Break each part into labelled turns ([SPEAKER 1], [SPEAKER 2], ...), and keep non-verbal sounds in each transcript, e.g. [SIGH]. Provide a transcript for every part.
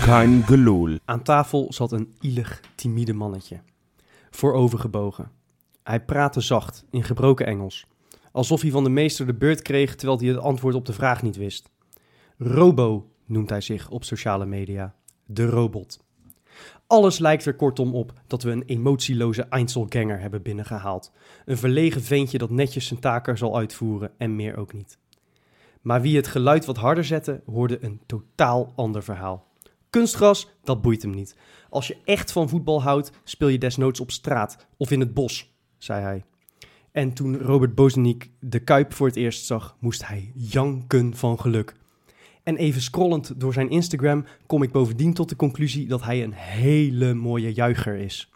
[SPEAKER 1] Kein geloel.
[SPEAKER 2] Aan tafel zat een ielig, timide mannetje. Voorovergebogen. Hij praatte zacht, in gebroken Engels. Alsof hij van de meester de beurt kreeg terwijl hij het antwoord op de vraag niet wist. Robo noemt hij zich op sociale media. De robot. Alles lijkt er kortom op dat we een emotieloze Einzelganger hebben binnengehaald. Een verlegen ventje dat netjes zijn taken zal uitvoeren en meer ook niet. Maar wie het geluid wat harder zette, hoorde een totaal ander verhaal. Kunstgras, dat boeit hem niet. Als je echt van voetbal houdt, speel je desnoods op straat of in het bos, zei hij. En toen Robert Bosniek de Kuip voor het eerst zag, moest hij janken van geluk. En even scrollend door zijn Instagram kom ik bovendien tot de conclusie dat hij een hele mooie juicher is.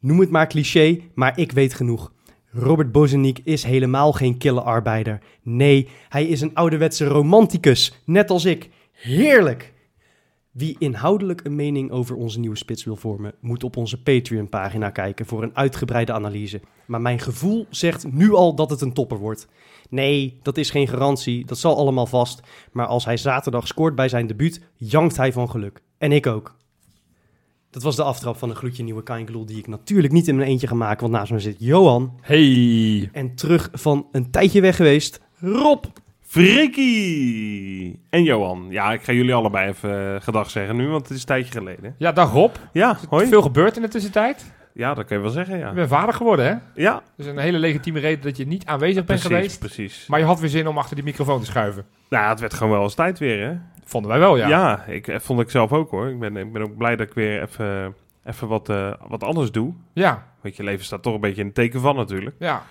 [SPEAKER 2] Noem het maar cliché, maar ik weet genoeg. Robert Bozeniek is helemaal geen kille arbeider. Nee, hij is een ouderwetse romanticus, net als ik. Heerlijk! Wie inhoudelijk een mening over onze nieuwe spits wil vormen, moet op onze Patreon-pagina kijken voor een uitgebreide analyse. Maar mijn gevoel zegt nu al dat het een topper wordt. Nee, dat is geen garantie, dat zal allemaal vast. Maar als hij zaterdag scoort bij zijn debuut, jankt hij van geluk. En ik ook. Dat was de aftrap van een gloedje nieuwe Kaingloel die ik natuurlijk niet in mijn eentje ga maken, want naast me zit Johan.
[SPEAKER 1] Hey,
[SPEAKER 2] En terug van een tijdje weg geweest, Rob.
[SPEAKER 1] Frikkie! En Johan. Ja, ik ga jullie allebei even eh, gedag zeggen nu, want het is een tijdje geleden.
[SPEAKER 3] Ja, dag Rob.
[SPEAKER 1] Ja, hoi.
[SPEAKER 3] Veel gebeurd in de tussentijd.
[SPEAKER 1] Ja, dat kun je wel zeggen,
[SPEAKER 3] Je
[SPEAKER 1] ja.
[SPEAKER 3] bent vader geworden, hè?
[SPEAKER 1] Ja,
[SPEAKER 3] Dus een hele legitieme reden dat je niet aanwezig bent
[SPEAKER 1] precies,
[SPEAKER 3] geweest.
[SPEAKER 1] precies.
[SPEAKER 3] Maar je had weer zin om achter die microfoon te schuiven.
[SPEAKER 1] Nou, het werd gewoon wel eens tijd weer, hè?
[SPEAKER 3] Vonden wij wel, ja.
[SPEAKER 1] Ja, ik, eh, vond ik zelf ook, hoor. Ik ben, ik ben ook blij dat ik weer even, even wat, eh, wat anders doe.
[SPEAKER 3] Ja,
[SPEAKER 1] Want je leven staat toch een beetje in het teken van, natuurlijk.
[SPEAKER 3] ja.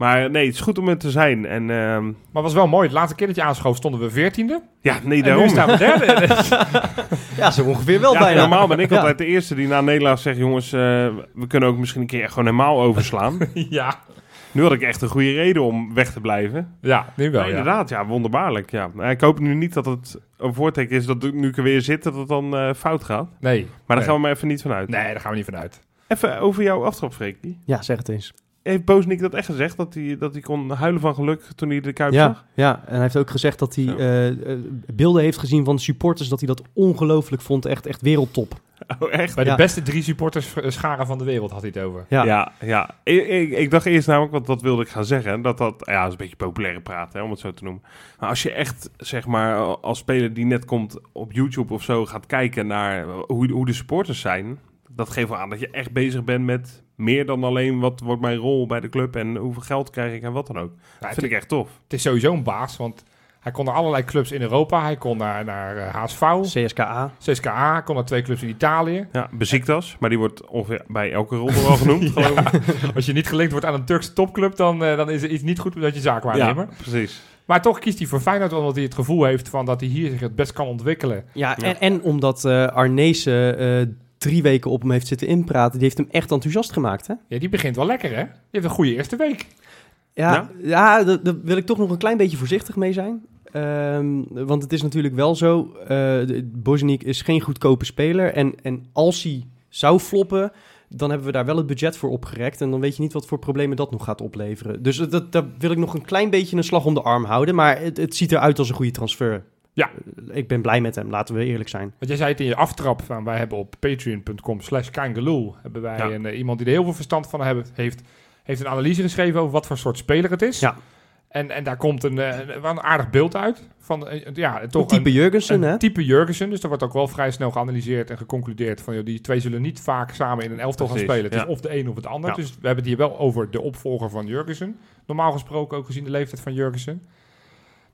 [SPEAKER 1] Maar nee, het is goed om er te zijn. En ehm,
[SPEAKER 3] Maar was wel mooi. De laatste keer dat je aanschoof stonden we veertiende.
[SPEAKER 1] ja, nee,
[SPEAKER 3] En nu
[SPEAKER 1] daarom.
[SPEAKER 3] staan we derde. [LAUGHS]
[SPEAKER 2] Ja, zo ongeveer wel
[SPEAKER 1] [LAUGHS] Ja,
[SPEAKER 2] bijna.
[SPEAKER 1] normaal ben ik
[SPEAKER 2] Ja.
[SPEAKER 1] altijd de eerste die na Nederland zegt... jongens, eh, we kunnen ook misschien een keer gewoon helemaal overslaan.
[SPEAKER 3] ja.
[SPEAKER 1] nu had ik echt een goede reden om weg te blijven.
[SPEAKER 3] Ja, nu wel,
[SPEAKER 1] Maar
[SPEAKER 3] ja.
[SPEAKER 1] inderdaad, ja, wonderbaarlijk. Ja. Maar Ik hoop nu niet dat het een voorteken is dat nu ik er weer zit... dat het dan eh, fout gaat. Maar
[SPEAKER 3] Nee.
[SPEAKER 1] daar
[SPEAKER 3] nee.
[SPEAKER 1] gaan we maar even niet van uit.
[SPEAKER 3] Nee, daar gaan we niet van uit.
[SPEAKER 1] Even over jouw aftrap, Freekie.
[SPEAKER 2] Ja, zeg het eens.
[SPEAKER 1] Heeft Boosnik dat echt gezegd? Dat hij, dat hij kon huilen van geluk toen hij de Kuip
[SPEAKER 2] Ja,
[SPEAKER 1] zag? [LAUGHS]
[SPEAKER 2] ja, en hij heeft ook gezegd dat hij
[SPEAKER 1] Zo.
[SPEAKER 2] eh, eh, beelden heeft gezien van de supporters, dat hij dat ongelooflijk vond. Echt, echt wereldtop.
[SPEAKER 1] Oh, echt?
[SPEAKER 3] Bij de
[SPEAKER 2] Ja.
[SPEAKER 3] beste drie supporters eh, scharen van de wereld had hij het over.
[SPEAKER 2] Ja.
[SPEAKER 1] Ja, ja. Ik, ik, ik dacht eerst namelijk, want dat wilde ik gaan zeggen, dat dat, ja, dat is een beetje populaire praten, hè, om het zo te noemen. Maar als je echt, zeg maar, als speler die net komt op YouTube of zo, gaat kijken naar hoe, hoe de supporters zijn, dat geeft wel aan dat je echt bezig bent met meer dan alleen wat wordt mijn rol bij de club en hoeveel geld krijg ik en wat dan ook.
[SPEAKER 3] Ja,
[SPEAKER 1] Dat
[SPEAKER 3] Nou, het-
[SPEAKER 1] vind ik echt tof.
[SPEAKER 3] Het is sowieso een baas, want hij kon naar allerlei clubs in Europa. Hij kon naar, naar eh, HSV,
[SPEAKER 2] CSKA.
[SPEAKER 3] CSKA, hij kon naar twee clubs in Italië.
[SPEAKER 1] Ja, Beziektas, maar die wordt ongeveer bij elke rol wel [LAUGHS] genoemd, geloof ik.
[SPEAKER 3] [LAUGHS] Als je niet gelinkt wordt aan een Turkse topclub, dan, eh, dan is er iets niet goed met je zaakwaarnemer.
[SPEAKER 1] precies.
[SPEAKER 3] Maar toch kiest hij voor Feyenoord, omdat hij het gevoel heeft van dat hij hier zich het best kan ontwikkelen.
[SPEAKER 2] Ja,
[SPEAKER 1] Ja.
[SPEAKER 2] En, en omdat eh Arnezen eh, drie weken op hem heeft zitten inpraten, die heeft hem echt enthousiast gemaakt, hè?
[SPEAKER 3] Ja, die begint wel lekker, hè? Die heeft een goede eerste week.
[SPEAKER 2] Ja,
[SPEAKER 1] Ja?
[SPEAKER 2] ja? daar, daar wil ik toch nog een klein beetje voorzichtig mee zijn. Ehm, want het is natuurlijk wel zo, eh Bozeniek is geen goedkope speler. En, en als hij zou floppen, dan hebben we daar wel het budget voor opgerekt. En dan weet je niet wat voor problemen dat nog gaat opleveren. Dus dat, dat, daar wil ik nog een klein beetje een slag om de arm houden. Maar het, het ziet eruit als een goede transfer. Eh,
[SPEAKER 3] Ja.
[SPEAKER 2] Ik ben blij met hem, laten we eerlijk zijn.
[SPEAKER 3] Want jij zei het in je aftrap, van, wij hebben op patreon.com slash kangeloel, hebben wij
[SPEAKER 1] Ja.
[SPEAKER 3] een, eh, iemand die er heel veel verstand van hebben, heeft, heeft een analyse geschreven over wat voor soort speler het is.
[SPEAKER 2] Ja.
[SPEAKER 3] En, en daar komt een, eh, een, wel een aardig beeld uit. Van, eh, ja, toch
[SPEAKER 2] Een type Jurgensen,
[SPEAKER 3] een
[SPEAKER 2] hè?
[SPEAKER 3] type Jurgensen. Dus er wordt ook wel vrij snel geanalyseerd en geconcludeerd van... Joh, die twee zullen niet vaak samen in een elftal gaan
[SPEAKER 1] Precies,
[SPEAKER 3] spelen. Het
[SPEAKER 1] ja.
[SPEAKER 3] is of de een of het ander.
[SPEAKER 1] Ja.
[SPEAKER 3] Dus we hebben het hier wel over de opvolger van Jurgensen. Normaal gesproken ook gezien de leeftijd van Jurgensen.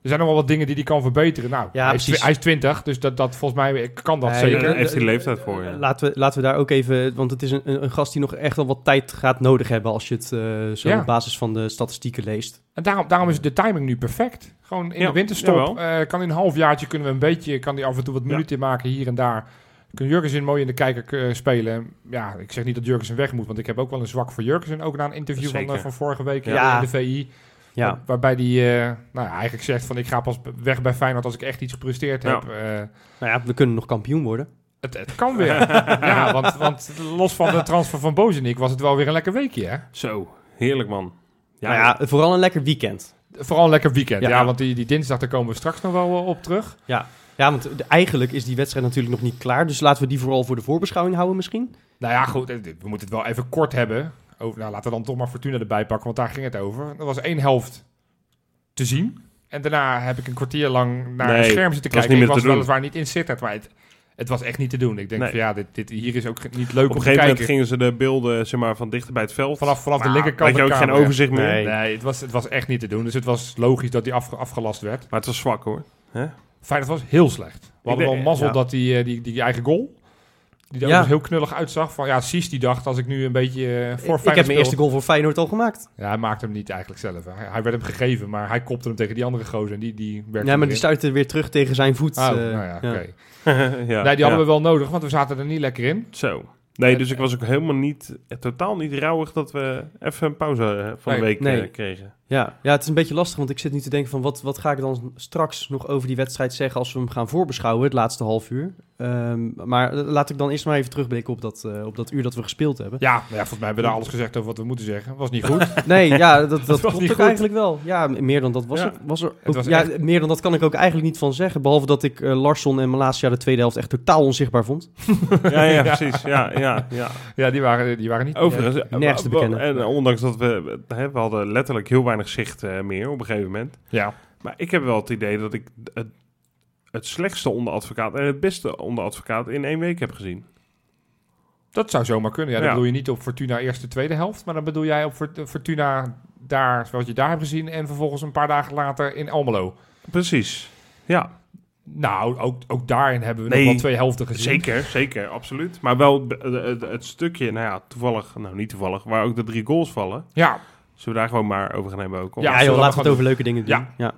[SPEAKER 3] Er zijn nog wel wat dingen die hij kan verbeteren. Nou,
[SPEAKER 2] Ja,
[SPEAKER 3] hij, is,
[SPEAKER 2] precies.
[SPEAKER 3] twi- hij is 20, dus dat, dat volgens mij kan dat
[SPEAKER 2] Nee,
[SPEAKER 3] zeker.
[SPEAKER 1] Daar
[SPEAKER 2] eh,
[SPEAKER 1] heeft hij
[SPEAKER 2] eh,
[SPEAKER 1] leeftijd voor, ja.
[SPEAKER 2] Laten we, laten we daar ook even, want het is een, een, een gast die nog echt wel wat tijd gaat nodig hebben als je het eh, zo
[SPEAKER 3] Ja.
[SPEAKER 2] op basis van de statistieken leest.
[SPEAKER 3] En daarom, daarom is de timing nu perfect. Gewoon in
[SPEAKER 1] Ja,
[SPEAKER 3] de winterstop.
[SPEAKER 1] jawel.
[SPEAKER 3] eh kan in een halfjaartje kunnen we een beetje... kan die af en toe wat
[SPEAKER 1] Ja.
[SPEAKER 3] minuten maken hier en daar. Kun Jurgensen mooi in de kijker eh, spelen. Ja, ik zeg niet dat Jurgensen weg moet... want ik heb ook wel een zwak voor Jurgensen. Ook na een interview van,
[SPEAKER 1] Zeker.
[SPEAKER 3] eh, van vorige week eh,
[SPEAKER 2] Ja.
[SPEAKER 3] in de VI.
[SPEAKER 2] Ja,
[SPEAKER 3] waar- waarbij die eh, nou, ja, eigenlijk zegt van... ik ga pas weg bij Feyenoord als ik echt iets gepresteerd
[SPEAKER 1] Ja.
[SPEAKER 3] heb. Eh,
[SPEAKER 2] nou ja, we kunnen nog kampioen worden.
[SPEAKER 3] het, het kan
[SPEAKER 1] [LAUGHS]
[SPEAKER 3] weer. ja, want, want los van de transfer van Bozenik... was het wel weer een lekker weekje, hè?
[SPEAKER 1] Zo, heerlijk man.
[SPEAKER 2] Ja, Nou
[SPEAKER 1] Nou
[SPEAKER 2] ja, vooral een lekker weekend.
[SPEAKER 3] Vooral een lekker weekend. Ja,
[SPEAKER 2] Ja.
[SPEAKER 3] want die, die dinsdag... daar komen we straks nog wel eh, op terug...
[SPEAKER 2] Ja, want de- eigenlijk is die wedstrijd natuurlijk nog niet klaar. Dus laten we die vooral voor de voorbeschouwing houden misschien.
[SPEAKER 3] Nou ja, goed, eh, we moeten het wel even kort hebben. Over, nou, laten we dan toch maar Fortuna erbij pakken, want daar ging het over. Er was één helft te zien. En daarna heb ik een kwartier lang naar
[SPEAKER 1] Nee,
[SPEAKER 3] het scherm zitten kijken.
[SPEAKER 1] was niet
[SPEAKER 3] ik
[SPEAKER 1] meer
[SPEAKER 3] was
[SPEAKER 1] te doen.
[SPEAKER 3] weliswaar niet in Sittard, maar het, het was echt niet te doen. Ik denk
[SPEAKER 1] Nee.
[SPEAKER 3] van ja, dit, dit, hier is ook ge- niet leuk
[SPEAKER 1] Op
[SPEAKER 3] om
[SPEAKER 1] een
[SPEAKER 3] te
[SPEAKER 1] gegeven moment
[SPEAKER 3] kijken.
[SPEAKER 1] gingen ze de beelden zeg maar, van dichter bij het veld.
[SPEAKER 3] Vanaf, vanaf de
[SPEAKER 1] Maar
[SPEAKER 3] linkerkant
[SPEAKER 1] had je
[SPEAKER 3] de
[SPEAKER 1] ook geen
[SPEAKER 3] camera.
[SPEAKER 1] overzicht meer.
[SPEAKER 2] Nee.
[SPEAKER 3] Nee, het was, het was echt niet te doen. Dus het was logisch dat die afge- afgelast werd.
[SPEAKER 1] Maar het was zwak hoor.
[SPEAKER 3] Feyenoord was heel slecht. We hadden
[SPEAKER 1] denk-
[SPEAKER 3] wel mazzel
[SPEAKER 2] ja.
[SPEAKER 3] dat die, eh, die, die, die eigen goal... Die er
[SPEAKER 2] Ja.
[SPEAKER 3] ook heel knullig uitzag. Van, ja, Cies die dacht, als ik nu een beetje eh, voor
[SPEAKER 2] ik heb
[SPEAKER 3] Feyenoord
[SPEAKER 2] mijn
[SPEAKER 3] speel,
[SPEAKER 2] eerste goal voor Feyenoord al gemaakt.
[SPEAKER 3] Ja, hij maakte hem niet eigenlijk zelf. hè. Hij, hij werd hem gegeven, maar hij kopte hem tegen die andere gozer. En die, die werd
[SPEAKER 2] Ja, maar die stuitte weer terug tegen zijn voet.
[SPEAKER 3] Oh,
[SPEAKER 2] eh,
[SPEAKER 3] nou ja, oké.
[SPEAKER 1] ja,
[SPEAKER 3] Nee, die
[SPEAKER 1] ja.
[SPEAKER 3] hadden we wel nodig, want we zaten er niet lekker in.
[SPEAKER 1] Zo. Nee, dus ik was ook helemaal niet, eh, totaal niet rauwig dat we even een pauze eh, van
[SPEAKER 3] Nee,
[SPEAKER 1] de week
[SPEAKER 2] nee.
[SPEAKER 1] eh, kregen.
[SPEAKER 2] Ja, ja, het is een beetje lastig, want ik zit nu te denken van wat, wat ga ik dan straks nog over die wedstrijd zeggen als we hem gaan voorbeschouwen, het laatste half uur. Ehm, maar eh, laat ik dan eerst maar even terugblikken op dat, eh, op dat uur dat we gespeeld hebben.
[SPEAKER 3] Ja, nou ja, volgens mij hebben we daar alles gezegd over wat we moeten zeggen. Was niet
[SPEAKER 2] [LAUGHS]
[SPEAKER 3] goed.
[SPEAKER 2] Nee, ja, dat, dat,
[SPEAKER 3] was
[SPEAKER 2] klopt
[SPEAKER 3] niet
[SPEAKER 2] ook
[SPEAKER 3] goed.
[SPEAKER 2] eigenlijk wel. Ja, m- meer dan dat was,
[SPEAKER 1] Ja.
[SPEAKER 2] er, was er ook.
[SPEAKER 3] was
[SPEAKER 2] ja,
[SPEAKER 3] echt-
[SPEAKER 2] meer dan dat kan ik ook eigenlijk niet van zeggen, behalve dat ik eh, Larsson en Malasia de tweede helft echt totaal onzichtbaar vond.
[SPEAKER 1] Ja, ja, precies. Ja, ja, ja.
[SPEAKER 3] ja, die waren, die waren niet...
[SPEAKER 1] Overigens, eh,
[SPEAKER 2] nergens te
[SPEAKER 1] wa- wa-
[SPEAKER 2] bekennen.
[SPEAKER 1] En eh, ondanks dat we, eh, hè, we hadden letterlijk heel weinig zicht eh, meer op een gegeven moment.
[SPEAKER 3] Ja,
[SPEAKER 1] Maar ik heb wel het idee dat ik d- het, het slechtste onderadvocaat en het beste onderadvocaat in één week heb gezien.
[SPEAKER 3] dat zou zomaar kunnen. Ja, dan
[SPEAKER 1] Ja.
[SPEAKER 3] bedoel je niet op Fortuna eerste, tweede helft. Maar dan bedoel jij op Fort- Fortuna daar, wat je daar hebt gezien. En vervolgens een paar dagen later in Almelo.
[SPEAKER 1] Precies. Ja,
[SPEAKER 3] Nou, ook, ook daarin hebben we nog
[SPEAKER 1] Nee,
[SPEAKER 3] wel twee helften gezien.
[SPEAKER 1] zeker, zeker, absoluut. Maar wel het, het- het stukje, nou ja, toevallig, nou niet toevallig, waar ook de drie goals vallen.
[SPEAKER 3] Ja,
[SPEAKER 1] Zullen we daar gewoon maar over gaan hebben ook?
[SPEAKER 3] Ja,
[SPEAKER 2] Ja,
[SPEAKER 3] zullen
[SPEAKER 2] joh,
[SPEAKER 3] we
[SPEAKER 2] laten we
[SPEAKER 3] gaan
[SPEAKER 2] het over leuke dingen doen.
[SPEAKER 3] Ja.
[SPEAKER 2] ja. Nou,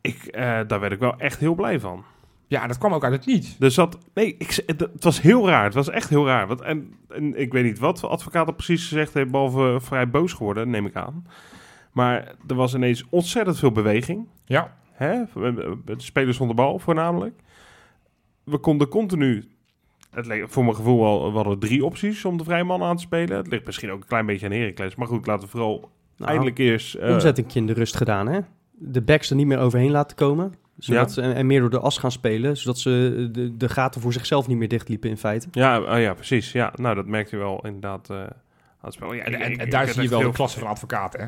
[SPEAKER 1] Ik, eh, daar werd ik wel echt heel blij van.
[SPEAKER 3] ja, dat kwam ook uit het niet.
[SPEAKER 1] Dus dat, nee, ik, z- het, het was heel raar. Het was echt heel raar. Want, en, en ik weet niet wat de advocaat er precies gezegd heeft, behalve vrij boos geworden, neem ik aan. Maar er was ineens ontzettend veel beweging.
[SPEAKER 3] Ja.
[SPEAKER 1] Hè? De spelers zonder bal voornamelijk. We konden continu, het leek voor mijn gevoel al, we hadden drie opties om de vrije man aan te spelen. Het ligt misschien ook een klein beetje aan Heracles. Maar goed, laten we vooral
[SPEAKER 2] Nou,
[SPEAKER 1] eindelijk eerst... eh,
[SPEAKER 2] omzetting in de rust gedaan, hè? De backs er niet meer overheen laten komen. Zodat
[SPEAKER 1] Ja.
[SPEAKER 2] ze, en, en meer door de as gaan spelen. Zodat ze de, de gaten voor zichzelf niet meer dichtliepen in feite.
[SPEAKER 1] Ja, oh ja, precies. Ja, nou, dat merkte je wel inderdaad eh, aan het spel. Ja,
[SPEAKER 3] En,
[SPEAKER 1] ik-
[SPEAKER 3] en-
[SPEAKER 1] ik-
[SPEAKER 3] en
[SPEAKER 1] ik
[SPEAKER 3] daar
[SPEAKER 1] werd
[SPEAKER 3] zie je
[SPEAKER 1] echt
[SPEAKER 3] wel de
[SPEAKER 1] heel-
[SPEAKER 3] klasse van advocaat, hè?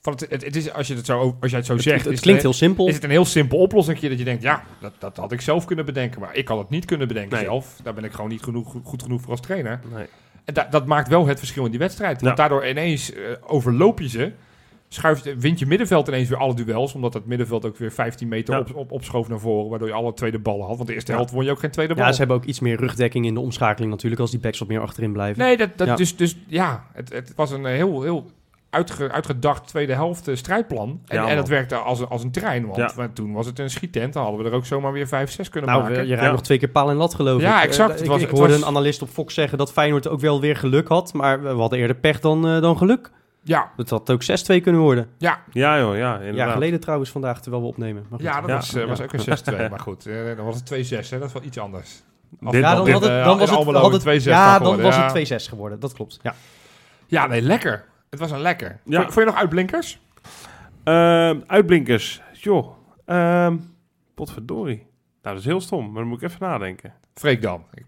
[SPEAKER 3] Van het, het, het is, als, je het zo, als jij het zo zegt,
[SPEAKER 2] het, het
[SPEAKER 3] is
[SPEAKER 2] klinkt
[SPEAKER 3] het,
[SPEAKER 2] heel simpel.
[SPEAKER 3] is het een heel simpel oplossing dat je denkt, ja, dat, dat had ik zelf kunnen bedenken, maar ik had het niet kunnen bedenken
[SPEAKER 1] Nee.
[SPEAKER 3] zelf. Daar ben ik gewoon niet genoeg, goed, goed genoeg voor als trainer.
[SPEAKER 1] Nee.
[SPEAKER 3] En da- dat maakt wel het verschil in die wedstrijd. Want daardoor ineens eh, overloop je ze, schuift, wint je middenveld ineens weer alle duels, omdat dat middenveld ook weer 15 meter
[SPEAKER 1] Ja.
[SPEAKER 3] op, op, opschoof naar voren, waardoor je alle tweede ballen had. Want de eerste
[SPEAKER 1] Ja.
[SPEAKER 3] helft won je ook geen tweede bal.
[SPEAKER 2] ja, ze hebben ook iets meer rugdekking in de omschakeling natuurlijk. Als die backs wat meer achterin blijven.
[SPEAKER 3] Nee, dat, dat
[SPEAKER 2] Ja.
[SPEAKER 3] Dus, dus ja, het, het was een eh, heel, heel uitge- uitgedacht tweede helft eh, strijdplan. En,
[SPEAKER 1] Ja,
[SPEAKER 3] en
[SPEAKER 1] man.
[SPEAKER 3] dat werkte als, een- als een trein, want
[SPEAKER 1] Ja.
[SPEAKER 3] want toen was het een schietent. Dan hadden we er ook zomaar weer 5, 6 kunnen
[SPEAKER 2] nou,
[SPEAKER 3] maken.
[SPEAKER 2] je rijdt
[SPEAKER 1] Ja.
[SPEAKER 2] nog twee keer paal en lat geloof ik.
[SPEAKER 3] Ja, exact.
[SPEAKER 2] Eh,
[SPEAKER 3] Het
[SPEAKER 2] ik
[SPEAKER 3] was-
[SPEAKER 2] ik
[SPEAKER 3] het
[SPEAKER 2] hoorde
[SPEAKER 3] was-
[SPEAKER 2] een analist op Fox zeggen dat Feyenoord ook wel weer geluk had. Maar we hadden eerder pech dan, eh, dan geluk.
[SPEAKER 3] Ja,
[SPEAKER 2] Het had ook 6-2 kunnen worden.
[SPEAKER 3] ja,
[SPEAKER 1] Ja, joh, ja,
[SPEAKER 2] Een
[SPEAKER 1] inderdaad.
[SPEAKER 2] jaar geleden trouwens vandaag, terwijl we opnemen. Maar goed.
[SPEAKER 3] ja, dat
[SPEAKER 1] Ja.
[SPEAKER 3] Was, eh, was
[SPEAKER 2] Ja.
[SPEAKER 3] ook een
[SPEAKER 1] [LAUGHS]
[SPEAKER 3] 6-2. maar goed, eh, dan was het 2-6, hè. dat is wel iets anders. Of-
[SPEAKER 1] Dit-
[SPEAKER 2] Ja, dan,
[SPEAKER 1] dit-
[SPEAKER 2] had het,
[SPEAKER 3] eh,
[SPEAKER 2] dan
[SPEAKER 3] in
[SPEAKER 2] was het,
[SPEAKER 3] Almelo
[SPEAKER 2] had
[SPEAKER 3] een
[SPEAKER 2] het-
[SPEAKER 3] 2-6
[SPEAKER 2] ja,
[SPEAKER 3] had
[SPEAKER 2] dan
[SPEAKER 3] geworden, ja.
[SPEAKER 2] was het 2-6 geworden. Dat klopt. Ja.
[SPEAKER 3] Ja, nee, lekker. Het was een lekker.
[SPEAKER 1] Ja.
[SPEAKER 3] Vond, vond je nog uitblinkers?
[SPEAKER 1] Ehm, uitblinkers. Joh. Ehm potverdorie. Nou, dat is heel stom, maar dan moet ik even [LAUGHS] nadenken.
[SPEAKER 3] Freek dan. Ik,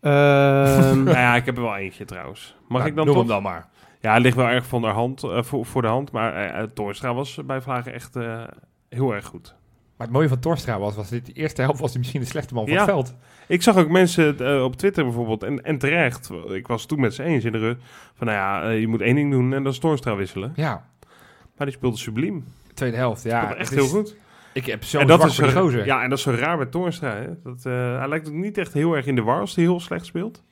[SPEAKER 3] eh,
[SPEAKER 2] Ehm,
[SPEAKER 1] nou ja, ik heb er wel eentje trouwens. Mag
[SPEAKER 3] nou,
[SPEAKER 1] ik dan
[SPEAKER 3] noem
[SPEAKER 1] toch?
[SPEAKER 3] hem dan maar.
[SPEAKER 1] Ja, het ligt wel erg van de hand, eh, voor, voor de hand. Maar eh eh, Toornstra was bij Vlagen echt eh, heel erg goed.
[SPEAKER 3] Maar het mooie van Torstra was, was dit de eerste helft was hij misschien de slechte man van
[SPEAKER 1] Ja.
[SPEAKER 3] het veld.
[SPEAKER 1] Ik zag ook mensen eh, op Twitter bijvoorbeeld, en, en terecht, ik was het toen met ze eens in de rust, van nou ja, eh, je moet één ding doen en dat is Toornstra wisselen.
[SPEAKER 3] Ja,
[SPEAKER 1] Maar die speelde subliem.
[SPEAKER 3] tweede helft. Ja,
[SPEAKER 1] Speelde echt
[SPEAKER 3] het is-
[SPEAKER 1] heel goed.
[SPEAKER 3] Ik heb
[SPEAKER 1] en
[SPEAKER 3] zo'n
[SPEAKER 1] dat
[SPEAKER 3] zwak
[SPEAKER 1] is
[SPEAKER 3] voor die
[SPEAKER 2] eh,
[SPEAKER 1] zo-
[SPEAKER 3] gozer.
[SPEAKER 1] Ja, en dat is zo raar met Toornstra. Hè? Dat, eh, hij lijkt ook niet echt heel erg in de war als hij heel slecht speelt.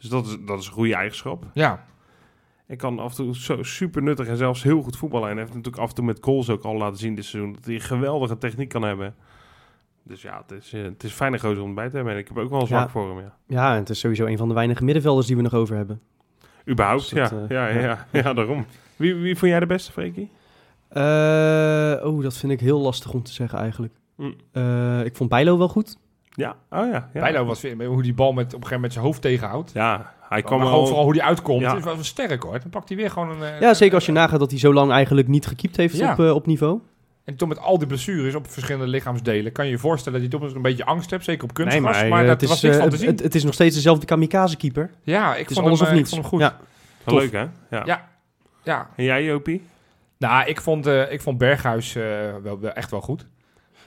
[SPEAKER 1] Dus dat is, dat is een goede eigenschap.
[SPEAKER 3] Ja.
[SPEAKER 1] Hij kan af en toe zo super nuttig en zelfs heel goed voetballen. En hij heeft natuurlijk af en toe met goals ook al laten zien dit seizoen. Dat hij een geweldige techniek kan hebben. Dus ja, het is, eh, het is een fijne gozer om bij te hebben. En ik heb ook wel een zwak
[SPEAKER 2] Ja.
[SPEAKER 1] voor hem, ja.
[SPEAKER 2] [LAUGHS] Ja, en het is sowieso een van de weinige middenvelders die we nog over hebben.
[SPEAKER 1] Überhaupt,
[SPEAKER 2] Dus dat,
[SPEAKER 1] ja.
[SPEAKER 2] eh,
[SPEAKER 1] ja, ja, ja. daarom. Wie, wie vond jij de beste, Freekie?
[SPEAKER 2] Eh, oh, dat vind ik heel lastig om te zeggen eigenlijk.
[SPEAKER 1] Mm.
[SPEAKER 2] Eh, ik vond Bijlo wel goed.
[SPEAKER 1] Ja, oh ja. ja.
[SPEAKER 3] Bijlo was weer- hoe die bal met, op een gegeven moment zijn hoofd tegenhoudt.
[SPEAKER 1] Ja, hij
[SPEAKER 3] Maar
[SPEAKER 1] kwam
[SPEAKER 3] gewoon
[SPEAKER 1] al...
[SPEAKER 3] vooral hoe die uitkomt.
[SPEAKER 1] Ja.
[SPEAKER 3] is wel sterk hoor. Dan pakt hij weer gewoon een... eh,
[SPEAKER 2] Ja, zeker als je nagaat dat hij zo lang eigenlijk niet gekiept heeft
[SPEAKER 3] Ja.
[SPEAKER 2] op, eh, op niveau.
[SPEAKER 3] En toen met al die blessures op verschillende lichaamsdelen... kan je je voorstellen dat je toch een beetje angst hebt. Zeker op kunstgras. maar
[SPEAKER 2] hij, eh,
[SPEAKER 3] dat
[SPEAKER 2] het is,
[SPEAKER 3] was niks
[SPEAKER 2] eh,
[SPEAKER 3] van te zien.
[SPEAKER 2] het, het is nog steeds dezelfde kamikaze keeper.
[SPEAKER 3] ja,
[SPEAKER 2] Het
[SPEAKER 3] ik
[SPEAKER 2] is
[SPEAKER 3] vond, hem,
[SPEAKER 2] alles
[SPEAKER 3] eh,
[SPEAKER 2] of
[SPEAKER 3] ik
[SPEAKER 2] niets.
[SPEAKER 3] vond hem goed.
[SPEAKER 2] Ja.
[SPEAKER 1] Wel
[SPEAKER 2] tof.
[SPEAKER 1] Leuk, hè? Ja.
[SPEAKER 3] Ja. ja.
[SPEAKER 1] En jij, Jopie?
[SPEAKER 3] Nou, ik vond, eh, ik vond Berghuis eh, wel, wel echt wel goed.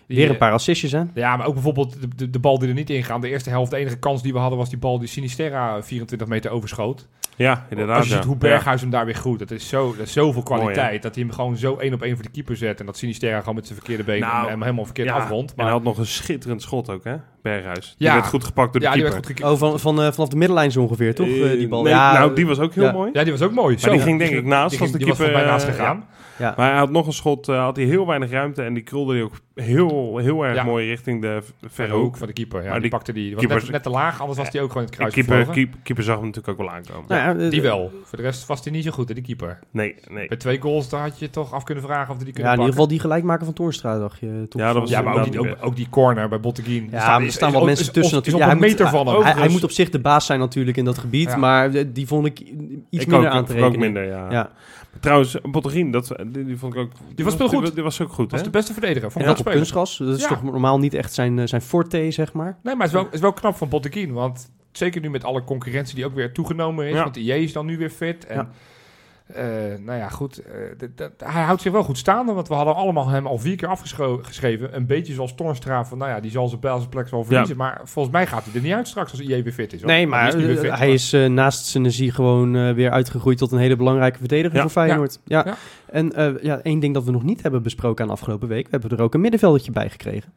[SPEAKER 3] Die,
[SPEAKER 2] Weer een
[SPEAKER 3] eh,
[SPEAKER 2] paar assistjes, hè?
[SPEAKER 3] Ja, maar ook bijvoorbeeld de, de, de bal die er niet in gaat. De eerste helft, de enige kans die we hadden was die bal die Sinisterra 24 meter overschoot.
[SPEAKER 1] Ja, inderdaad.
[SPEAKER 3] Als je
[SPEAKER 1] ja.
[SPEAKER 3] ziet hoe Berghuis hem daar weer groeit. Dat is, zo, dat is zoveel kwaliteit.
[SPEAKER 1] Mooi,
[SPEAKER 3] dat hij hem gewoon zo één op één voor de keeper zet. En dat Sinisterra gewoon met zijn verkeerde been
[SPEAKER 1] Nou,
[SPEAKER 3] hem, hem helemaal verkeerd
[SPEAKER 1] Ja,
[SPEAKER 3] afrondt.
[SPEAKER 1] En
[SPEAKER 3] Maar
[SPEAKER 1] hij had nog een schitterend schot ook, hè? Berghuis. Die
[SPEAKER 3] Ja.
[SPEAKER 1] werd goed gepakt door de
[SPEAKER 3] ja, die werd
[SPEAKER 1] keeper.
[SPEAKER 3] goed gekeept.
[SPEAKER 2] Oh, van, van, eh, vanaf de middenlijn zo ongeveer, toch? eh, die bal.
[SPEAKER 1] Nee,
[SPEAKER 2] ja,
[SPEAKER 1] nou, die was ook heel
[SPEAKER 2] ja.
[SPEAKER 1] mooi.
[SPEAKER 3] Ja, die was ook mooi.
[SPEAKER 1] Maar die ging denk ik naast
[SPEAKER 3] Die,
[SPEAKER 1] als
[SPEAKER 3] ging,
[SPEAKER 1] de
[SPEAKER 3] die was
[SPEAKER 1] keeper...
[SPEAKER 3] volgens mij naast
[SPEAKER 1] eh,
[SPEAKER 3] gegaan.
[SPEAKER 2] ja.
[SPEAKER 1] Maar hij had nog een schot, eh, had hij heel weinig ruimte en die krulde hij ook heel, heel erg
[SPEAKER 3] Ja.
[SPEAKER 1] mooi richting de v- verre
[SPEAKER 3] Verre hoek
[SPEAKER 1] hoek.
[SPEAKER 3] van de keeper. Ja,
[SPEAKER 1] Maar
[SPEAKER 3] die,
[SPEAKER 1] die
[SPEAKER 3] pakte die. die was
[SPEAKER 1] keeper-
[SPEAKER 3] net, net te laag, anders was hij ook gewoon in het
[SPEAKER 1] De
[SPEAKER 3] kruis
[SPEAKER 1] keeper,
[SPEAKER 3] gevlogen.
[SPEAKER 1] keep- keeper zag hem natuurlijk ook wel aankomen.
[SPEAKER 2] Nou ja, eh,
[SPEAKER 3] Die wel. Voor de rest was hij niet zo goed. hè, Die keeper.
[SPEAKER 1] Nee, nee.
[SPEAKER 3] Bij twee goals daar had je toch af kunnen vragen of die die
[SPEAKER 2] Ja,
[SPEAKER 3] kunnen
[SPEAKER 2] in ieder
[SPEAKER 3] pakken.
[SPEAKER 2] geval die gelijkmaker van Toornstra, dacht je. eh, toch?
[SPEAKER 1] Ja, dat was
[SPEAKER 3] Ja, maar ook die,
[SPEAKER 1] inderdaad
[SPEAKER 3] ook, ook die corner bij Botteguin. Die staat-
[SPEAKER 2] maar er
[SPEAKER 3] is-
[SPEAKER 2] staan
[SPEAKER 3] is
[SPEAKER 2] wel
[SPEAKER 3] op-
[SPEAKER 2] mensen
[SPEAKER 3] is op-
[SPEAKER 2] tussen
[SPEAKER 3] is op
[SPEAKER 2] natuurlijk.
[SPEAKER 3] een
[SPEAKER 2] Ja, hij
[SPEAKER 3] meter
[SPEAKER 2] moet-
[SPEAKER 3] van hem.
[SPEAKER 2] Hij, hij
[SPEAKER 3] overigens.
[SPEAKER 2] moet op zich de baas zijn natuurlijk in dat gebied,
[SPEAKER 3] Ja.
[SPEAKER 2] maar eh, die vond ik iets
[SPEAKER 1] ik
[SPEAKER 2] minder
[SPEAKER 1] ook,
[SPEAKER 2] aan
[SPEAKER 1] ik
[SPEAKER 2] te
[SPEAKER 1] vond ook
[SPEAKER 2] rekenen.
[SPEAKER 1] minder, ja.
[SPEAKER 2] Ja.
[SPEAKER 1] Trouwens, Bottegien, dat, die, die vond ik ook...
[SPEAKER 3] Die was wel goed.
[SPEAKER 1] Die, was ook goed,
[SPEAKER 3] was
[SPEAKER 1] hè?
[SPEAKER 3] de beste verdediger. Vond
[SPEAKER 2] En
[SPEAKER 3] ik
[SPEAKER 2] dat
[SPEAKER 3] wel
[SPEAKER 2] op
[SPEAKER 3] spelen.
[SPEAKER 2] kunstgras, dat is
[SPEAKER 3] Ja.
[SPEAKER 2] toch normaal niet echt zijn, eh, zijn forte, zeg maar.
[SPEAKER 3] Nee, maar het is wel, is wel knap van Botteguin. Want zeker nu met alle concurrentie die ook weer toegenomen is.
[SPEAKER 1] Ja.
[SPEAKER 3] Want de IJ is dan nu weer fit. En, eh, nou ja, goed. eh, d- d- hij houdt zich wel goed staande. Want we hadden allemaal hem al vier keer afgeschreven. Een beetje zoals Tornstra. Van, nou ja, die zal zijn bij- zijn plek wel verliezen. Maar volgens mij gaat hij er niet uit straks als IJ weer fit is. hoor.
[SPEAKER 2] Nee,
[SPEAKER 3] Die
[SPEAKER 2] maar
[SPEAKER 3] nu weer
[SPEAKER 2] eh,
[SPEAKER 3] fit,
[SPEAKER 2] hij
[SPEAKER 3] maar-
[SPEAKER 2] is eh, naast Senesi gewoon eh, weer uitgegroeid tot een hele belangrijke verdediger
[SPEAKER 1] Ja.
[SPEAKER 2] voor Feyenoord. Ja.
[SPEAKER 3] Ja.
[SPEAKER 2] En eh, ja, één ding dat we nog niet hebben besproken aan de afgelopen week, we hebben er ook een middenveldertje bij gekregen.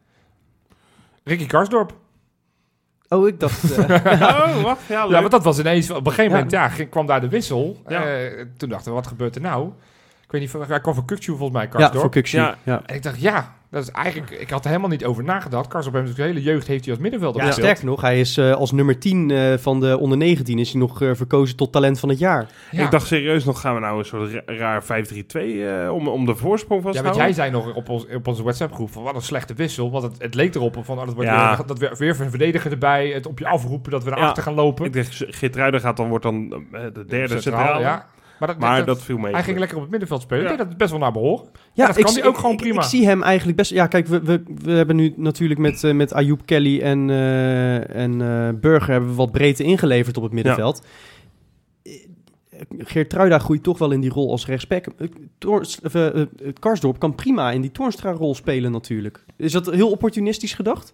[SPEAKER 3] Ricky Karsdorp.
[SPEAKER 2] Oh, ik dacht... [LAUGHS] eh,
[SPEAKER 1] Oh, wacht, ja, leuk.
[SPEAKER 3] Ja, want dat was ineens... Op een gegeven
[SPEAKER 2] Ja.
[SPEAKER 3] moment ja, ging- kwam daar de wissel.
[SPEAKER 1] Ja.
[SPEAKER 3] Eh, toen dachten we, wat gebeurt er nou? Ik weet niet, hij kwam van Kukcu volgens mij,
[SPEAKER 2] ja,
[SPEAKER 3] Karsdorp.
[SPEAKER 2] voor Kuxi.
[SPEAKER 1] Ja.
[SPEAKER 2] Ja.
[SPEAKER 3] En ik dacht, ja, dat is eigenlijk... Ik had er helemaal niet over nagedacht. Karsdorp heeft zijn hele jeugd heeft hij als middenvelder
[SPEAKER 2] Ja,
[SPEAKER 3] gespeeld.
[SPEAKER 2] sterk nog, hij is eh, als nummer 10 eh, van de onder 19 is hij nog eh, verkozen tot talent van het jaar.
[SPEAKER 3] Ja.
[SPEAKER 1] Ik dacht serieus nog, gaan we nou een soort ra- raar 5-3-2 eh, om, om de voorsprong vast
[SPEAKER 3] Ja,
[SPEAKER 1] te
[SPEAKER 3] want
[SPEAKER 1] houden?
[SPEAKER 3] jij zei nog op, ons, op onze WhatsApp-groep van wat een slechte wissel. Want het, het leek erop van oh, dat, wordt
[SPEAKER 1] Ja.
[SPEAKER 3] weer, dat we weer een verdediger erbij. Het op je afroepen dat we naar
[SPEAKER 1] Ja.
[SPEAKER 3] achter gaan lopen.
[SPEAKER 1] Ik dacht, Geertruiden gaat dan, wordt dan eh, de derde
[SPEAKER 3] Centraal,
[SPEAKER 1] centraal.
[SPEAKER 3] ja. Maar, dat,
[SPEAKER 1] Maar
[SPEAKER 3] dat-
[SPEAKER 1] dat viel mee.
[SPEAKER 3] hij ging lekker op het middenveld spelen.
[SPEAKER 1] Ja.
[SPEAKER 3] Ik denk dat is best wel naar behoren. Ja, dat kan hij ook gewoon
[SPEAKER 2] ik-
[SPEAKER 3] prima.
[SPEAKER 2] Ik, zie hem eigenlijk best... Ja, kijk, we, we, we hebben nu natuurlijk met, eh, met Ayoub Kelly en, eh, en eh, Burger... hebben we wat breedte ingeleverd op het middenveld. Geertruida groeit toch wel in die rol als rechtsback. Eh, Toorns- of, eh, eh, Karsdorp kan prima in die Toornstra-rol spelen natuurlijk. Is dat heel opportunistisch gedacht?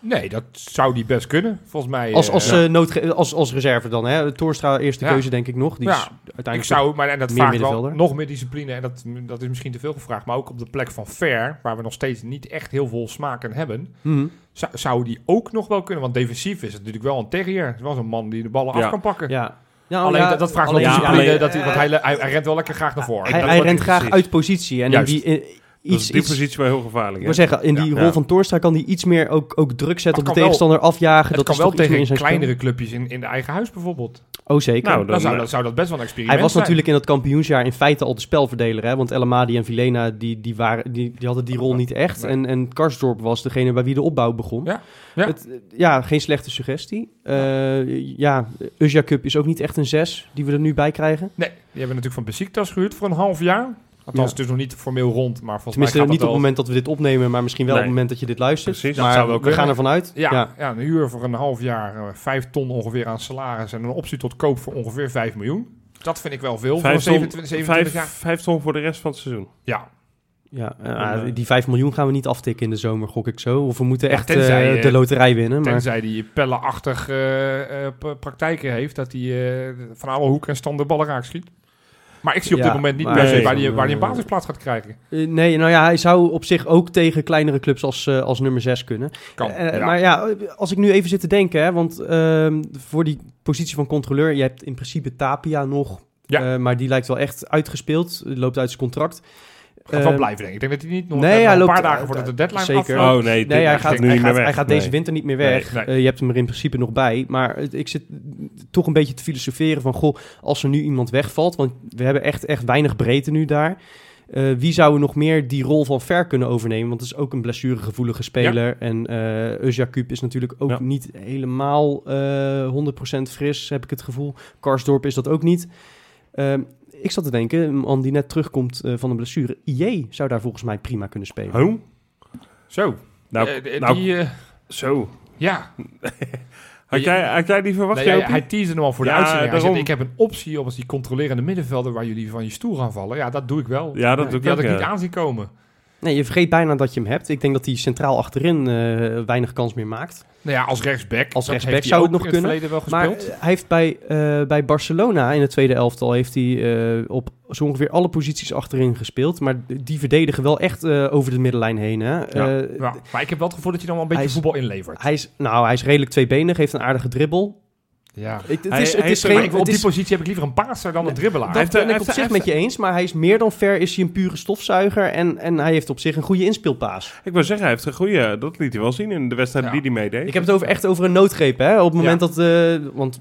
[SPEAKER 3] Nee, dat zou die best kunnen. Volgens mij.
[SPEAKER 2] Als,
[SPEAKER 3] eh,
[SPEAKER 2] als,
[SPEAKER 3] ja.
[SPEAKER 2] eh, noodge- als, als reserve dan, hè? Toornstra eerste
[SPEAKER 3] Ja.
[SPEAKER 2] keuze denk ik nog. Die
[SPEAKER 3] Ja,
[SPEAKER 2] is uiteindelijk
[SPEAKER 3] ik zou, maar en dat
[SPEAKER 2] meer
[SPEAKER 3] vaak wel
[SPEAKER 2] middenvelder.
[SPEAKER 3] nog meer discipline. En dat, dat is misschien te veel gevraagd. Maar ook op de plek van Fair, waar we nog steeds niet echt heel veel smaak aan hebben.
[SPEAKER 2] Mhm.
[SPEAKER 3] Zou, zou die ook nog wel kunnen? Want defensief is het natuurlijk wel een terrier. Het was een man die de ballen
[SPEAKER 1] Ja. Nou
[SPEAKER 3] af kan pakken.
[SPEAKER 2] Ja. ja
[SPEAKER 3] Alleen
[SPEAKER 2] ja,
[SPEAKER 3] dat, dat vraagt wel
[SPEAKER 2] alleen-
[SPEAKER 1] ja,
[SPEAKER 3] discipline.
[SPEAKER 1] alleen-
[SPEAKER 3] dat hij, want
[SPEAKER 2] eh,
[SPEAKER 3] hij, hij, hij rent wel lekker graag naar voren.
[SPEAKER 2] hij,
[SPEAKER 1] dat
[SPEAKER 2] hij
[SPEAKER 1] wordt
[SPEAKER 2] rent graag
[SPEAKER 1] precies.
[SPEAKER 2] uit positie. En
[SPEAKER 3] Juist.
[SPEAKER 2] in die, eh,
[SPEAKER 1] Dat is
[SPEAKER 2] iets,
[SPEAKER 1] die
[SPEAKER 2] iets,
[SPEAKER 1] positie wel heel gevaarlijk.
[SPEAKER 2] ik
[SPEAKER 1] hè?
[SPEAKER 2] wil zeggen, in die
[SPEAKER 1] Ja.
[SPEAKER 2] rol
[SPEAKER 1] Ja.
[SPEAKER 2] van Torstra kan hij iets meer ook, ook druk zetten
[SPEAKER 3] Dat
[SPEAKER 2] op de
[SPEAKER 3] kan wel.
[SPEAKER 2] tegenstander, afjagen.
[SPEAKER 3] Het
[SPEAKER 2] dat
[SPEAKER 3] kan
[SPEAKER 2] is
[SPEAKER 3] wel
[SPEAKER 2] toch iets meer in
[SPEAKER 3] tegen
[SPEAKER 2] zijn
[SPEAKER 3] kleinere clubjes in, in de eigen huis bijvoorbeeld.
[SPEAKER 2] spel. Oh, zeker.
[SPEAKER 1] Nou,
[SPEAKER 3] Dan
[SPEAKER 1] Dan,
[SPEAKER 3] zou
[SPEAKER 1] eh,
[SPEAKER 3] dat, zou dat best wel een experiment
[SPEAKER 2] hij was
[SPEAKER 3] zijn.
[SPEAKER 2] natuurlijk in dat kampioensjaar in feite al de spelverdeler. Hè? Want Elamadi en Vilena die, die waren, die, die hadden die rol niet echt.
[SPEAKER 3] Nee.
[SPEAKER 2] En, en Karsdorp was degene bij wie de opbouw begon.
[SPEAKER 3] Ja, ja.
[SPEAKER 2] Het, eh, ja geen slechte suggestie. Eh ja, Uzja Cup is ook niet echt een zes die we er nu bij krijgen.
[SPEAKER 3] Nee, die hebben natuurlijk van Besiktas gehuurd voor een half jaar. Althans,
[SPEAKER 2] Ja.
[SPEAKER 3] het is nog niet formeel rond, maar volgens
[SPEAKER 2] Tenminste,
[SPEAKER 3] mij
[SPEAKER 2] niet
[SPEAKER 3] gaat
[SPEAKER 2] op
[SPEAKER 3] dat
[SPEAKER 2] het
[SPEAKER 3] wel...
[SPEAKER 2] moment dat we dit opnemen, maar misschien wel
[SPEAKER 1] Nee.
[SPEAKER 2] op het moment dat je dit luistert.
[SPEAKER 1] Precies.
[SPEAKER 3] Dat
[SPEAKER 2] maar
[SPEAKER 3] zou wel
[SPEAKER 2] we
[SPEAKER 3] kunnen.
[SPEAKER 2] gaan ervan uit.
[SPEAKER 3] Nou, Ja, ja. een huur voor een half jaar, eh, vijf ton ongeveer aan salaris en een optie tot koop voor ongeveer 5 miljoen. Dat vind ik wel veel voor een
[SPEAKER 1] Vijf ton-
[SPEAKER 3] 27, 27
[SPEAKER 1] vijf-
[SPEAKER 3] jaar.
[SPEAKER 1] vijf ton voor de rest van het seizoen.
[SPEAKER 3] Ja,
[SPEAKER 2] Ja, eh,
[SPEAKER 1] En,
[SPEAKER 2] ah,
[SPEAKER 1] eh,
[SPEAKER 2] die 5 miljoen gaan we niet aftikken in de zomer, gok ik zo. Of we moeten
[SPEAKER 3] Ja,
[SPEAKER 2] echt
[SPEAKER 3] tenzij,
[SPEAKER 2] eh,
[SPEAKER 3] eh,
[SPEAKER 2] de loterij winnen. Maar
[SPEAKER 3] tenzij die pellenachtig eh, eh, p- praktijken heeft, dat hij eh, van alle hoeken en standen ballen raak schiet. Maar ik zie op
[SPEAKER 2] Ja,
[SPEAKER 3] dit moment niet
[SPEAKER 2] maar-
[SPEAKER 3] per se
[SPEAKER 1] Nee.
[SPEAKER 3] waar hij waar die een basisplaats gaat krijgen.
[SPEAKER 2] Eh, nee, nou ja, hij zou op zich ook tegen kleinere clubs als, eh, als nummer 6 kunnen.
[SPEAKER 3] Kan.
[SPEAKER 2] Eh,
[SPEAKER 3] ja.
[SPEAKER 2] Maar ja, als ik nu even zit te denken, hè, want ehm, voor die positie van controleur, je hebt in principe Tapia nog.
[SPEAKER 3] Ja.
[SPEAKER 2] eh, maar die lijkt wel echt uitgespeeld, eh, loopt uit zijn contract.
[SPEAKER 3] Gaat wel
[SPEAKER 2] Ehm,
[SPEAKER 3] blijven, denk ik. Ik denk dat hij niet nog,
[SPEAKER 2] nee,
[SPEAKER 3] nog
[SPEAKER 2] hij
[SPEAKER 3] een
[SPEAKER 2] loopt-
[SPEAKER 3] paar dagen
[SPEAKER 2] eh,
[SPEAKER 3] voordat de
[SPEAKER 2] eh,
[SPEAKER 3] deadline
[SPEAKER 2] zeker.
[SPEAKER 3] afloopt.
[SPEAKER 1] Oh nee,
[SPEAKER 2] Nee, hij gaat,
[SPEAKER 3] denk
[SPEAKER 1] nu
[SPEAKER 2] hij
[SPEAKER 1] niet meer
[SPEAKER 2] gaat,
[SPEAKER 1] weg.
[SPEAKER 2] hij gaat
[SPEAKER 1] Nee.
[SPEAKER 2] deze winter niet meer weg.
[SPEAKER 3] Nee, nee.
[SPEAKER 2] Eh, je hebt hem er in principe nog bij. Maar het- ik zit toch een beetje te filosoferen van... Goh, als er nu iemand wegvalt... Want we hebben echt, echt weinig breedte nu daar. Eh, wie zou er nog meer die rol van Ver kunnen overnemen? Want het is ook een blessuregevoelige speler. En eh Özjakub is natuurlijk ook
[SPEAKER 1] Ja.
[SPEAKER 2] niet helemaal eh 100% fris, heb ik het gevoel. Karsdorp is dat ook niet. Ehm, ik zat te denken, een man die net terugkomt eh, van een blessure... IJ zou daar volgens mij prima kunnen spelen.
[SPEAKER 1] Huh?
[SPEAKER 3] Zo.
[SPEAKER 1] Nou,
[SPEAKER 3] Eh, de-
[SPEAKER 1] nou
[SPEAKER 3] die, eh,
[SPEAKER 1] zo.
[SPEAKER 3] ja,
[SPEAKER 1] [LAUGHS] Had jij, had jij die verwacht,
[SPEAKER 3] Nee, hij,
[SPEAKER 1] Jopie?
[SPEAKER 3] hij teasde hem al voor de
[SPEAKER 1] Ja,
[SPEAKER 3] uitzending. Hij zegt,
[SPEAKER 1] daarom.
[SPEAKER 3] ik heb een optie op als die controlerende middenvelder waar jullie van je stoel gaan vallen. Ja, dat doe ik wel.
[SPEAKER 1] Ja, dat doe ik
[SPEAKER 3] die had
[SPEAKER 1] ook,
[SPEAKER 3] ik niet
[SPEAKER 1] ja.
[SPEAKER 3] aan zien komen.
[SPEAKER 2] Nee, je vergeet bijna dat je hem hebt. Ik denk dat hij centraal achterin eh, weinig kans meer maakt.
[SPEAKER 3] Nou ja, als rechtsback.
[SPEAKER 2] Als
[SPEAKER 3] dat
[SPEAKER 2] rechtsback
[SPEAKER 3] heeft hij
[SPEAKER 2] zou het
[SPEAKER 3] ook
[SPEAKER 2] nog
[SPEAKER 3] in
[SPEAKER 2] kunnen,
[SPEAKER 3] Het verleden wel
[SPEAKER 2] Maar
[SPEAKER 3] gespeeld.
[SPEAKER 2] eh, hij heeft bij, eh, bij Barcelona in het tweede elftal heeft hij, eh, op zo ongeveer alle posities achterin gespeeld. Maar d- die verdedigen wel echt eh, over de middenlijn heen. Hè? Eh,
[SPEAKER 3] Ja, maar ik heb wel het gevoel dat je dan wel een beetje
[SPEAKER 2] Hij is-
[SPEAKER 3] voetbal inlevert.
[SPEAKER 2] Hij is, nou, hij is redelijk tweebenig, heeft een aardige dribbel.
[SPEAKER 3] ja.
[SPEAKER 2] Ik- het
[SPEAKER 1] Hij-
[SPEAKER 2] is, het
[SPEAKER 1] hij
[SPEAKER 2] is
[SPEAKER 1] heeft-
[SPEAKER 2] geen,
[SPEAKER 3] Maar ik- op
[SPEAKER 2] het
[SPEAKER 3] die
[SPEAKER 2] is,
[SPEAKER 3] positie heb ik liever een paaser dan een dribbelaar.
[SPEAKER 2] dat
[SPEAKER 1] hij
[SPEAKER 2] ben ik
[SPEAKER 1] heeft-
[SPEAKER 2] op
[SPEAKER 1] hij
[SPEAKER 2] zich
[SPEAKER 1] heeft-
[SPEAKER 2] met je eens, maar hij is meer dan ver is hij een pure stofzuiger en, en hij heeft op zich een goede inspeelpaas.
[SPEAKER 1] Ik wil zeggen, hij heeft een goede... Dat liet hij wel zien in de wedstrijd
[SPEAKER 3] Ja.
[SPEAKER 1] die hij meedeed.
[SPEAKER 2] Ik heb het over, echt over een noodgreep, hè? Op het moment dat... eh, want,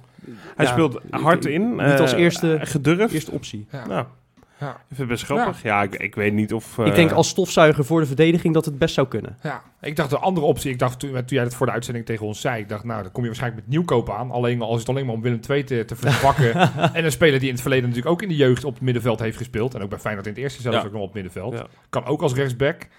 [SPEAKER 1] hij
[SPEAKER 2] ja,
[SPEAKER 1] speelt hard in.
[SPEAKER 2] Niet als
[SPEAKER 1] eh,
[SPEAKER 2] eerste-
[SPEAKER 1] Gedurfd.
[SPEAKER 2] eerste optie.
[SPEAKER 3] Ja.
[SPEAKER 1] Nou,
[SPEAKER 3] Ja.
[SPEAKER 1] ik vind het best grappig. Ja, ik, ik weet niet of... eh,
[SPEAKER 2] Ik denk als stofzuiger voor de verdediging dat het best zou kunnen.
[SPEAKER 3] Ja, ik dacht de andere optie. Ik dacht toen, toen jij dat voor de uitzending tegen ons zei. Ik dacht, nou, dan kom je waarschijnlijk met nieuwkoop aan. Alleen als het alleen maar om Willem II te, te
[SPEAKER 2] [LAUGHS]
[SPEAKER 3] verpakken. en een speler die in het verleden natuurlijk ook in de jeugd op het middenveld heeft gespeeld. En ook bij Feyenoord in het eerste zelfs
[SPEAKER 1] Ja.
[SPEAKER 3] ook nog op het middenveld.
[SPEAKER 1] Ja.
[SPEAKER 3] Kan ook als rechtsback. Maar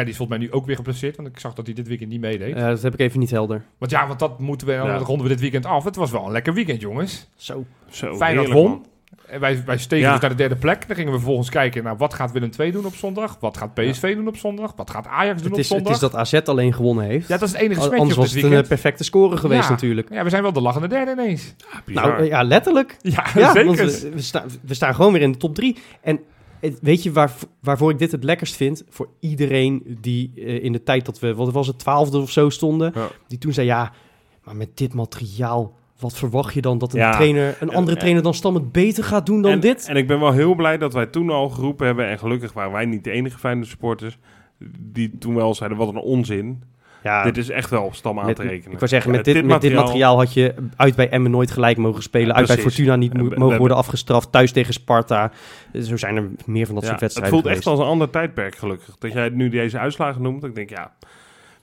[SPEAKER 3] ja, die is volgens mij nu ook weer geplaceerd. Want ik zag dat hij dit weekend niet meedeed.
[SPEAKER 2] Eh, dat heb ik even niet helder.
[SPEAKER 3] Want ja, want dat moeten we, dan
[SPEAKER 1] Ja.
[SPEAKER 3] ronden we dit weekend af. Het was wel een lekker weekend, jongens.
[SPEAKER 2] Zo.
[SPEAKER 1] Zo,
[SPEAKER 3] Feyenoord
[SPEAKER 1] Oh, heerlijk,
[SPEAKER 3] won.
[SPEAKER 1] man.
[SPEAKER 3] En wij, wij stegen
[SPEAKER 1] Ja.
[SPEAKER 3] dus naar de derde plek. Dan gingen we vervolgens kijken naar wat gaat Willem II doen op zondag. Wat gaat PSV doen op zondag. Wat gaat Ajax doen
[SPEAKER 2] Het
[SPEAKER 3] op
[SPEAKER 2] is, het
[SPEAKER 3] zondag.
[SPEAKER 2] is dat AZ alleen gewonnen heeft.
[SPEAKER 3] Ja, dat is het enige
[SPEAKER 2] Al-
[SPEAKER 3] smetje
[SPEAKER 2] Anders
[SPEAKER 3] op
[SPEAKER 2] was
[SPEAKER 3] dit
[SPEAKER 2] het een eh,
[SPEAKER 3] weekend.
[SPEAKER 2] perfecte score geweest
[SPEAKER 3] Ja.
[SPEAKER 2] natuurlijk.
[SPEAKER 3] Ja, we zijn wel de lachende derde ineens.
[SPEAKER 1] Ja, bizar.
[SPEAKER 2] Nou eh, ja,
[SPEAKER 1] [LAUGHS]
[SPEAKER 2] letterlijk.
[SPEAKER 3] Ja,
[SPEAKER 2] Ja, want
[SPEAKER 3] zeker.
[SPEAKER 2] we, we, staan- we staan gewoon weer in de top drie. En het- weet je waar, waarvoor ik dit het lekkerst vind? Voor iedereen die eh, in de tijd dat we, wat was het, twaalfde of zo stonden.
[SPEAKER 1] Ja.
[SPEAKER 2] Die toen zei, ja, maar met dit materiaal, wat verwacht je dan dat een,
[SPEAKER 1] Ja.
[SPEAKER 2] trainer, een andere
[SPEAKER 1] en-
[SPEAKER 2] trainer dan Stammet beter gaat doen dan
[SPEAKER 1] en,
[SPEAKER 2] dit?
[SPEAKER 1] En ik ben wel heel blij dat wij toen al geroepen hebben. En gelukkig waren wij niet de enige Feyenoord supporters. Die toen wel zeiden, wat een onzin.
[SPEAKER 2] ja,
[SPEAKER 1] Dit is echt wel op stam aan
[SPEAKER 2] Met-
[SPEAKER 1] te rekenen.
[SPEAKER 2] Ik wou zeggen,
[SPEAKER 1] Ja,
[SPEAKER 2] met, dit, met dit materiaal had je uit bij Emmen nooit gelijk mogen spelen.
[SPEAKER 1] Ja,
[SPEAKER 2] uit bij
[SPEAKER 1] precies.
[SPEAKER 2] Fortuna niet mo-
[SPEAKER 1] En we- we
[SPEAKER 2] mogen worden afgestraft. Thuis tegen Sparta. Eh, Zo zijn er meer van dat
[SPEAKER 1] Ja,
[SPEAKER 2] soort
[SPEAKER 1] het
[SPEAKER 2] wedstrijden
[SPEAKER 1] voelt echt
[SPEAKER 2] geweest.
[SPEAKER 1] als een ander tijdperk, gelukkig. Dat jij nu deze uitslagen noemt. Ik denk, ja...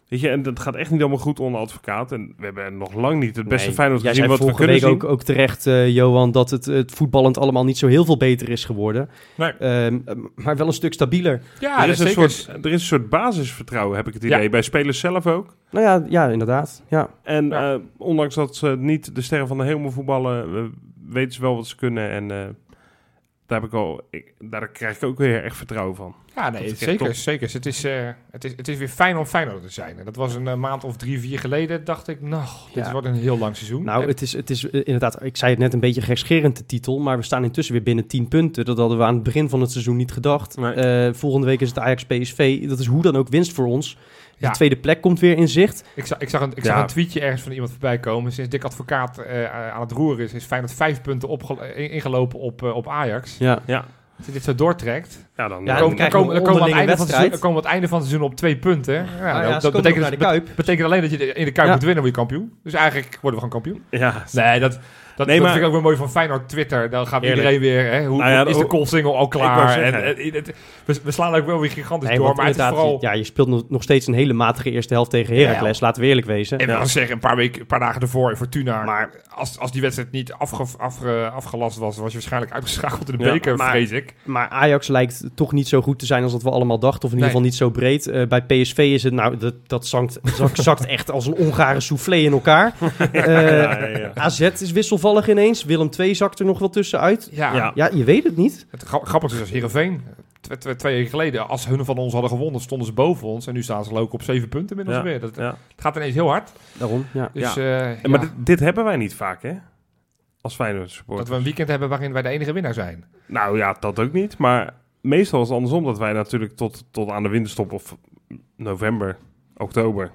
[SPEAKER 1] Weet je, en dat gaat echt niet allemaal goed onder advocaat. En we hebben nog lang niet het beste
[SPEAKER 2] Nee,
[SPEAKER 1] Feyenoord
[SPEAKER 2] jij
[SPEAKER 1] gezien
[SPEAKER 2] zei
[SPEAKER 1] wat we
[SPEAKER 2] vorige
[SPEAKER 1] kunnen
[SPEAKER 2] week
[SPEAKER 1] zien.
[SPEAKER 2] Ook, ook terecht, eh, Johan, dat het, het voetballend allemaal niet zo heel veel beter is geworden.
[SPEAKER 3] Nee.
[SPEAKER 2] Ehm, eh, maar wel een stuk stabieler.
[SPEAKER 3] Ja,
[SPEAKER 1] er, is
[SPEAKER 3] dat
[SPEAKER 1] een
[SPEAKER 3] zeker.
[SPEAKER 1] soort, er is een soort basisvertrouwen, heb ik het
[SPEAKER 3] Ja.
[SPEAKER 1] idee. Bij spelers zelf ook.
[SPEAKER 2] Nou ja, ja inderdaad. Ja.
[SPEAKER 1] En
[SPEAKER 3] Ja.
[SPEAKER 1] eh, ondanks dat ze niet de sterren van de hemel voetballen, eh, weten ze wel wat ze kunnen. En eh, daar, heb ik al, ik- daar krijg ik ook weer echt vertrouwen van.
[SPEAKER 3] Ja,
[SPEAKER 1] Dat
[SPEAKER 3] nee,
[SPEAKER 1] is echt
[SPEAKER 3] zeker.
[SPEAKER 1] top.
[SPEAKER 3] zeker. Het, is, eh, het, is, het is weer fijn om Feyenoord te zijn. En dat was een eh, maand of drie, vier geleden. Dacht ik, nou, dit
[SPEAKER 2] Ja.
[SPEAKER 3] wordt een heel lang seizoen.
[SPEAKER 2] Nou,
[SPEAKER 3] En-
[SPEAKER 2] het is, het is eh, inderdaad, ik zei het net een beetje gekscherend de titel. Maar we staan intussen weer binnen 10 punten. Dat hadden we aan het begin van het seizoen niet gedacht.
[SPEAKER 1] Nee.
[SPEAKER 2] Eh, volgende week is het Ajax-PSV. Dat is hoe dan ook winst voor ons.
[SPEAKER 3] Ja.
[SPEAKER 2] De tweede plek komt weer in zicht.
[SPEAKER 3] ik zag, ik zag, een, ik zag
[SPEAKER 1] Ja.
[SPEAKER 3] een tweetje ergens van iemand voorbij komen. Sinds Dick Advocaat eh, aan het roeren is, is Feyenoord vijf punten opge- eh, ingelopen op, eh, op Ajax.
[SPEAKER 2] Ja.
[SPEAKER 3] Als je dit zo doortrekt,
[SPEAKER 1] Ja,
[SPEAKER 2] Ja,
[SPEAKER 3] dan
[SPEAKER 1] dan, dan-
[SPEAKER 3] komen- dan
[SPEAKER 2] krijgen we
[SPEAKER 3] komen dan komen we
[SPEAKER 2] onderlinge
[SPEAKER 3] aan het einde van het
[SPEAKER 2] wedstrijd.
[SPEAKER 3] seizoen- dan komen we aan het einde van het seizoen op twee punten. Ja,
[SPEAKER 2] Nou ja,
[SPEAKER 3] dat,
[SPEAKER 2] ze
[SPEAKER 3] dat
[SPEAKER 2] komen
[SPEAKER 3] betekent,
[SPEAKER 2] ook naar de Kuip.
[SPEAKER 3] betekent alleen dat je de- in de Kuip
[SPEAKER 2] Ja.
[SPEAKER 3] moet winnen, word je kampioen. Dus eigenlijk worden we gewoon kampioen.
[SPEAKER 1] ja,
[SPEAKER 2] Eh,
[SPEAKER 3] Nee, dat, dat,
[SPEAKER 1] Nee,
[SPEAKER 3] dat
[SPEAKER 1] maar-
[SPEAKER 3] vind ik ook weer mooi van Feyenoord Twitter. Dan gaat
[SPEAKER 1] Eerlijk.
[SPEAKER 3] iedereen weer... Hè, hoe,
[SPEAKER 1] Nou ja,
[SPEAKER 3] hoe
[SPEAKER 1] dat-
[SPEAKER 3] is de call single al
[SPEAKER 1] wou
[SPEAKER 3] klaar? En,
[SPEAKER 1] zeggen.
[SPEAKER 3] en- en- we, we slaan ook wel weer gigantisch
[SPEAKER 2] Nee,
[SPEAKER 3] door.
[SPEAKER 2] want
[SPEAKER 3] Maar het is
[SPEAKER 2] inderdaad,
[SPEAKER 3] vooral...
[SPEAKER 2] je- ja, je speelt nog- nog steeds een hele matige eerste helft tegen Heracles. Laten we eerlijk wezen.
[SPEAKER 3] En we
[SPEAKER 1] Ja.
[SPEAKER 3] gaan zeggen, een paar, weken, een paar dagen ervoor in Fortuna.
[SPEAKER 2] Maar-
[SPEAKER 3] als, als die wedstrijd niet afge, afge- afgelast was, was je waarschijnlijk uitgeschakeld in de
[SPEAKER 1] Ja,
[SPEAKER 3] beker,
[SPEAKER 2] maar-
[SPEAKER 3] vrees ik.
[SPEAKER 2] Maar Ajax lijkt toch niet zo goed te zijn als dat we allemaal dachten. Of in ieder
[SPEAKER 3] Nee.
[SPEAKER 2] geval niet zo breed. Eh, bij PSV is het, nou, dat, dat zankt, [LAUGHS] zak- zakt echt als een Ongare soufflé in [LAUGHS] elkaar. Eh,
[SPEAKER 1] [LAUGHS] ja, ja, ja.
[SPEAKER 2] AZ is wisselvallig ineens. Willem II zakt er nog wel tussenuit.
[SPEAKER 3] Ja,
[SPEAKER 1] Ja.
[SPEAKER 2] Ja, je weet het niet.
[SPEAKER 3] het gra- grappige is als Heerenveen... tw- tw- Twee jaar geleden, als hun van ons hadden gewonnen, stonden ze boven ons. En nu staan ze ook op zeven punten inmiddels
[SPEAKER 1] Ja,
[SPEAKER 3] weer. Dat,
[SPEAKER 1] ja.
[SPEAKER 3] Het gaat ineens heel hard.
[SPEAKER 2] Daarom, ja.
[SPEAKER 3] Dus,
[SPEAKER 1] Ja.
[SPEAKER 3] eh,
[SPEAKER 1] En
[SPEAKER 3] ja.
[SPEAKER 1] Maar dit, dit hebben wij niet vaak, hè? Als Feyenoord
[SPEAKER 3] Dat
[SPEAKER 1] supporter.
[SPEAKER 3] we een weekend hebben waarin wij de enige winnaar zijn.
[SPEAKER 1] Nou ja, dat ook niet. Maar meestal is het andersom dat wij natuurlijk tot, tot aan de winterstop of november, oktober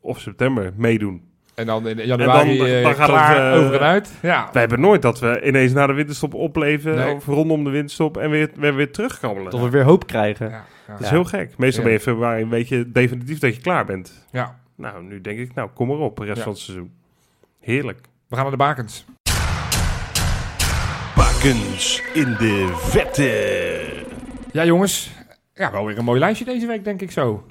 [SPEAKER 1] of september meedoen.
[SPEAKER 3] En dan in januari
[SPEAKER 1] dan-
[SPEAKER 3] eh,
[SPEAKER 1] dan gaat
[SPEAKER 3] klaar
[SPEAKER 1] het, eh,
[SPEAKER 3] over en uit. Ja.
[SPEAKER 1] Wij hebben nooit dat we ineens na de winterstop opleven
[SPEAKER 3] Nee.
[SPEAKER 1] of rondom de winterstop en weer, weer, weer terugkabbelen.
[SPEAKER 2] Dat we weer hoop krijgen.
[SPEAKER 3] Ja, ja.
[SPEAKER 1] Dat is
[SPEAKER 2] Ja.
[SPEAKER 1] heel gek. Meestal
[SPEAKER 3] Ja.
[SPEAKER 1] ben je in februari weet je definitief dat je klaar bent.
[SPEAKER 3] Ja.
[SPEAKER 1] Nou, nu denk ik, nou kom maar op, de rest
[SPEAKER 3] Ja.
[SPEAKER 1] van het seizoen. Heerlijk.
[SPEAKER 3] We gaan naar de bakens.
[SPEAKER 1] Bakens in de vette.
[SPEAKER 3] Ja, jongens. Ja, wel weer een mooi lijstje deze week, denk ik zo.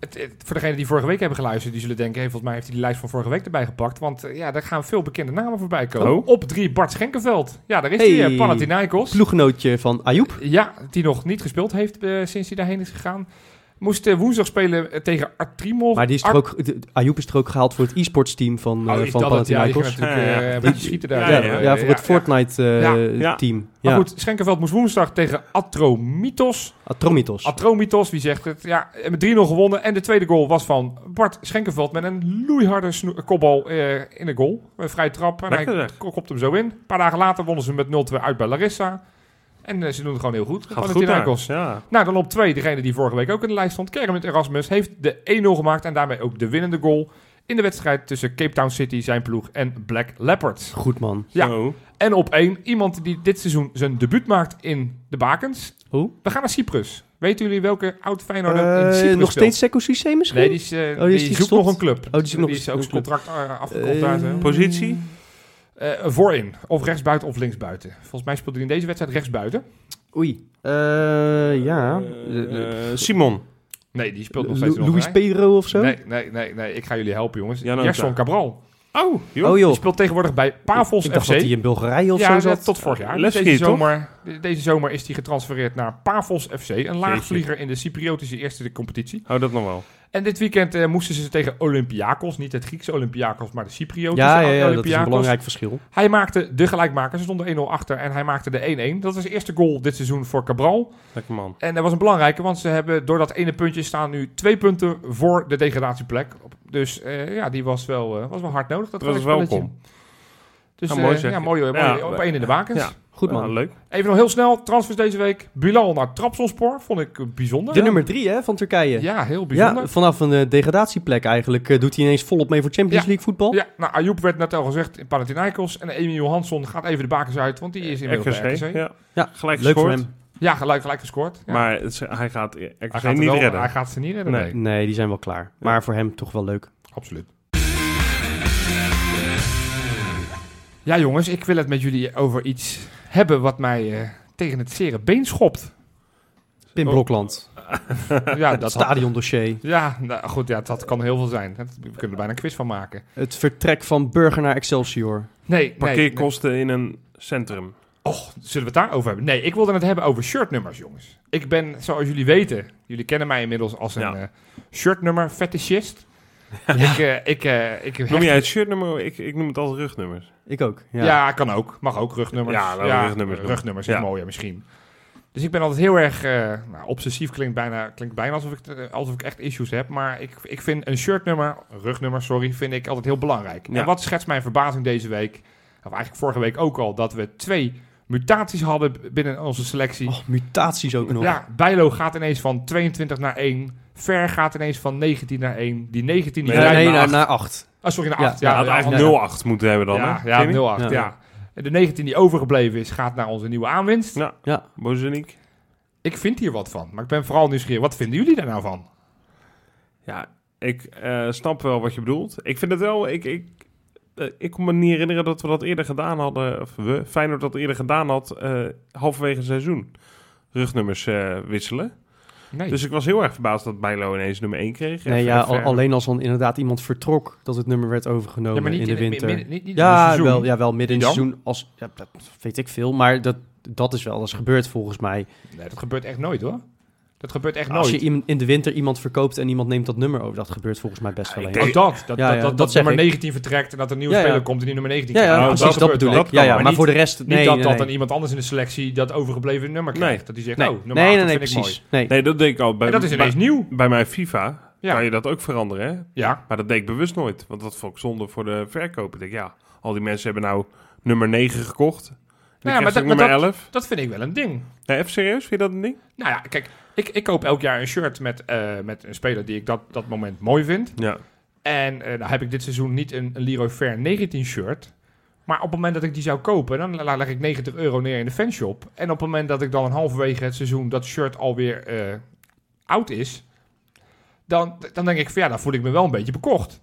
[SPEAKER 3] Het, het- voor degenen die vorige week hebben geluisterd, die zullen denken... Hey, volgens mij heeft hij die lijst van vorige week erbij gepakt. Want eh, ja, daar gaan veel bekende namen voorbij komen.
[SPEAKER 1] Oh.
[SPEAKER 3] Op drie Bart Schenkenveld. Ja, daar is
[SPEAKER 2] Hey.
[SPEAKER 3] hij, eh, Panathinaikos.
[SPEAKER 2] Ploeggenootje van Ayoub.
[SPEAKER 3] Ja, die nog niet gespeeld heeft eh, sinds hij daarheen is gegaan. Moest eh, woensdag spelen eh, tegen Artrimov.
[SPEAKER 2] Maar die is
[SPEAKER 3] Ar-
[SPEAKER 2] er ook, de- Ayoub is er ook gehaald voor het e-sports team van, eh,
[SPEAKER 3] Oh, is
[SPEAKER 2] van
[SPEAKER 3] dat het? Ja, die ging
[SPEAKER 2] Panathinaikos.
[SPEAKER 3] natuurlijk
[SPEAKER 1] Ja,
[SPEAKER 3] eh,
[SPEAKER 1] ja.
[SPEAKER 3] een beetje schieten daar.
[SPEAKER 1] Ja,
[SPEAKER 2] Ja,
[SPEAKER 1] ja,
[SPEAKER 2] ja, voor het Fortnite eh,
[SPEAKER 3] Ja,
[SPEAKER 1] ja.
[SPEAKER 2] team.
[SPEAKER 3] Maar
[SPEAKER 2] Ja.
[SPEAKER 3] goed, Schenkenveld moest woensdag tegen Atromitos.
[SPEAKER 2] Atromitos.
[SPEAKER 3] Atromitos, wie zegt het? Ja, en met 3-0 gewonnen. En de tweede goal was van Bart Schenkenveld met een loeiharde snoe- kopbal eh, in de goal. Een vrije trap. En
[SPEAKER 1] Lekker
[SPEAKER 3] hij
[SPEAKER 1] zeg.
[SPEAKER 3] ko- kopt hem zo in. Een paar dagen later wonnen ze met 0-2 uit bij Larissa. En eh, ze doen het gewoon heel goed.
[SPEAKER 1] Gaat goed daar.
[SPEAKER 3] Panathinaikos.
[SPEAKER 1] Ja.
[SPEAKER 3] Nou, dan op 2, degene die vorige week ook in de lijst stond. Kermit Erasmus heeft de 1-0 gemaakt en daarmee ook de winnende goal. In de wedstrijd tussen Cape Town City, zijn ploeg, en Black Leopards.
[SPEAKER 2] Goed man.
[SPEAKER 3] Ja.
[SPEAKER 1] Zo.
[SPEAKER 3] En op 1, iemand die dit seizoen zijn debuut maakt in de bakens.
[SPEAKER 2] Hoe?
[SPEAKER 3] We gaan naar Cyprus. Weten jullie welke oud Feyenoord in
[SPEAKER 2] Eh,
[SPEAKER 3] Cyprus
[SPEAKER 2] nog
[SPEAKER 3] speelt?
[SPEAKER 2] steeds Seco Cissé misschien?
[SPEAKER 3] Nee, die, is, eh,
[SPEAKER 2] die is
[SPEAKER 3] die
[SPEAKER 2] die
[SPEAKER 3] zoekt
[SPEAKER 2] gestopt? Oh,
[SPEAKER 3] nog een club.
[SPEAKER 2] die zoekt nog
[SPEAKER 3] is
[SPEAKER 2] een
[SPEAKER 3] ook zijn
[SPEAKER 2] club.
[SPEAKER 3] contract eh, afgekocht
[SPEAKER 2] Eh,
[SPEAKER 3] daar. zo.
[SPEAKER 1] Positie?
[SPEAKER 3] Eh, voorin, of rechtsbuiten of linksbuiten. Volgens mij speelt hij in deze wedstrijd rechtsbuiten.
[SPEAKER 2] Oei. Eh, ja. Eh,
[SPEAKER 1] Eh, Simon.
[SPEAKER 3] Nee, die speelt nog steeds
[SPEAKER 2] Lu-
[SPEAKER 3] in
[SPEAKER 2] Luis
[SPEAKER 3] Hongarije.
[SPEAKER 2] Pedro of zo?
[SPEAKER 3] Nee, nee, nee, nee, ik ga jullie helpen jongens.
[SPEAKER 1] Janota.
[SPEAKER 3] Gerson Cabral.
[SPEAKER 1] Oh, joh.
[SPEAKER 2] Oh
[SPEAKER 3] Die
[SPEAKER 2] joh.
[SPEAKER 3] speelt tegenwoordig bij Pavos
[SPEAKER 2] ik dacht
[SPEAKER 3] FC.
[SPEAKER 2] dat hij in Bulgarije of
[SPEAKER 3] ja,
[SPEAKER 2] zo
[SPEAKER 3] dat-
[SPEAKER 2] zat.
[SPEAKER 3] tot vorig jaar.
[SPEAKER 1] Levski,
[SPEAKER 3] deze,
[SPEAKER 1] toch?
[SPEAKER 3] zomer, de- deze zomer is hij getransfereerd naar Pavos FC. Een laagvlieger in de Cypriotische eerste competitie.
[SPEAKER 1] Hou dat nog wel.
[SPEAKER 3] En dit weekend eh, moesten ze tegen Olympiakos. Niet het Griekse Olympiakos, maar de Cypriotische
[SPEAKER 2] ja, ja, ja, dat is een
[SPEAKER 3] Olympiakos.
[SPEAKER 2] belangrijk verschil.
[SPEAKER 3] Hij maakte de gelijkmaker. Ze stonden 1-0 achter en hij maakte de 1-1. Dat was de eerste goal dit seizoen voor Cabral.
[SPEAKER 1] Lekker man.
[SPEAKER 3] En dat was een belangrijke, want ze hebben door dat ene puntje staan nu twee punten voor de degradatieplek. Dus eh, ja, die was wel, eh, was wel hard nodig. Dat,
[SPEAKER 1] Dat is
[SPEAKER 3] gelijkspelletje.
[SPEAKER 1] welkom.
[SPEAKER 3] Dus
[SPEAKER 1] Ja,
[SPEAKER 3] eh,
[SPEAKER 1] mooi zeg
[SPEAKER 3] ja,
[SPEAKER 1] je.
[SPEAKER 3] mooi, mooi
[SPEAKER 1] Ja,
[SPEAKER 3] op één in de bakens.
[SPEAKER 1] ja.
[SPEAKER 2] Goed
[SPEAKER 3] Nou,
[SPEAKER 2] man.
[SPEAKER 1] Ah, leuk.
[SPEAKER 3] Even nog heel snel, transfers deze week. Bilal naar Trabzonspor, vond ik eh, bijzonder.
[SPEAKER 2] de nummer drie hè, van Turkije.
[SPEAKER 3] Ja, heel bijzonder.
[SPEAKER 2] Ja, vanaf een eh, degradatieplek eigenlijk eh, doet hij ineens volop mee voor Champions
[SPEAKER 3] Ja.
[SPEAKER 2] League voetbal.
[SPEAKER 3] Ja, nou, Ayoub werd net al gezegd in Panathinaikos. En Emi Johansson gaat even de bakens uit, want die is inmiddels bij
[SPEAKER 1] RKC.
[SPEAKER 3] RKC. Ja,
[SPEAKER 1] Ja.
[SPEAKER 2] Ja,
[SPEAKER 1] Gelijk
[SPEAKER 2] Leuk voor
[SPEAKER 1] gescoord.
[SPEAKER 2] hem.
[SPEAKER 3] gelijk, gelijk gescoord. Ja.
[SPEAKER 1] Maar het is- hij gaat e- RKC
[SPEAKER 3] hij gaat,
[SPEAKER 1] niet
[SPEAKER 3] wel-
[SPEAKER 1] redden.
[SPEAKER 3] hij gaat ze niet redden.
[SPEAKER 1] Nee.
[SPEAKER 3] Nee,
[SPEAKER 2] Nee, die zijn wel klaar. Maar voor hem toch wel leuk.
[SPEAKER 3] absoluut. Ja, jongens, ik wil het met jullie over iets hebben wat mij eh, tegen het zere been
[SPEAKER 1] [LAUGHS]
[SPEAKER 3] schopt.
[SPEAKER 2] Pim
[SPEAKER 1] Oh.
[SPEAKER 2] Blokland.
[SPEAKER 3] ja,
[SPEAKER 2] het
[SPEAKER 3] dat had-
[SPEAKER 2] stadiondossier.
[SPEAKER 3] ja, nou, goed, ja, dat kan heel veel zijn. Dat- we kunnen er bijna een quiz van maken.
[SPEAKER 2] Het vertrek van Burger naar Excelsior.
[SPEAKER 3] Nee, nee, nee.
[SPEAKER 1] Parkeerkosten in een centrum.
[SPEAKER 3] Och, zullen we het daarover hebben? Nee, ik wilde het hebben over shirtnummers, jongens. Ik ben, zoals jullie weten, jullie kennen mij inmiddels als een
[SPEAKER 1] Ja.
[SPEAKER 3] eh shirtnummer
[SPEAKER 1] [LAUGHS]
[SPEAKER 3] fetishist. Ik, eh, ik, eh, ik
[SPEAKER 1] Noem
[SPEAKER 3] hecht-
[SPEAKER 1] jij het shirtnummer? Ik, ik noem het altijd rugnummers.
[SPEAKER 2] Ik ook. Ja.
[SPEAKER 3] ja. kan ook. Mag ook rugnummers.
[SPEAKER 1] Ja, laten we rugnummers doen.
[SPEAKER 3] Rugnummers is
[SPEAKER 1] Ja.
[SPEAKER 3] mooier misschien. Dus ik ben altijd heel erg eh, nou, obsessief. Klinkt bijna, klinkt bijna alsof, ik, eh, alsof ik echt issues heb. Maar ik, ik vind een shirtnummer, rugnummer, sorry, vind ik altijd heel belangrijk.
[SPEAKER 1] Ja.
[SPEAKER 3] En wat schetst mijn verbazing deze week? Of eigenlijk vorige week ook al, dat we twee mutaties hadden binnen onze selectie.
[SPEAKER 2] Oh, mutaties ook nog.
[SPEAKER 3] Ja, Bijlo gaat ineens van 22 naar 1. Ver gaat ineens van 19 naar 1. Die 19 die
[SPEAKER 2] Nee,
[SPEAKER 1] Nee,
[SPEAKER 3] rijdt
[SPEAKER 2] nee,
[SPEAKER 3] naar
[SPEAKER 2] naar,
[SPEAKER 3] acht.
[SPEAKER 2] naar acht.
[SPEAKER 3] Ah, sorry, naar
[SPEAKER 2] Ja,
[SPEAKER 3] 8.
[SPEAKER 1] Ja, had eigenlijk 08 moeten hebben dan,
[SPEAKER 3] Ja,
[SPEAKER 1] hè?
[SPEAKER 3] ja,
[SPEAKER 1] Timmy?
[SPEAKER 3] 08, ja.
[SPEAKER 2] Ja.
[SPEAKER 3] En De 19 die overgebleven is, gaat naar onze nieuwe aanwinst.
[SPEAKER 1] Ja.
[SPEAKER 2] Ja.
[SPEAKER 1] Bozeniek.
[SPEAKER 3] Ik vind hier wat van, maar ik ben vooral nieuwsgierig. Wat vinden jullie daar nou van?
[SPEAKER 1] Ja, ik eh, snap wel wat je bedoelt. Ik vind het wel... Ik, ik, eh, ik kon me niet herinneren dat we dat eerder gedaan hadden. Of we, Feyenoord dat eerder gedaan had eh halverwege het seizoen. Rugnummers eh, wisselen.
[SPEAKER 3] Nee.
[SPEAKER 1] Dus ik was heel erg verbaasd dat Bijlo ineens nummer 1 kreeg.
[SPEAKER 2] Nee,
[SPEAKER 1] En
[SPEAKER 2] ja,
[SPEAKER 1] Ver-
[SPEAKER 2] al- alleen als dan inderdaad iemand vertrok dat het nummer werd overgenomen in de winter.
[SPEAKER 3] Niet, niet, niet in het
[SPEAKER 2] ja,
[SPEAKER 3] seizoen.
[SPEAKER 2] wel, ja, wel midden in het
[SPEAKER 3] Dan?
[SPEAKER 2] seizoen. Als, ja, dat weet ik veel, maar dat, dat is wel eens gebeurd volgens mij.
[SPEAKER 3] Nee, dat gebeurt echt nooit hoor. Dat gebeurt echt
[SPEAKER 2] Als
[SPEAKER 3] nooit.
[SPEAKER 2] je in, in de winter iemand verkoopt en iemand neemt dat nummer over, dat gebeurt volgens mij best
[SPEAKER 1] Ja,
[SPEAKER 2] wel
[SPEAKER 1] ik
[SPEAKER 2] eens.
[SPEAKER 1] denk-
[SPEAKER 3] Oh, dat. Dat,
[SPEAKER 2] Ja,
[SPEAKER 3] dat,
[SPEAKER 2] ja,
[SPEAKER 3] dat,
[SPEAKER 2] dat
[SPEAKER 3] dat
[SPEAKER 2] zeg
[SPEAKER 3] nummer
[SPEAKER 2] ik.
[SPEAKER 3] 19 vertrekt en dat er een nieuwe
[SPEAKER 2] Ja, ja.
[SPEAKER 3] speler komt en die nummer 19
[SPEAKER 2] Ja, ja,
[SPEAKER 3] krijgt.
[SPEAKER 1] Nou,
[SPEAKER 2] precies, Oh, dat,
[SPEAKER 1] dat
[SPEAKER 2] bedoel
[SPEAKER 1] wel.
[SPEAKER 2] ik.
[SPEAKER 1] Dat
[SPEAKER 2] Ja,
[SPEAKER 1] kan,
[SPEAKER 2] ja,
[SPEAKER 1] maar
[SPEAKER 2] maar,
[SPEAKER 3] niet-
[SPEAKER 2] voor de rest, nee,
[SPEAKER 3] niet dat,
[SPEAKER 2] nee,
[SPEAKER 3] dat
[SPEAKER 2] nee.
[SPEAKER 3] dan iemand anders in de selectie dat overgebleven nummer
[SPEAKER 1] Nee.
[SPEAKER 3] krijgt. Dat die zegt,
[SPEAKER 2] Nee.
[SPEAKER 3] oh, nummer
[SPEAKER 2] Nee,
[SPEAKER 3] acht,
[SPEAKER 2] nee,
[SPEAKER 3] dat
[SPEAKER 2] nee,
[SPEAKER 3] vind ik mooi.
[SPEAKER 2] precies. Nee.
[SPEAKER 1] Nee, dat denk ik al. Bij,
[SPEAKER 3] En dat is
[SPEAKER 1] bij-
[SPEAKER 3] ineens nieuw.
[SPEAKER 1] bij mijn FIFA
[SPEAKER 3] Ja.
[SPEAKER 1] kan je dat ook veranderen. Hè?
[SPEAKER 3] Ja,
[SPEAKER 1] Maar dat deed ik bewust nooit. Want dat vond ik zonde voor de verkoper. Ik denk, ja, al die mensen hebben nou nummer 9 gekocht. En
[SPEAKER 3] Nou ja,
[SPEAKER 1] ja,
[SPEAKER 3] maar
[SPEAKER 1] maar
[SPEAKER 3] dat-
[SPEAKER 1] nummer
[SPEAKER 3] maar
[SPEAKER 1] 11.
[SPEAKER 3] dat vind ik wel een ding.
[SPEAKER 1] Nee, even serieus? Vind je dat een ding?
[SPEAKER 3] Nou ja, kijk, ik, ik koop elk jaar een shirt met, eh, met een speler die ik dat, dat moment mooi vind.
[SPEAKER 1] Ja.
[SPEAKER 3] En eh nou heb ik dit seizoen niet een, een Leroy Fair 19 shirt. Maar op het moment dat ik die zou kopen, dan la- leg ik 90 euro neer in de fanshop. En op het moment dat ik dan een halverwege het seizoen dat shirt alweer eh, oud is, dan, dan denk ik van ja, dan voel ik me wel een beetje bekocht.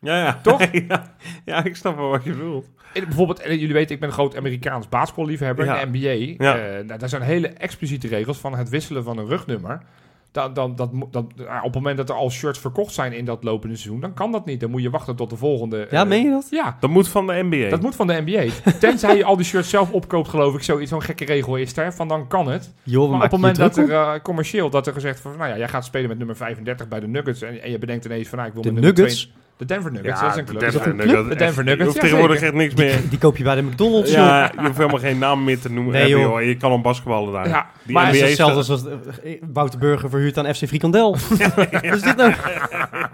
[SPEAKER 1] Ja, ja.
[SPEAKER 3] Toch?
[SPEAKER 1] [LAUGHS] ja. ja, ik snap wel wat je bedoelt.
[SPEAKER 3] En bijvoorbeeld, en jullie weten, ik ben een groot Amerikaans basketballiefhebber
[SPEAKER 1] Ja.
[SPEAKER 3] in de NBA.
[SPEAKER 1] Ja.
[SPEAKER 3] Eh, nou, daar zijn hele expliciete regels van het wisselen van een rugnummer. Dan, dan, dat, mo- dat, ah, op het moment dat er al shirts verkocht zijn in dat lopende seizoen, dan kan dat niet. Dan moet je wachten tot de volgende.
[SPEAKER 2] Ja,
[SPEAKER 3] eh,
[SPEAKER 2] meen je dat?
[SPEAKER 3] Ja,
[SPEAKER 1] Dat moet van de NBA.
[SPEAKER 3] dat moet van de NBA. Tenzij je al die shirts zelf opkoopt, geloof ik. Zoiets, zo'n gekke regel is daar. Van dan kan het.
[SPEAKER 2] Joh, we
[SPEAKER 3] Maar op
[SPEAKER 2] maken
[SPEAKER 3] het moment
[SPEAKER 2] je
[SPEAKER 3] dat
[SPEAKER 2] druk
[SPEAKER 3] er eh, commercieel dat er gezegd van, nou ja, jij gaat spelen met nummer 35 bij de Nuggets. En, en je bedenkt ineens van, nou, ik wil
[SPEAKER 2] op. De
[SPEAKER 3] met nummer
[SPEAKER 2] nuggets,
[SPEAKER 3] 2 De Denver Nuggets,
[SPEAKER 1] Ja,
[SPEAKER 3] dat is een
[SPEAKER 1] de
[SPEAKER 3] club.
[SPEAKER 1] Denver
[SPEAKER 2] Is dat een
[SPEAKER 1] Nuggets,
[SPEAKER 3] club?
[SPEAKER 1] echt-
[SPEAKER 3] De Denver
[SPEAKER 1] Je
[SPEAKER 3] Nuggets,
[SPEAKER 1] hoeft tegenwoordig
[SPEAKER 3] jazeker.
[SPEAKER 1] echt niks
[SPEAKER 3] [LAUGHS]
[SPEAKER 1] meer.
[SPEAKER 2] die koop je bij de McDonald's, joh.
[SPEAKER 1] Ja, je hoeft helemaal geen naam meer te noemen.
[SPEAKER 2] Nee,
[SPEAKER 1] Hebben,
[SPEAKER 2] joh.
[SPEAKER 1] joh. Je kan een basketballen daar.
[SPEAKER 3] Ja,
[SPEAKER 1] Die
[SPEAKER 2] Maar het is
[SPEAKER 1] NBA
[SPEAKER 2] hetzelfde als wat, eh, Wouter Burger verhuurt aan FC
[SPEAKER 3] [LAUGHS]
[SPEAKER 2] Frikandel. Wat is dit nou?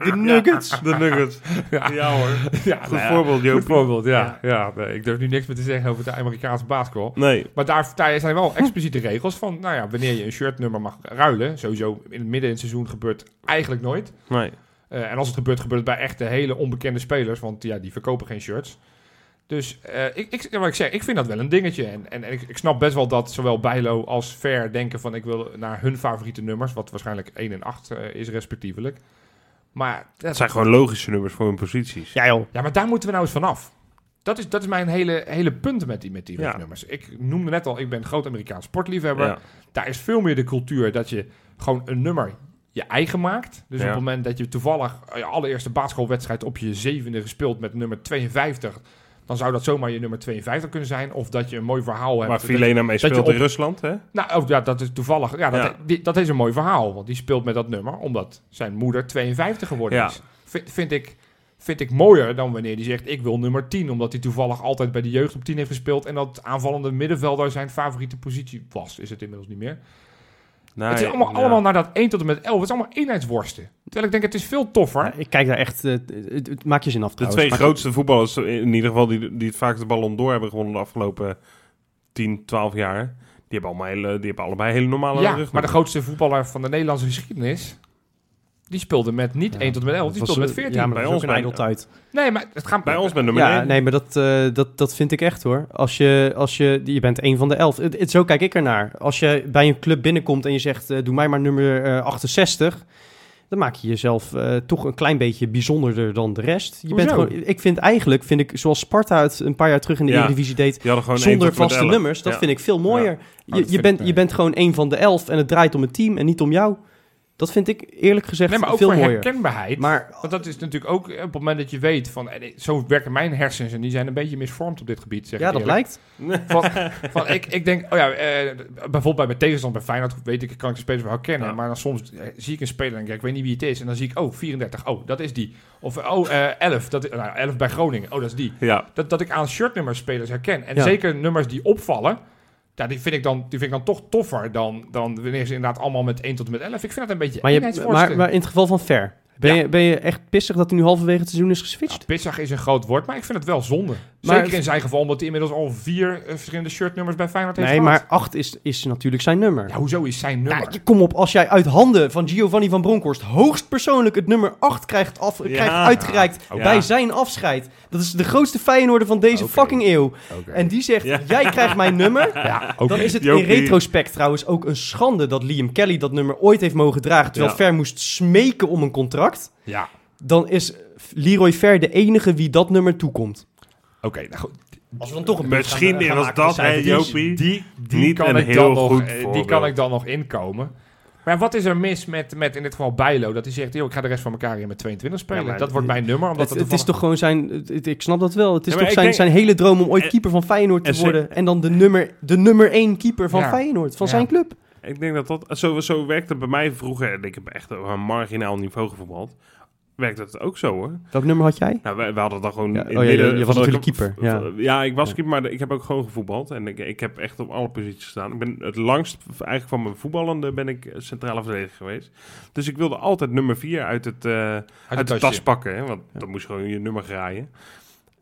[SPEAKER 2] De Nuggets.
[SPEAKER 1] De Nuggets.
[SPEAKER 3] Ja.
[SPEAKER 1] Ja, hoor.
[SPEAKER 3] [LAUGHS] Ja, [LAUGHS]
[SPEAKER 1] Goed
[SPEAKER 3] nou ja.
[SPEAKER 1] voorbeeld,
[SPEAKER 3] Goed
[SPEAKER 1] Joop.
[SPEAKER 3] voorbeeld, ja. ja. nee, ik durf nu niks meer te zeggen over de Amerikaanse basketbal.
[SPEAKER 1] Nee.
[SPEAKER 3] Maar daar, daar zijn [LAUGHS] wel expliciete regels van, nou ja, wanneer je een shirtnummer mag ruilen. Sowieso in het midden in het seizoen gebeurt eigenlijk nooit.
[SPEAKER 1] Nee.
[SPEAKER 3] Eh, en als het gebeurt, gebeurt het bij echt de hele onbekende spelers, want ja, die verkopen geen shirts. Dus eh, ik, ik, ja, wat ik zeg, ik vind dat wel een dingetje. En, en, en ik, ik snap best wel dat zowel Bijlo als Fair denken van ik wil naar hun favoriete nummers, wat waarschijnlijk 1 en 8 eh, is respectievelijk. Maar
[SPEAKER 1] Het zijn gewoon logische nummers voor hun posities.
[SPEAKER 2] Ja, joh.
[SPEAKER 3] Ja, maar daar moeten we nou eens vanaf. Dat is, dat is mijn hele, hele punt met die, met die
[SPEAKER 1] Ja.
[SPEAKER 3] rugnummers. Ik noemde net al, ik ben groot Amerikaans sportliefhebber.
[SPEAKER 1] Ja.
[SPEAKER 3] Daar is veel meer de cultuur dat je gewoon een nummer je eigen maakt. Dus
[SPEAKER 1] Ja.
[SPEAKER 3] op het moment dat je toevallig eh, je allereerste basketbalwedstrijd op je zevende gespeeld met nummer 52... dan zou dat zomaar je nummer 52 kunnen zijn. Of dat je een mooi verhaal hebt.
[SPEAKER 1] Waar
[SPEAKER 3] Dat-
[SPEAKER 1] Filena mee
[SPEAKER 3] dat je
[SPEAKER 1] speelt
[SPEAKER 3] op-
[SPEAKER 1] in Rusland, hè?
[SPEAKER 3] nou, oh, ja, dat is toevallig. Ja, dat,
[SPEAKER 1] Ja.
[SPEAKER 3] die- dat is een mooi verhaal. Want die speelt met dat nummer omdat zijn moeder 52 geworden
[SPEAKER 1] Ja.
[SPEAKER 3] is. Vind, vind, ik, vind ik mooier dan wanneer die zegt: Ik wil nummer 10. Omdat hij toevallig altijd bij de jeugd op 10 heeft gespeeld. En dat aanvallende middenvelder zijn favoriete positie was. Is het inmiddels niet meer.
[SPEAKER 1] Nee,
[SPEAKER 3] het is allemaal,
[SPEAKER 1] ja.
[SPEAKER 3] allemaal naar dat 1 tot en met 11. Het is allemaal eenheidsworsten. Terwijl ik denk: Het is veel toffer.
[SPEAKER 2] Ik kijk daar echt... eh, het- het- Nou, het- Maak je zin af
[SPEAKER 1] De
[SPEAKER 2] trouwens.
[SPEAKER 1] twee
[SPEAKER 2] Maar-
[SPEAKER 1] grootste voetballers, in ieder geval, die, die het vaak de Ballon d'Or hebben gewonnen de afgelopen 10, 12 jaar. Die hebben, allemaal hele, die hebben allebei hele normale
[SPEAKER 3] ja,
[SPEAKER 1] rugnummers.
[SPEAKER 3] maar de grootste voetballer van de Nederlandse geschiedenis. Die speelde met niet
[SPEAKER 2] Ja,
[SPEAKER 3] 1 tot en met 11.
[SPEAKER 2] dat
[SPEAKER 3] Die
[SPEAKER 2] was,
[SPEAKER 3] speelde met
[SPEAKER 2] eh,
[SPEAKER 3] 14.
[SPEAKER 2] Ja, maar
[SPEAKER 1] Bij
[SPEAKER 2] dat is
[SPEAKER 1] ons
[SPEAKER 2] ook een
[SPEAKER 1] bij-
[SPEAKER 2] ijdeltuit.
[SPEAKER 3] Nee, maar het gaat
[SPEAKER 1] Bij ons met nummer
[SPEAKER 2] Ja,
[SPEAKER 1] 1.
[SPEAKER 2] nee, maar dat, eh, dat, dat vind ik echt hoor. Als je, als je, je bent een van de elf. Het- het- zo kijk ik ernaar. Als je bij een club binnenkomt en je zegt, eh, doe mij maar nummer eh, 68. Dan maak je jezelf eh, toch een klein beetje bijzonderder dan de rest. Je bent
[SPEAKER 3] Hoezo?
[SPEAKER 2] gewoon, ik vind eigenlijk, vind ik, zoals Sparta het een paar jaar terug in de
[SPEAKER 1] Ja.
[SPEAKER 2] Eredivisie deed,
[SPEAKER 1] Die hadden gewoon één
[SPEAKER 2] zonder
[SPEAKER 1] tot en met
[SPEAKER 2] vaste
[SPEAKER 1] elf.
[SPEAKER 2] nummers, dat
[SPEAKER 1] Ja. Oh,
[SPEAKER 2] vind ik veel mooier.
[SPEAKER 1] dat
[SPEAKER 2] Je,
[SPEAKER 1] vind
[SPEAKER 2] je,
[SPEAKER 1] ik
[SPEAKER 2] bent,
[SPEAKER 1] niet.
[SPEAKER 2] je bent gewoon een van de elf en het draait om het team en niet om jou. Dat vind ik eerlijk gezegd
[SPEAKER 3] Nee, maar ook
[SPEAKER 2] veel
[SPEAKER 3] voor
[SPEAKER 2] mooier.
[SPEAKER 3] herkenbaarheid.
[SPEAKER 2] Maar
[SPEAKER 3] Want dat is natuurlijk ook eh, op het moment dat je weet van... eh, Zo werken mijn hersens en die zijn een beetje misvormd op dit gebied, zeg
[SPEAKER 2] ja,
[SPEAKER 3] ik
[SPEAKER 2] dat
[SPEAKER 3] eerlijk.
[SPEAKER 2] lijkt.
[SPEAKER 3] Van, van, ik, ik denk, oh ja, eh, bijvoorbeeld bij mijn tegenstand bij Feyenoord... weet ik, kan ik de spelers wel herkennen.
[SPEAKER 1] Ja.
[SPEAKER 3] Maar dan soms eh, zie ik een speler en denk ik, ik weet niet wie het is. En dan zie ik, oh, 34, oh, dat is die. Of, oh, eh 11, dat is, nou, 11 bij Groningen, oh, dat is die.
[SPEAKER 1] Ja,
[SPEAKER 3] Dat, dat ik aan shirtnummers spelers herken. En
[SPEAKER 2] Ja.
[SPEAKER 3] zeker nummers die opvallen... Ja, die, vind ik dan, die vind ik dan toch toffer dan, dan wanneer ze inderdaad allemaal met 1 tot en met 11. Ik vind dat een beetje
[SPEAKER 2] Maar, je,
[SPEAKER 3] eenheidsworsten.
[SPEAKER 2] maar, maar in het geval van Fer, ben,
[SPEAKER 3] Ja.
[SPEAKER 2] je, ben je echt pissig dat hij nu halverwege het seizoen is
[SPEAKER 3] Ja,
[SPEAKER 2] geswitcht?
[SPEAKER 3] pissig is een groot woord, maar ik vind het wel zonde.
[SPEAKER 2] Maar
[SPEAKER 3] Zeker
[SPEAKER 2] het-
[SPEAKER 3] in zijn geval, omdat hij inmiddels al vier eh, verschillende shirtnummers bij Feyenoord heeft
[SPEAKER 2] nee,
[SPEAKER 3] gehad.
[SPEAKER 2] maar 8 is, is natuurlijk zijn nummer.
[SPEAKER 3] Ja, hoezo is zijn nummer?
[SPEAKER 2] Nou, je- kom op, als jij uit handen van Giovanni van Bronckhorst hoogstpersoonlijk het nummer 8 krijgt, af, krijgt uitgereikt
[SPEAKER 1] Ja.
[SPEAKER 2] bij zijn afscheid. Dat is de grootste Feyenoorder van deze
[SPEAKER 3] Oké.
[SPEAKER 2] fucking eeuw.
[SPEAKER 3] Oké.
[SPEAKER 2] En die zegt,
[SPEAKER 1] Ja.
[SPEAKER 2] jij krijgt mijn nummer.
[SPEAKER 1] [LAUGHS]
[SPEAKER 3] ja, oké.
[SPEAKER 2] [LAUGHS] Dan is het in
[SPEAKER 1] Jopie.
[SPEAKER 2] retrospect trouwens ook een schande dat Liam Kelly dat nummer ooit heeft mogen dragen. Terwijl
[SPEAKER 1] Ja.
[SPEAKER 2] Fer moest smeken om een contract.
[SPEAKER 3] Ja,
[SPEAKER 2] Dan is Leroy Fer de enige wie dat nummer toekomt.
[SPEAKER 3] oké. nou goed.
[SPEAKER 2] Als we dan toch een punt gaan, eh,
[SPEAKER 1] misschien
[SPEAKER 2] gaan
[SPEAKER 1] was
[SPEAKER 2] maken,
[SPEAKER 1] dat,
[SPEAKER 2] zijn
[SPEAKER 1] hè,
[SPEAKER 2] we het eens.
[SPEAKER 1] Jopie?
[SPEAKER 3] Die, die
[SPEAKER 1] Niet
[SPEAKER 3] kan
[SPEAKER 1] een
[SPEAKER 3] ik dan
[SPEAKER 1] heel
[SPEAKER 3] nog,
[SPEAKER 1] goed
[SPEAKER 3] eh, die
[SPEAKER 1] voorbeeld.
[SPEAKER 3] kan ik dan nog inkomen. Maar wat is er mis met, met in dit geval Bijlo? Dat hij zegt, joh, ik ga de rest van elkaar in met 22 spelen.
[SPEAKER 1] Ja, maar
[SPEAKER 3] dat wordt mijn nummer, omdat
[SPEAKER 2] Het,
[SPEAKER 3] het,
[SPEAKER 2] het is toch gewoon zijn, het- het- ik snap dat wel, het is
[SPEAKER 1] Ja,
[SPEAKER 2] toch
[SPEAKER 1] maar ik
[SPEAKER 2] zijn,
[SPEAKER 1] denk-
[SPEAKER 2] zijn hele droom om ooit
[SPEAKER 1] Eh,
[SPEAKER 2] keeper van Feyenoord te
[SPEAKER 1] eh, ze-
[SPEAKER 2] worden. En dan de nummer, de nummer één keeper van
[SPEAKER 3] Ja.
[SPEAKER 2] Feyenoord, van
[SPEAKER 3] Ja.
[SPEAKER 2] zijn club.
[SPEAKER 1] Ik denk dat dat... Zo, zo werkte het bij mij vroeger. En ik heb echt op een marginaal niveau gevoetbald. werkt het ook zo hoor.
[SPEAKER 2] Welk nummer had jij?
[SPEAKER 1] Nou, wij, wij hadden dan gewoon...
[SPEAKER 2] Ja,
[SPEAKER 1] in het
[SPEAKER 2] oh ja, je-
[SPEAKER 1] midden
[SPEAKER 2] je was
[SPEAKER 1] van de
[SPEAKER 2] natuurlijk
[SPEAKER 1] kap-
[SPEAKER 2] keeper, ja.
[SPEAKER 1] van- ja, ik was
[SPEAKER 2] Ja.
[SPEAKER 1] keeper, maar ik heb ook gewoon gevoetbald. En ik, ik heb echt op alle posities gestaan. Ik ben het langst, eigenlijk van mijn voetballende, ben ik eh, centrale verdediger geweest. Dus ik wilde altijd nummer 4 uit het... eh, uit de tas pakken. Hè? Want dan moest je gewoon je nummer graaien.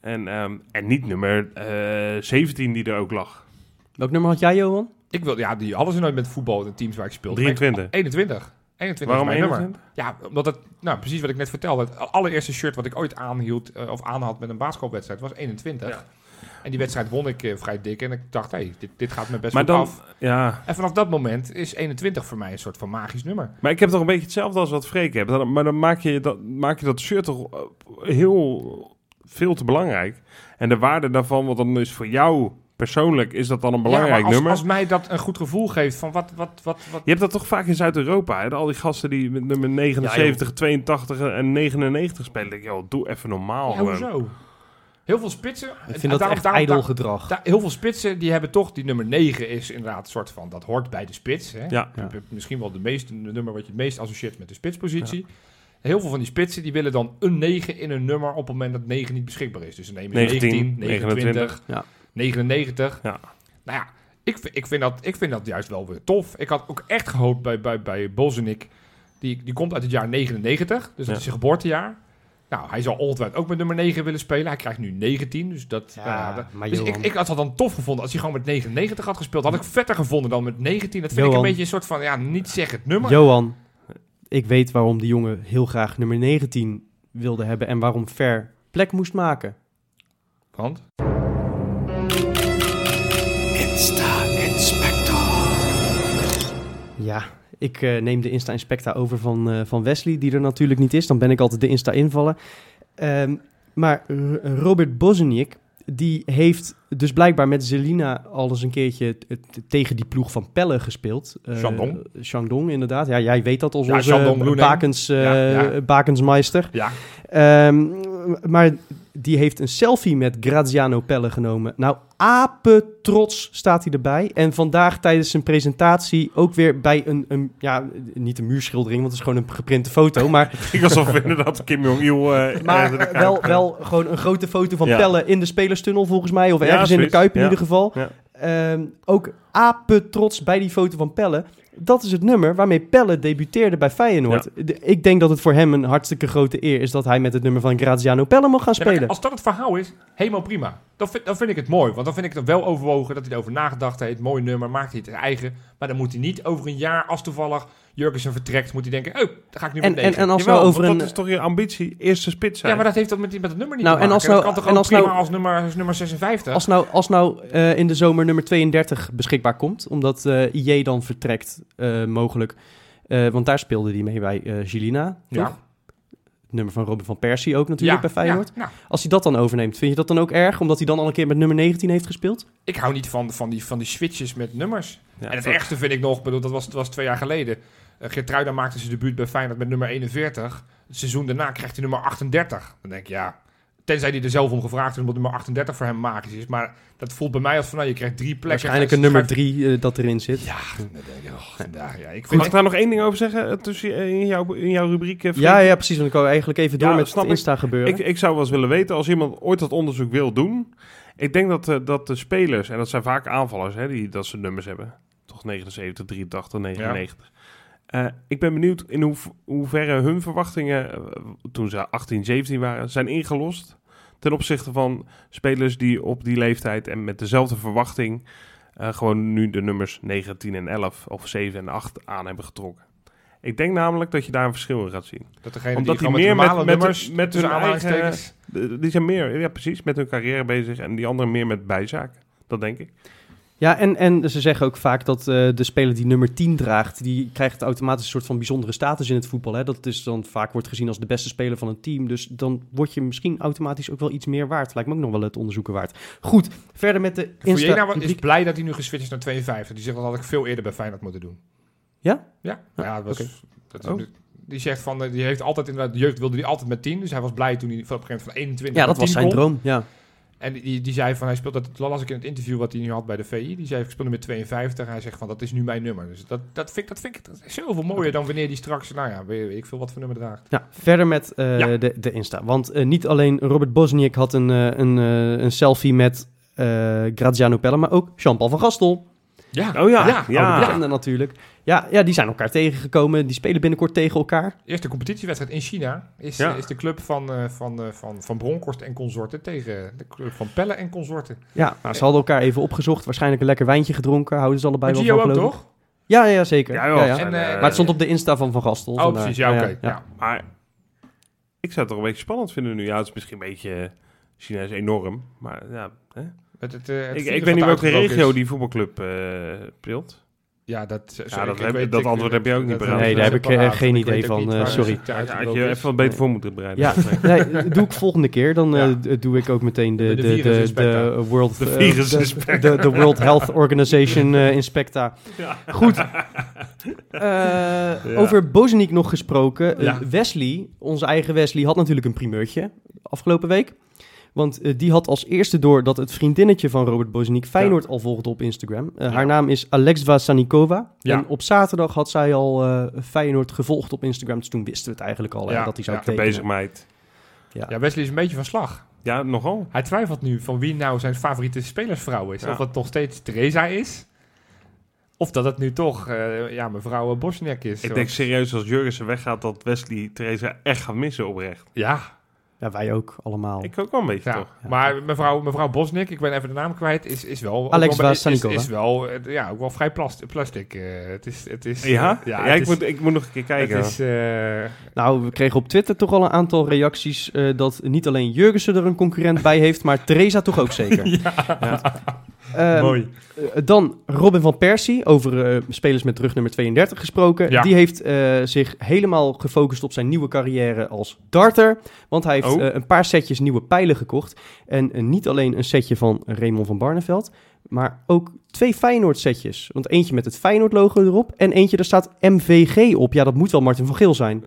[SPEAKER 1] En, ehm, en niet nummer eh, 17 die er ook lag.
[SPEAKER 2] Welk nummer had jij, Johan?
[SPEAKER 3] Ik wil, ja, die hadden ze nooit met voetbal in de teams waar ik speelde.
[SPEAKER 1] 23.
[SPEAKER 3] 21. 21
[SPEAKER 1] Waarom
[SPEAKER 3] is mijn nummer.
[SPEAKER 1] 21?
[SPEAKER 3] Ja, omdat het, nou precies wat ik net vertelde, het allereerste shirt wat ik ooit aanhield eh, of aanhad met een basketbalwedstrijd was 21.
[SPEAKER 1] Ja.
[SPEAKER 3] En die wedstrijd won ik eh, vrij dik en ik dacht, hé, hey, dit, dit gaat me best
[SPEAKER 1] Maar
[SPEAKER 3] maar
[SPEAKER 1] dan,
[SPEAKER 3] af.
[SPEAKER 1] ja.
[SPEAKER 3] En vanaf dat moment is 21 voor mij een soort van magisch nummer.
[SPEAKER 1] Maar ik heb toch een beetje hetzelfde als wat Freek heeft. Dan- Maar dan maak je dat, maak je dat shirt toch eh, heel veel te belangrijk. En de waarde daarvan, want dan is voor jou persoonlijk, is dat dan een belangrijk
[SPEAKER 3] ja, maar als,
[SPEAKER 1] nummer.
[SPEAKER 3] als mij dat een goed gevoel geeft van wat, wat, wat, wat
[SPEAKER 1] Je hebt dat toch vaak in Zuid-Europa, hè? al die gasten die met nummer 79, 82 en 99 spelen. Ik denk, joh, doe even normaal.
[SPEAKER 3] ja,
[SPEAKER 1] gewoon.
[SPEAKER 3] hoezo? Heel veel spitsen.
[SPEAKER 2] Ik
[SPEAKER 3] en
[SPEAKER 2] vind dat
[SPEAKER 3] daarom-
[SPEAKER 2] echt
[SPEAKER 3] daarom-
[SPEAKER 2] ijdel
[SPEAKER 3] daar-
[SPEAKER 2] gedrag.
[SPEAKER 3] daar- heel veel spitsen die hebben toch die nummer 9 is inderdaad een soort van dat hoort bij de spits. Hè?
[SPEAKER 1] Ja.
[SPEAKER 2] Ja.
[SPEAKER 3] Misschien wel de meeste de nummer wat je het meest associeert met de spitspositie. Heel veel van die spitsen die willen dan een 9 in een nummer op het moment dat 9 niet beschikbaar is. Dus dan nemen ze
[SPEAKER 1] 19,
[SPEAKER 3] 19, 29,
[SPEAKER 2] ja.
[SPEAKER 3] 99.
[SPEAKER 1] Ja.
[SPEAKER 3] Nou ja, ik, v- ik, vind dat, ik vind dat juist wel weer tof. Ik had ook echt gehoopt bij, bij, bij Bozenik. Die, die komt uit het jaar 99, dus dat
[SPEAKER 1] Ja.
[SPEAKER 3] is zijn geboortejaar. Nou, hij zou altijd ook met nummer 9 willen spelen. Hij krijgt nu 19, dus dat...
[SPEAKER 2] Ja,
[SPEAKER 3] nou ja, dat-
[SPEAKER 2] maar
[SPEAKER 3] dus ik,
[SPEAKER 2] Johan.
[SPEAKER 3] ik had dat dan tof gevonden als hij gewoon met 99 had gespeeld. Had ik vetter gevonden dan met 19. Dat vind ik
[SPEAKER 2] Johan.
[SPEAKER 3] een beetje een soort van, ja, niet zeg het nummer.
[SPEAKER 2] Johan, ik weet waarom die jongen heel graag nummer 19 wilde hebben en waarom Ver plek moest maken.
[SPEAKER 3] Want?
[SPEAKER 2] Ja, ik eh, neem de Insta Inspecta over van, eh, van Wesley, die er natuurlijk niet is. Dan ben ik altijd de Insta invallen. Ehm, maar R- Robert Bozeniak, die heeft dus blijkbaar met Zelina al eens een keertje t- t- tegen die ploeg van Pelle gespeeld. Eh,
[SPEAKER 3] Shandong.
[SPEAKER 2] Shandong, inderdaad. Ja, jij weet dat als
[SPEAKER 3] Ja,
[SPEAKER 2] onze
[SPEAKER 3] Shandong Luneng.
[SPEAKER 2] bakens, eh,
[SPEAKER 3] Ja, ja.
[SPEAKER 2] bakensmeister.
[SPEAKER 3] Ja.
[SPEAKER 2] Ehm, maar die heeft een selfie met Graziano Pelle genomen. Nou, apetrots staat hij erbij. En vandaag tijdens zijn presentatie ook weer bij een, een ja, niet een muurschildering, want het is gewoon een geprinte foto. Maar,
[SPEAKER 1] [LAUGHS] Ik alsof we inderdaad Kim Jong-il... eh,
[SPEAKER 2] maar
[SPEAKER 1] eh,
[SPEAKER 2] eh, wel, wel gewoon een grote foto van
[SPEAKER 1] Ja.
[SPEAKER 2] Pelle in de spelerstunnel volgens mij. Of
[SPEAKER 1] Ja,
[SPEAKER 2] ergens in de
[SPEAKER 1] zoiets.
[SPEAKER 2] Kuip in
[SPEAKER 1] Ja.
[SPEAKER 2] ieder geval.
[SPEAKER 1] Ja.
[SPEAKER 2] Ehm, ook apetrots bij die foto van Pelle. Dat is het nummer waarmee Pelle debuteerde bij Feyenoord. De- ik denk dat het voor hem een hartstikke grote eer is dat hij met het nummer van Graziano Pelle mag gaan
[SPEAKER 3] Ja, maar
[SPEAKER 2] spelen.
[SPEAKER 3] als dat het verhaal is, helemaal prima. Dan vind, dan vind ik het mooi. Want dan vind ik het wel overwogen dat hij erover nagedacht heeft. Mooi nummer, maakt hij het eigen. Maar dan moet hij niet over een jaar, als toevallig Jurgensen vertrekt, moet hij denken, oh, dan ga ik nu
[SPEAKER 2] En-
[SPEAKER 3] met deze.
[SPEAKER 2] en- en als-
[SPEAKER 1] Jawel,
[SPEAKER 2] wel over
[SPEAKER 1] want
[SPEAKER 2] een-
[SPEAKER 1] dat is toch je ambitie, eerste spits zijn.
[SPEAKER 3] ja, maar dat heeft dat met, die- met het nummer niet
[SPEAKER 2] Nou,
[SPEAKER 3] te
[SPEAKER 2] en
[SPEAKER 3] maken.
[SPEAKER 2] als nou-
[SPEAKER 3] dat kan toch
[SPEAKER 2] en
[SPEAKER 3] ook
[SPEAKER 2] als
[SPEAKER 3] prima
[SPEAKER 2] nou-
[SPEAKER 3] als nummer, als nummer 56?
[SPEAKER 2] Als nou, als nou eh, in de zomer nummer 32 beschikbaar komt, omdat eh IJ dan vertrekt, eh, mogelijk. Eh, want daar speelde die mee bij eh Gilina,
[SPEAKER 3] Ja.
[SPEAKER 2] toch? Het nummer van Robin van Persie ook natuurlijk bij Feyenoord.
[SPEAKER 3] ja, nou,
[SPEAKER 2] Als hij dat dan overneemt, vind je dat dan ook erg? Omdat hij dan al een keer met nummer 19 heeft gespeeld?
[SPEAKER 3] ik hou niet van, van, die, van die switches met nummers.
[SPEAKER 1] Ja,
[SPEAKER 3] en het
[SPEAKER 1] dat-
[SPEAKER 3] ergste vind ik nog, bedoel, dat was, dat was twee jaar geleden. Eh Geertruida maakte zijn debuut bij Feyenoord met nummer 41. Het seizoen daarna krijgt hij nummer 38. Dan denk ik, ja, tenzij hij er zelf om gevraagd is, omdat nummer 38 voor hem magisch is. Maar dat voelt bij mij als van, nou, je krijgt drie plekken.
[SPEAKER 2] Waarschijnlijk een nummer 3 dat erin zit.
[SPEAKER 3] Ja, dan denk ik, oh, vandaag, ja, ik
[SPEAKER 1] Mag
[SPEAKER 3] vind
[SPEAKER 1] ik daar nog één ding over zeggen eh, tussen, eh, in, jouw, in jouw rubriek? eh, Freek?
[SPEAKER 2] Ja, ja, precies. Want ik wou eigenlijk even door
[SPEAKER 1] Ja,
[SPEAKER 2] met
[SPEAKER 1] snap
[SPEAKER 2] het
[SPEAKER 1] ik.
[SPEAKER 2] Insta gebeuren.
[SPEAKER 1] Ik, ik zou wel eens willen weten, als iemand ooit dat onderzoek wil doen... Ik denk dat, eh, dat de spelers, en dat zijn vaak aanvallers, hè, die dat ze nummers hebben. Toch 79, 83, 99. Eh, ik ben benieuwd in hoe, hoeverre hun verwachtingen, eh, toen ze 18, 17 waren, zijn ingelost. Ten opzichte van spelers die op die leeftijd en met dezelfde verwachting... eh, gewoon nu de nummers 9, 10 en 11 of 7 en 8 aan hebben getrokken. Ik denk namelijk dat je daar een verschil in gaat zien.
[SPEAKER 3] dat degene
[SPEAKER 1] omdat
[SPEAKER 3] die
[SPEAKER 1] die
[SPEAKER 3] gewoon
[SPEAKER 1] meer
[SPEAKER 3] met normale
[SPEAKER 1] met- met-
[SPEAKER 3] nummers,
[SPEAKER 1] met hun
[SPEAKER 3] tussen aanhalingstekens...
[SPEAKER 1] De- Eh, Die zijn meer, ja precies, met hun carrière bezig en die anderen meer met bijzaken. Dat denk ik.
[SPEAKER 2] Ja, en, en ze zeggen ook vaak dat eh, de speler die nummer 10 draagt, die krijgt automatisch een soort van bijzondere status in het voetbal. Hè? Dat is dan vaak wordt gezien als de beste speler van een team. Dus dan word je misschien automatisch ook wel iets meer waard. Lijkt me ook nog wel het onderzoeken waard. Goed, verder met de
[SPEAKER 3] Fujena wa-
[SPEAKER 2] Insta.
[SPEAKER 3] is blij dat hij nu geswitcht is naar 52. Die zegt dat had ik veel eerder bij Feyenoord moeten doen.
[SPEAKER 2] Ja?
[SPEAKER 3] Ja.
[SPEAKER 2] Ah,
[SPEAKER 3] ja dat was,
[SPEAKER 2] oké.
[SPEAKER 3] dat,
[SPEAKER 1] Oh.
[SPEAKER 3] Die zegt van, eh, die heeft altijd inderdaad, de jeugd wilde die altijd met 10. Dus hij was blij toen hij van op een gegeven moment van 21
[SPEAKER 2] Ja, dat
[SPEAKER 3] naar
[SPEAKER 2] was
[SPEAKER 3] 10
[SPEAKER 2] zijn
[SPEAKER 3] kon.
[SPEAKER 2] droom. Ja.
[SPEAKER 3] En die, die zei van, hij speelt dat, dat las ik in het interview wat hij nu had bij de VI. Die zei, ik speel met 52. Hij zegt van, dat is nu mijn nummer. Dus dat, dat vind ik, dat vind ik dat is zoveel mooier dan wanneer die straks, nou ja, weet, weet ik veel wat voor nummer draagt.
[SPEAKER 2] Ja, verder met eh,
[SPEAKER 3] Ja.
[SPEAKER 2] de, de Insta. Want eh, niet alleen Robert Bosniak had een, eh, een, eh, een selfie met eh, Graziano Pelle, maar ook Jean-Paul van Gastel.
[SPEAKER 3] Ja.
[SPEAKER 1] Oh
[SPEAKER 3] Ja,
[SPEAKER 1] ja, ja.
[SPEAKER 2] Ja. bekende natuurlijk. Ja, ja, die zijn elkaar tegengekomen. Die spelen binnenkort tegen elkaar.
[SPEAKER 3] Eerste competitiewedstrijd in China is,
[SPEAKER 1] Ja.
[SPEAKER 3] eh, is de club van, eh, van, eh, van, van Bronkhorst en consorten tegen de club van Pelle en consorten.
[SPEAKER 2] Ja, nou, ze hadden elkaar even opgezocht. Waarschijnlijk een lekker wijntje gedronken. Houden ze allebei
[SPEAKER 3] En
[SPEAKER 2] wel
[SPEAKER 3] Gio
[SPEAKER 2] van,
[SPEAKER 3] ook
[SPEAKER 2] geloof ik.
[SPEAKER 3] toch?
[SPEAKER 2] Ja, ja, zeker.
[SPEAKER 1] Ja,
[SPEAKER 2] Ja,
[SPEAKER 1] joh,
[SPEAKER 2] ja.
[SPEAKER 1] zijn,
[SPEAKER 3] En, eh,
[SPEAKER 1] eh,
[SPEAKER 2] Maar het stond op de Insta van Van Gastel.
[SPEAKER 3] Oh,
[SPEAKER 2] vandaar.
[SPEAKER 3] precies. Ja, oké.
[SPEAKER 2] ja.
[SPEAKER 3] Ja.
[SPEAKER 1] Maar ik zou het toch een beetje spannend vinden nu. Ja, het is misschien een beetje... eh, China is enorm, maar ja. hè?
[SPEAKER 3] Met het, eh, het
[SPEAKER 1] Ik,
[SPEAKER 3] virus
[SPEAKER 1] ik weet niet
[SPEAKER 3] wat
[SPEAKER 1] welke
[SPEAKER 3] uitgebroken
[SPEAKER 1] regio
[SPEAKER 3] is.
[SPEAKER 1] die voetbalclub eh speelt.
[SPEAKER 3] Ja, dat, eh, sorry,
[SPEAKER 1] dat
[SPEAKER 3] ik
[SPEAKER 1] heb-
[SPEAKER 3] weet-
[SPEAKER 1] dat
[SPEAKER 3] ik-
[SPEAKER 1] antwoord heb je ook niet
[SPEAKER 3] dat-
[SPEAKER 1] paraat.
[SPEAKER 2] Nee, daar heb ik, eh,
[SPEAKER 3] paraat.
[SPEAKER 2] geen
[SPEAKER 3] Ik weet
[SPEAKER 2] idee
[SPEAKER 3] ook
[SPEAKER 2] van,
[SPEAKER 3] niet
[SPEAKER 2] eh,
[SPEAKER 3] waar
[SPEAKER 2] sorry.
[SPEAKER 3] het
[SPEAKER 1] Ja,
[SPEAKER 3] uitgebroken
[SPEAKER 1] had je
[SPEAKER 3] is.
[SPEAKER 1] even wat beter voor moeten bereiden. [LAUGHS]
[SPEAKER 2] Ja, nee, doe ik volgende keer. Dan eh,
[SPEAKER 3] Ja.
[SPEAKER 2] d- doe ik ook meteen de,
[SPEAKER 3] De
[SPEAKER 2] de, de,
[SPEAKER 3] virusinspecta.
[SPEAKER 2] de World,
[SPEAKER 1] De
[SPEAKER 2] eh,
[SPEAKER 1] virusinspecta.
[SPEAKER 2] de, de World Health Organization eh, Inspecta.
[SPEAKER 1] Ja.
[SPEAKER 2] Goed. Eh, Over Bozeniek nog gesproken. Eh,
[SPEAKER 1] Ja.
[SPEAKER 2] Wesley, onze eigen Wesley, had natuurlijk een primeurtje afgelopen week. Want eh, die had als eerste door dat het vriendinnetje van Robert Bozeniek Feyenoord al volgde op Instagram. Eh, Haar
[SPEAKER 1] Ja.
[SPEAKER 2] naam is Alexva Sanikova.
[SPEAKER 3] Ja.
[SPEAKER 2] En op zaterdag had zij al eh, Feyenoord gevolgd op Instagram. Dus toen wisten we het eigenlijk al hè,
[SPEAKER 3] Ja,
[SPEAKER 2] dat hij zou
[SPEAKER 3] ja.
[SPEAKER 1] De
[SPEAKER 2] tekenen.
[SPEAKER 1] bezigheid.
[SPEAKER 3] Ja, Wesley is een beetje van slag.
[SPEAKER 1] Ja, nogal.
[SPEAKER 3] Hij twijfelt nu van wie nou zijn favoriete spelersvrouw is.
[SPEAKER 1] Ja.
[SPEAKER 3] Of dat nog steeds Theresa is. Of dat het nu toch eh, ja, mevrouw Bosniak is.
[SPEAKER 1] Ik
[SPEAKER 3] Want-
[SPEAKER 1] denk serieus als Jurgensen weggaat dat Wesley Theresa echt gaat missen oprecht.
[SPEAKER 3] ja,
[SPEAKER 2] Ja, wij ook allemaal.
[SPEAKER 1] Ik ook wel een beetje
[SPEAKER 3] ja.
[SPEAKER 1] toch?
[SPEAKER 3] maar mevrouw, mevrouw Bosniak, ik ben even de naam kwijt, is, is wel... ook
[SPEAKER 2] Alex
[SPEAKER 3] wel-
[SPEAKER 2] Vaas
[SPEAKER 3] is, is,
[SPEAKER 2] Sanikova.
[SPEAKER 3] is wel, eh, ja, ook wel vrij plast, plastic. eh, het is... Het is
[SPEAKER 1] Ja?
[SPEAKER 3] eh,
[SPEAKER 1] Ja,
[SPEAKER 3] het
[SPEAKER 1] ik,
[SPEAKER 3] is-
[SPEAKER 1] moet, ik moet nog een keer
[SPEAKER 3] Het
[SPEAKER 1] kijken.
[SPEAKER 3] is... eh,
[SPEAKER 2] Nou, we kregen op Twitter toch al een aantal reacties eh, dat niet alleen Jurgensen er een concurrent bij heeft, maar Theresa toch ook zeker. Ehm, eh, dan Robin van Persie, over eh, spelers met rugnummer 32 gesproken.
[SPEAKER 3] Ja.
[SPEAKER 2] Die heeft eh, zich helemaal gefocust op zijn nieuwe carrière als darter. Want hij heeft
[SPEAKER 1] Oh.
[SPEAKER 2] eh, een paar setjes nieuwe pijlen gekocht. En eh, niet alleen een setje van Raymond van Barneveld, maar ook twee Feyenoord setjes. Want eentje met het Feyenoord logo erop en eentje daar staat MVG op. Ja, dat moet wel Martin van Geel zijn.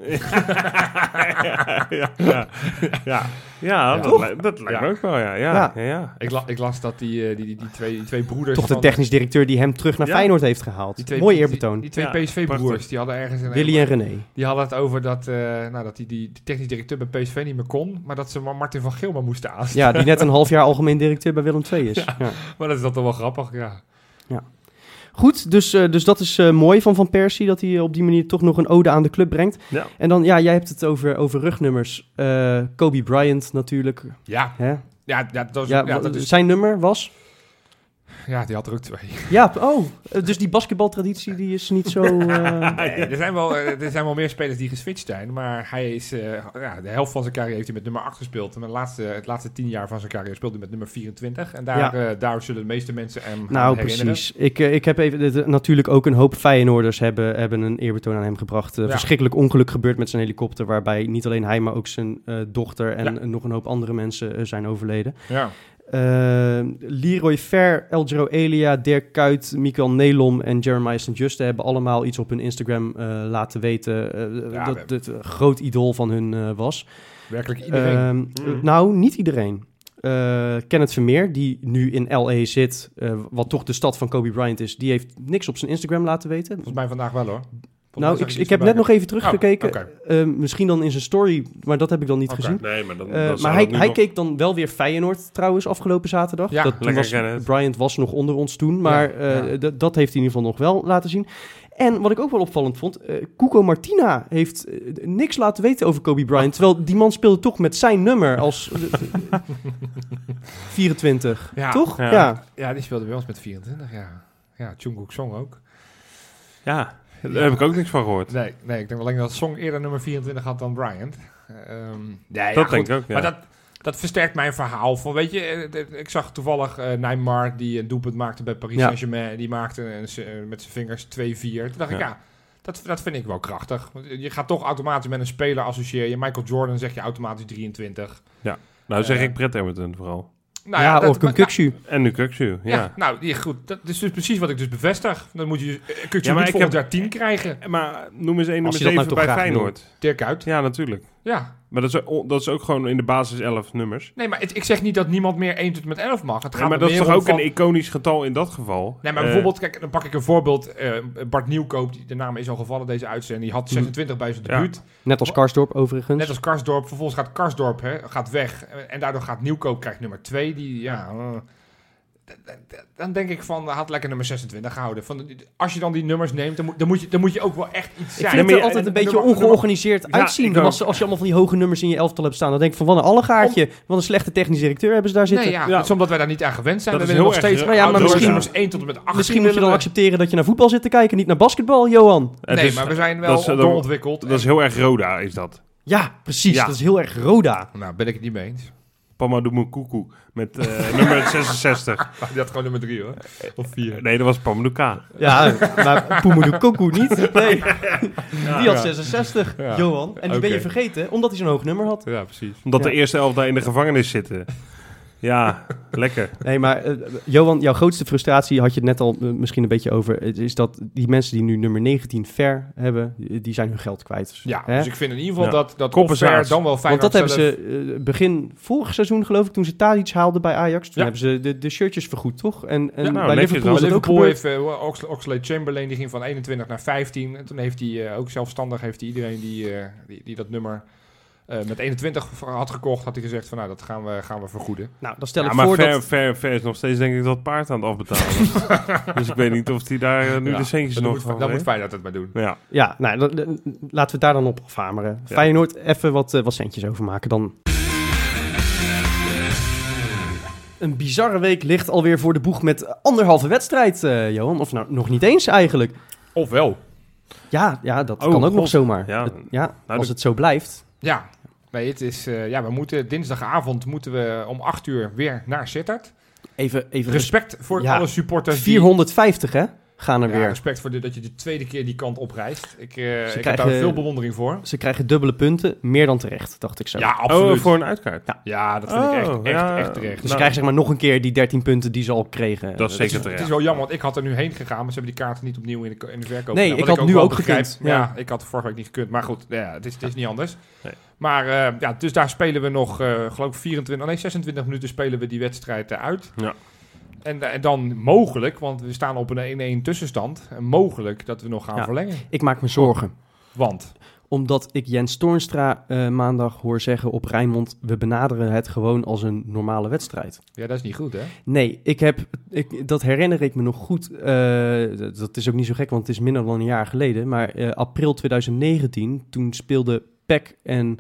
[SPEAKER 1] ja, ja, ja. [LAUGHS] ja. ja, dat,
[SPEAKER 3] Toch?
[SPEAKER 1] li- dat lijkt me
[SPEAKER 3] Ja.
[SPEAKER 1] ook wel, ja. ja,
[SPEAKER 2] Ja.
[SPEAKER 1] ja. ja.
[SPEAKER 3] Ik, la- ik las dat die, eh, die, die, die twee, die twee broeders...
[SPEAKER 2] Toch de
[SPEAKER 3] van-
[SPEAKER 2] technisch directeur die hem terug naar
[SPEAKER 1] Ja.
[SPEAKER 2] Feyenoord heeft
[SPEAKER 3] die
[SPEAKER 2] gehaald.
[SPEAKER 3] twee-
[SPEAKER 2] Mooi
[SPEAKER 3] die-
[SPEAKER 2] eerbetoon.
[SPEAKER 3] Die, twee
[SPEAKER 1] Ja,
[SPEAKER 3] PSV-broers,
[SPEAKER 1] prachtig.
[SPEAKER 3] die hadden ergens... in een-
[SPEAKER 2] Willy en René.
[SPEAKER 3] Die hadden het over dat, eh, nou, dat die, die technisch directeur bij PSV niet meer kon. Maar dat ze maar Martin van Geel maar moesten aanstellen.
[SPEAKER 2] Ja, die
[SPEAKER 3] [LAUGHS]
[SPEAKER 2] net een half jaar algemeen directeur bij Willem II is. Ja.
[SPEAKER 3] Maar dat is dat toch wel grappig, ja.
[SPEAKER 2] Goed, dus, eh, dus dat is eh, mooi van Van Persie, dat hij eh, op die manier toch nog een ode aan de club brengt.
[SPEAKER 1] Ja.
[SPEAKER 2] En dan, ja, jij hebt het over, over rugnummers. Eh, Kobe Bryant natuurlijk.
[SPEAKER 3] Ja,
[SPEAKER 2] Hè?
[SPEAKER 3] ja, ja, dat, is, ja,
[SPEAKER 2] Ja, dus- wa-
[SPEAKER 3] dat is-
[SPEAKER 2] Zijn nummer was?
[SPEAKER 3] ja, die had er ook twee.
[SPEAKER 2] Ja, oh, eh, dus die basketbaltraditie die is
[SPEAKER 3] [LAUGHS]
[SPEAKER 2] niet zo... eh,
[SPEAKER 3] Nee, er, zijn wel, eh, er zijn wel meer spelers die geswitcht zijn. Maar hij is, eh, ja, de helft van zijn carrière heeft hij met nummer 8 gespeeld. En de laatste, het laatste tien jaar van zijn carrière speelde hij met nummer 24. En daar,
[SPEAKER 2] Ja.
[SPEAKER 3] eh, daar zullen de meeste mensen hem aan
[SPEAKER 2] Nou,
[SPEAKER 3] herinneren.
[SPEAKER 2] precies. Ik, eh, ik heb even, dit, eh, natuurlijk ook een hoop Feyenoorders hebben, hebben een eerbetoon aan hem gebracht. Eh,
[SPEAKER 3] Ja.
[SPEAKER 2] Verschrikkelijk ongeluk gebeurd met zijn helikopter, waarbij niet alleen hij, maar ook zijn eh, dochter en
[SPEAKER 3] Ja.
[SPEAKER 2] eh, nog een hoop andere mensen eh, zijn overleden.
[SPEAKER 3] Ja.
[SPEAKER 2] Eh, Leroy Fair, Eljero Elia, Dirk Kuyt, Mikael Nelom en Jeremiah St. Juste hebben allemaal iets op hun Instagram eh, laten weten eh,
[SPEAKER 3] Ja,
[SPEAKER 2] dat
[SPEAKER 3] we-
[SPEAKER 2] het een groot idool van hun eh, was.
[SPEAKER 3] Werkelijk iedereen.
[SPEAKER 2] Ehm, eh, Nou, niet iedereen. Eh Kenneth Vermeer, die nu in LA zit, eh, wat toch de stad van Kobe Bryant is, die heeft niks op zijn Instagram laten weten.
[SPEAKER 3] Volgens mij vandaag wel hoor.
[SPEAKER 2] nou, ik, ik heb net nog even teruggekeken.
[SPEAKER 3] Oh, oké.
[SPEAKER 2] Eh, misschien dan in zijn story, maar dat heb ik dan niet
[SPEAKER 3] Oké.
[SPEAKER 2] gezien.
[SPEAKER 1] Nee, maar dan,
[SPEAKER 2] Eh,
[SPEAKER 1] dan zou
[SPEAKER 2] maar
[SPEAKER 1] dat
[SPEAKER 2] hij,
[SPEAKER 1] nu
[SPEAKER 2] hij
[SPEAKER 1] nog-
[SPEAKER 2] keek dan wel weer Feyenoord trouwens afgelopen zaterdag.
[SPEAKER 3] Ja,
[SPEAKER 2] dat, toen
[SPEAKER 1] lekker
[SPEAKER 2] was,
[SPEAKER 1] Kenneth.
[SPEAKER 2] Bryant was nog onder ons toen, maar
[SPEAKER 3] Ja,
[SPEAKER 2] eh, d- dat heeft hij in ieder geval nog wel laten zien. En wat ik ook wel opvallend vond, eh Cuco Martina heeft eh, niks laten weten over Kobe Bryant. Terwijl die man speelde toch met zijn nummer als eh, 24,
[SPEAKER 3] Ja.
[SPEAKER 2] toch?
[SPEAKER 1] Ja.
[SPEAKER 3] Ja, die speelde bij ons met 24, ja. Ja, Jungkook Song ook.
[SPEAKER 1] Ja, daar heb ik ook niks van gehoord.
[SPEAKER 3] Nee, nee, ik denk alleen dat Song eerder nummer 24 had dan Bryant. Ehm, nee, ja,
[SPEAKER 1] dat
[SPEAKER 3] goed.
[SPEAKER 1] denk ik ook, ja.
[SPEAKER 3] Maar dat, dat versterkt mijn verhaal. Van, weet je, eh, eh, ik zag toevallig eh Neymar die een doelpunt maakte bij Paris
[SPEAKER 2] Ja.
[SPEAKER 3] Saint-Germain. Die maakte een s- eh, met zijn vingers 2-4. Toen dacht ik,
[SPEAKER 1] Ja.
[SPEAKER 3] ja, dat, dat vind ik wel krachtig. Want eh, Je gaat toch automatisch met een speler associëren. Je Michael Jordan zeg je automatisch 23.
[SPEAKER 1] nou zeg
[SPEAKER 3] eh,
[SPEAKER 1] ik Brett Everton vooral.
[SPEAKER 3] Nou
[SPEAKER 2] ja,
[SPEAKER 3] dat-
[SPEAKER 2] of een
[SPEAKER 3] maar- nou,
[SPEAKER 2] Kuksu.
[SPEAKER 1] En nu Kuksu, ja.
[SPEAKER 3] ja. nou die, goed. Dat is dus precies wat ik dus bevestig. Dan moet je eh, Kukzu
[SPEAKER 1] Ja, maar
[SPEAKER 3] niet
[SPEAKER 1] ik
[SPEAKER 3] volgend
[SPEAKER 1] heb-
[SPEAKER 3] jaar 10 krijgen.
[SPEAKER 1] Maar noem eens één
[SPEAKER 2] Als
[SPEAKER 1] nummer
[SPEAKER 2] je dat nou
[SPEAKER 1] 7
[SPEAKER 2] toch
[SPEAKER 1] bij
[SPEAKER 2] graag wil.
[SPEAKER 1] Feyenoord.
[SPEAKER 3] Dirk uit.
[SPEAKER 1] Ja, natuurlijk.
[SPEAKER 3] Ja.
[SPEAKER 1] Maar dat is, o- dat is ook gewoon in de basis 11 nummers.
[SPEAKER 3] Nee, maar het- ik zeg niet dat niemand meer 1 tot en met 11 mag. Het gaat
[SPEAKER 1] Ja, maar
[SPEAKER 3] er
[SPEAKER 1] dat is
[SPEAKER 3] meer
[SPEAKER 1] toch
[SPEAKER 3] om
[SPEAKER 1] ook
[SPEAKER 3] van-
[SPEAKER 1] een iconisch getal in dat geval?
[SPEAKER 3] Nee, maar
[SPEAKER 1] Eh,
[SPEAKER 3] bijvoorbeeld, kijk, dan pak ik een voorbeeld. eh, Bart Nieuwkoop, die, de naam is al gevallen deze uitzending. Die had 26 bij zijn
[SPEAKER 1] Ja.
[SPEAKER 3] debuut.
[SPEAKER 2] Net als Karsdorp overigens.
[SPEAKER 3] Net als Karsdorp. Vervolgens gaat Karsdorp hè, gaat weg. Eh, En daardoor gaat Nieuwkoop, krijgt nummer 2. Die, ja, eh, d- d- d- dan denk ik van, had lekker nummer 26 gehouden. Van, de- als je dan die nummers neemt, dan moet, dan moet, je, dan moet je ook wel echt iets
[SPEAKER 2] Ik
[SPEAKER 3] zijn.
[SPEAKER 1] Nee,
[SPEAKER 2] vind
[SPEAKER 1] maar
[SPEAKER 2] het er
[SPEAKER 1] je-
[SPEAKER 2] altijd een
[SPEAKER 3] en-
[SPEAKER 2] beetje
[SPEAKER 3] nummer-
[SPEAKER 2] ongeëorganiseerd
[SPEAKER 1] nummer-
[SPEAKER 2] uitzien.
[SPEAKER 1] Ja, ik
[SPEAKER 2] Dan
[SPEAKER 1] ook.
[SPEAKER 2] als, als je allemaal van die hoge nummers in je elftal hebt staan, dan denk ik van wat een allegaartje. Wat een slechte technisch directeur hebben ze daar
[SPEAKER 3] Nee,
[SPEAKER 2] zitten.
[SPEAKER 3] ja,
[SPEAKER 1] Ja.
[SPEAKER 3] dat is omdat wij daar niet aan gewend zijn.
[SPEAKER 1] Dat
[SPEAKER 3] we
[SPEAKER 1] is
[SPEAKER 3] willen nog
[SPEAKER 1] heel
[SPEAKER 3] steeds
[SPEAKER 1] erg,
[SPEAKER 2] hè? Ja, maar
[SPEAKER 3] oudere
[SPEAKER 2] misschien-
[SPEAKER 3] nummers 1 tot en met 18
[SPEAKER 2] Misschien moet je dan
[SPEAKER 3] willen we-
[SPEAKER 2] accepteren dat je naar voetbal zit te kijken, niet naar basketbal, Johan.
[SPEAKER 1] het
[SPEAKER 3] Nee,
[SPEAKER 1] is-
[SPEAKER 3] maar we zijn wel
[SPEAKER 1] dat is- dat-
[SPEAKER 3] doorontwikkeld.
[SPEAKER 1] Dat is heel erg Roda, is dat.
[SPEAKER 2] Ja, precies.
[SPEAKER 1] Ja.
[SPEAKER 2] Dat is heel erg Roda.
[SPEAKER 3] Nou, ben ik het niet mee eens.
[SPEAKER 1] Pamadoumoukoukou met
[SPEAKER 3] [LAUGHS]
[SPEAKER 1] eh, nummer 66.
[SPEAKER 3] Maar die had gewoon nummer 3 hoor. Of 4.
[SPEAKER 1] Nee, dat was Pamadouka.
[SPEAKER 2] Ja, maar Pumudu Koku niet. Nee, die had
[SPEAKER 3] ja.
[SPEAKER 2] 66,
[SPEAKER 3] Ja.
[SPEAKER 2] Johan. En die ben je
[SPEAKER 3] Oké.
[SPEAKER 2] vergeten, omdat hij zo'n hoog nummer had.
[SPEAKER 3] Ja, precies.
[SPEAKER 1] Omdat
[SPEAKER 2] Ja.
[SPEAKER 1] de eerste elf daar in de gevangenis zitten.
[SPEAKER 2] [LAUGHS]
[SPEAKER 1] Ja, lekker.
[SPEAKER 2] Nee, maar eh, Johan, jouw grootste frustratie had je het net al eh, misschien een beetje over. Het is dat die mensen die nu nummer 19 ver hebben, eh, die zijn hun geld kwijt.
[SPEAKER 3] Ja,
[SPEAKER 2] Hè?
[SPEAKER 3] dus ik vind in ieder geval
[SPEAKER 1] Ja.
[SPEAKER 3] dat, dat
[SPEAKER 1] Compensatie.
[SPEAKER 3] Offer dan wel fijn
[SPEAKER 2] Want dat hebben ze eh, begin vorig seizoen, geloof ik, toen ze Tadic haalden bij Ajax. Toen
[SPEAKER 3] Ja.
[SPEAKER 2] hebben ze de, de shirtjes vergoed, toch? En, en
[SPEAKER 1] Ja, nou,
[SPEAKER 2] bij
[SPEAKER 1] netjes
[SPEAKER 2] Liverpool
[SPEAKER 1] wel.
[SPEAKER 2] is dat ook
[SPEAKER 3] Liverpool
[SPEAKER 2] gebeurd.
[SPEAKER 3] heeft Oxley Chamberlain, die ging van 21 naar 15. En toen heeft hij eh, ook zelfstandig heeft hij iedereen die, eh, die, die dat nummer eh, met 21 v- had gekocht, had hij gezegd van nou, dat gaan we, gaan we vergoeden.
[SPEAKER 2] Nou, dan stel
[SPEAKER 1] ja,
[SPEAKER 2] ik
[SPEAKER 1] maar
[SPEAKER 2] voor
[SPEAKER 1] ver,
[SPEAKER 2] dat...
[SPEAKER 1] ver, ver is nog steeds denk ik dat paard aan het
[SPEAKER 2] [LAUGHS]
[SPEAKER 1] afbetalen. dus ik weet niet of die daar eh, nu
[SPEAKER 3] Ja,
[SPEAKER 1] de
[SPEAKER 3] Dus
[SPEAKER 1] centjes
[SPEAKER 3] Dan
[SPEAKER 1] nog
[SPEAKER 3] moet,
[SPEAKER 1] van
[SPEAKER 3] dan moet
[SPEAKER 1] heeft.
[SPEAKER 3] Feyenoord het maar doen.
[SPEAKER 1] Ja,
[SPEAKER 2] Ja, nou, dan- dan- laten we het daar dan op afhameren.
[SPEAKER 1] Ja.
[SPEAKER 2] Feyenoord, even wat, eh, wat centjes overmaken dan. Een bizarre week ligt alweer voor de boeg met anderhalve wedstrijd, eh, Johan. Of nou, nog niet eens eigenlijk.
[SPEAKER 3] Ofwel.
[SPEAKER 2] Ja, ja dat
[SPEAKER 1] Oh,
[SPEAKER 2] kan ook
[SPEAKER 1] God.
[SPEAKER 2] nog zomaar.
[SPEAKER 1] Ja.
[SPEAKER 2] Het- ja
[SPEAKER 1] Nou,
[SPEAKER 2] als
[SPEAKER 1] de-
[SPEAKER 2] het zo blijft.
[SPEAKER 3] Ja. Nee, het is, eh, ja, we moeten dinsdagavond moeten we om 8 uur weer naar Sittard.
[SPEAKER 2] Even, even
[SPEAKER 3] Respect voor
[SPEAKER 2] Dus Ja.
[SPEAKER 3] alle supporters die-
[SPEAKER 2] 450, hè? Gaan er
[SPEAKER 3] Ja,
[SPEAKER 2] weer.
[SPEAKER 3] respect voor de, dat je de tweede keer die kant oprijst. Ik, eh, ik heb
[SPEAKER 2] krijgen-
[SPEAKER 3] daar veel bewondering voor.
[SPEAKER 2] Ze krijgen dubbele punten, meer dan terecht, dacht ik zo. Dus
[SPEAKER 3] Ja,
[SPEAKER 1] oh,
[SPEAKER 3] absoluut.
[SPEAKER 1] voor een uitkaart.
[SPEAKER 3] Ja, dat vind ik echt,
[SPEAKER 1] Oh,
[SPEAKER 3] echt,
[SPEAKER 1] ja.
[SPEAKER 3] echt terecht.
[SPEAKER 2] Dus
[SPEAKER 1] Nou.
[SPEAKER 2] ze krijgen zeg maar nog een keer die 13 punten die ze al kregen.
[SPEAKER 1] Dat is
[SPEAKER 2] Eh,
[SPEAKER 1] zeker
[SPEAKER 3] Het
[SPEAKER 1] terecht.
[SPEAKER 3] is wel jammer, want ik had er nu heen gegaan, maar ze hebben die kaarten niet opnieuw in de, ko- in de verkoop.
[SPEAKER 2] Nee,
[SPEAKER 3] gedaan,
[SPEAKER 2] ik
[SPEAKER 3] wat
[SPEAKER 2] had nu
[SPEAKER 3] wel
[SPEAKER 2] ook gekund,
[SPEAKER 3] Ja.
[SPEAKER 2] ja.
[SPEAKER 3] ik had het vorige week niet gekund, maar goed, ja, het, is, het is niet anders.
[SPEAKER 1] Nee.
[SPEAKER 3] Maar eh, ja, dus daar spelen we nog, eh, geloof ik, 24, nee, 26 minuten spelen we die wedstrijd eh, uit.
[SPEAKER 1] Ja.
[SPEAKER 3] En, da- en dan mogelijk, want we staan op een 1-1 tussenstand, en mogelijk dat we nog gaan
[SPEAKER 2] Ja.
[SPEAKER 3] verlengen.
[SPEAKER 2] Ik maak me zorgen.
[SPEAKER 3] Want,
[SPEAKER 2] Omdat ik Jens Toornstra eh, maandag hoor zeggen op Rijnmond... we benaderen het gewoon als een normale wedstrijd.
[SPEAKER 3] ja, dat is niet goed, hè?
[SPEAKER 2] Nee, ik heb, ik, dat herinner ik me nog goed. Eh, dat- dat is ook niet zo gek, want het is minder dan een jaar geleden. Maar eh, april 2019, toen speelden PEC en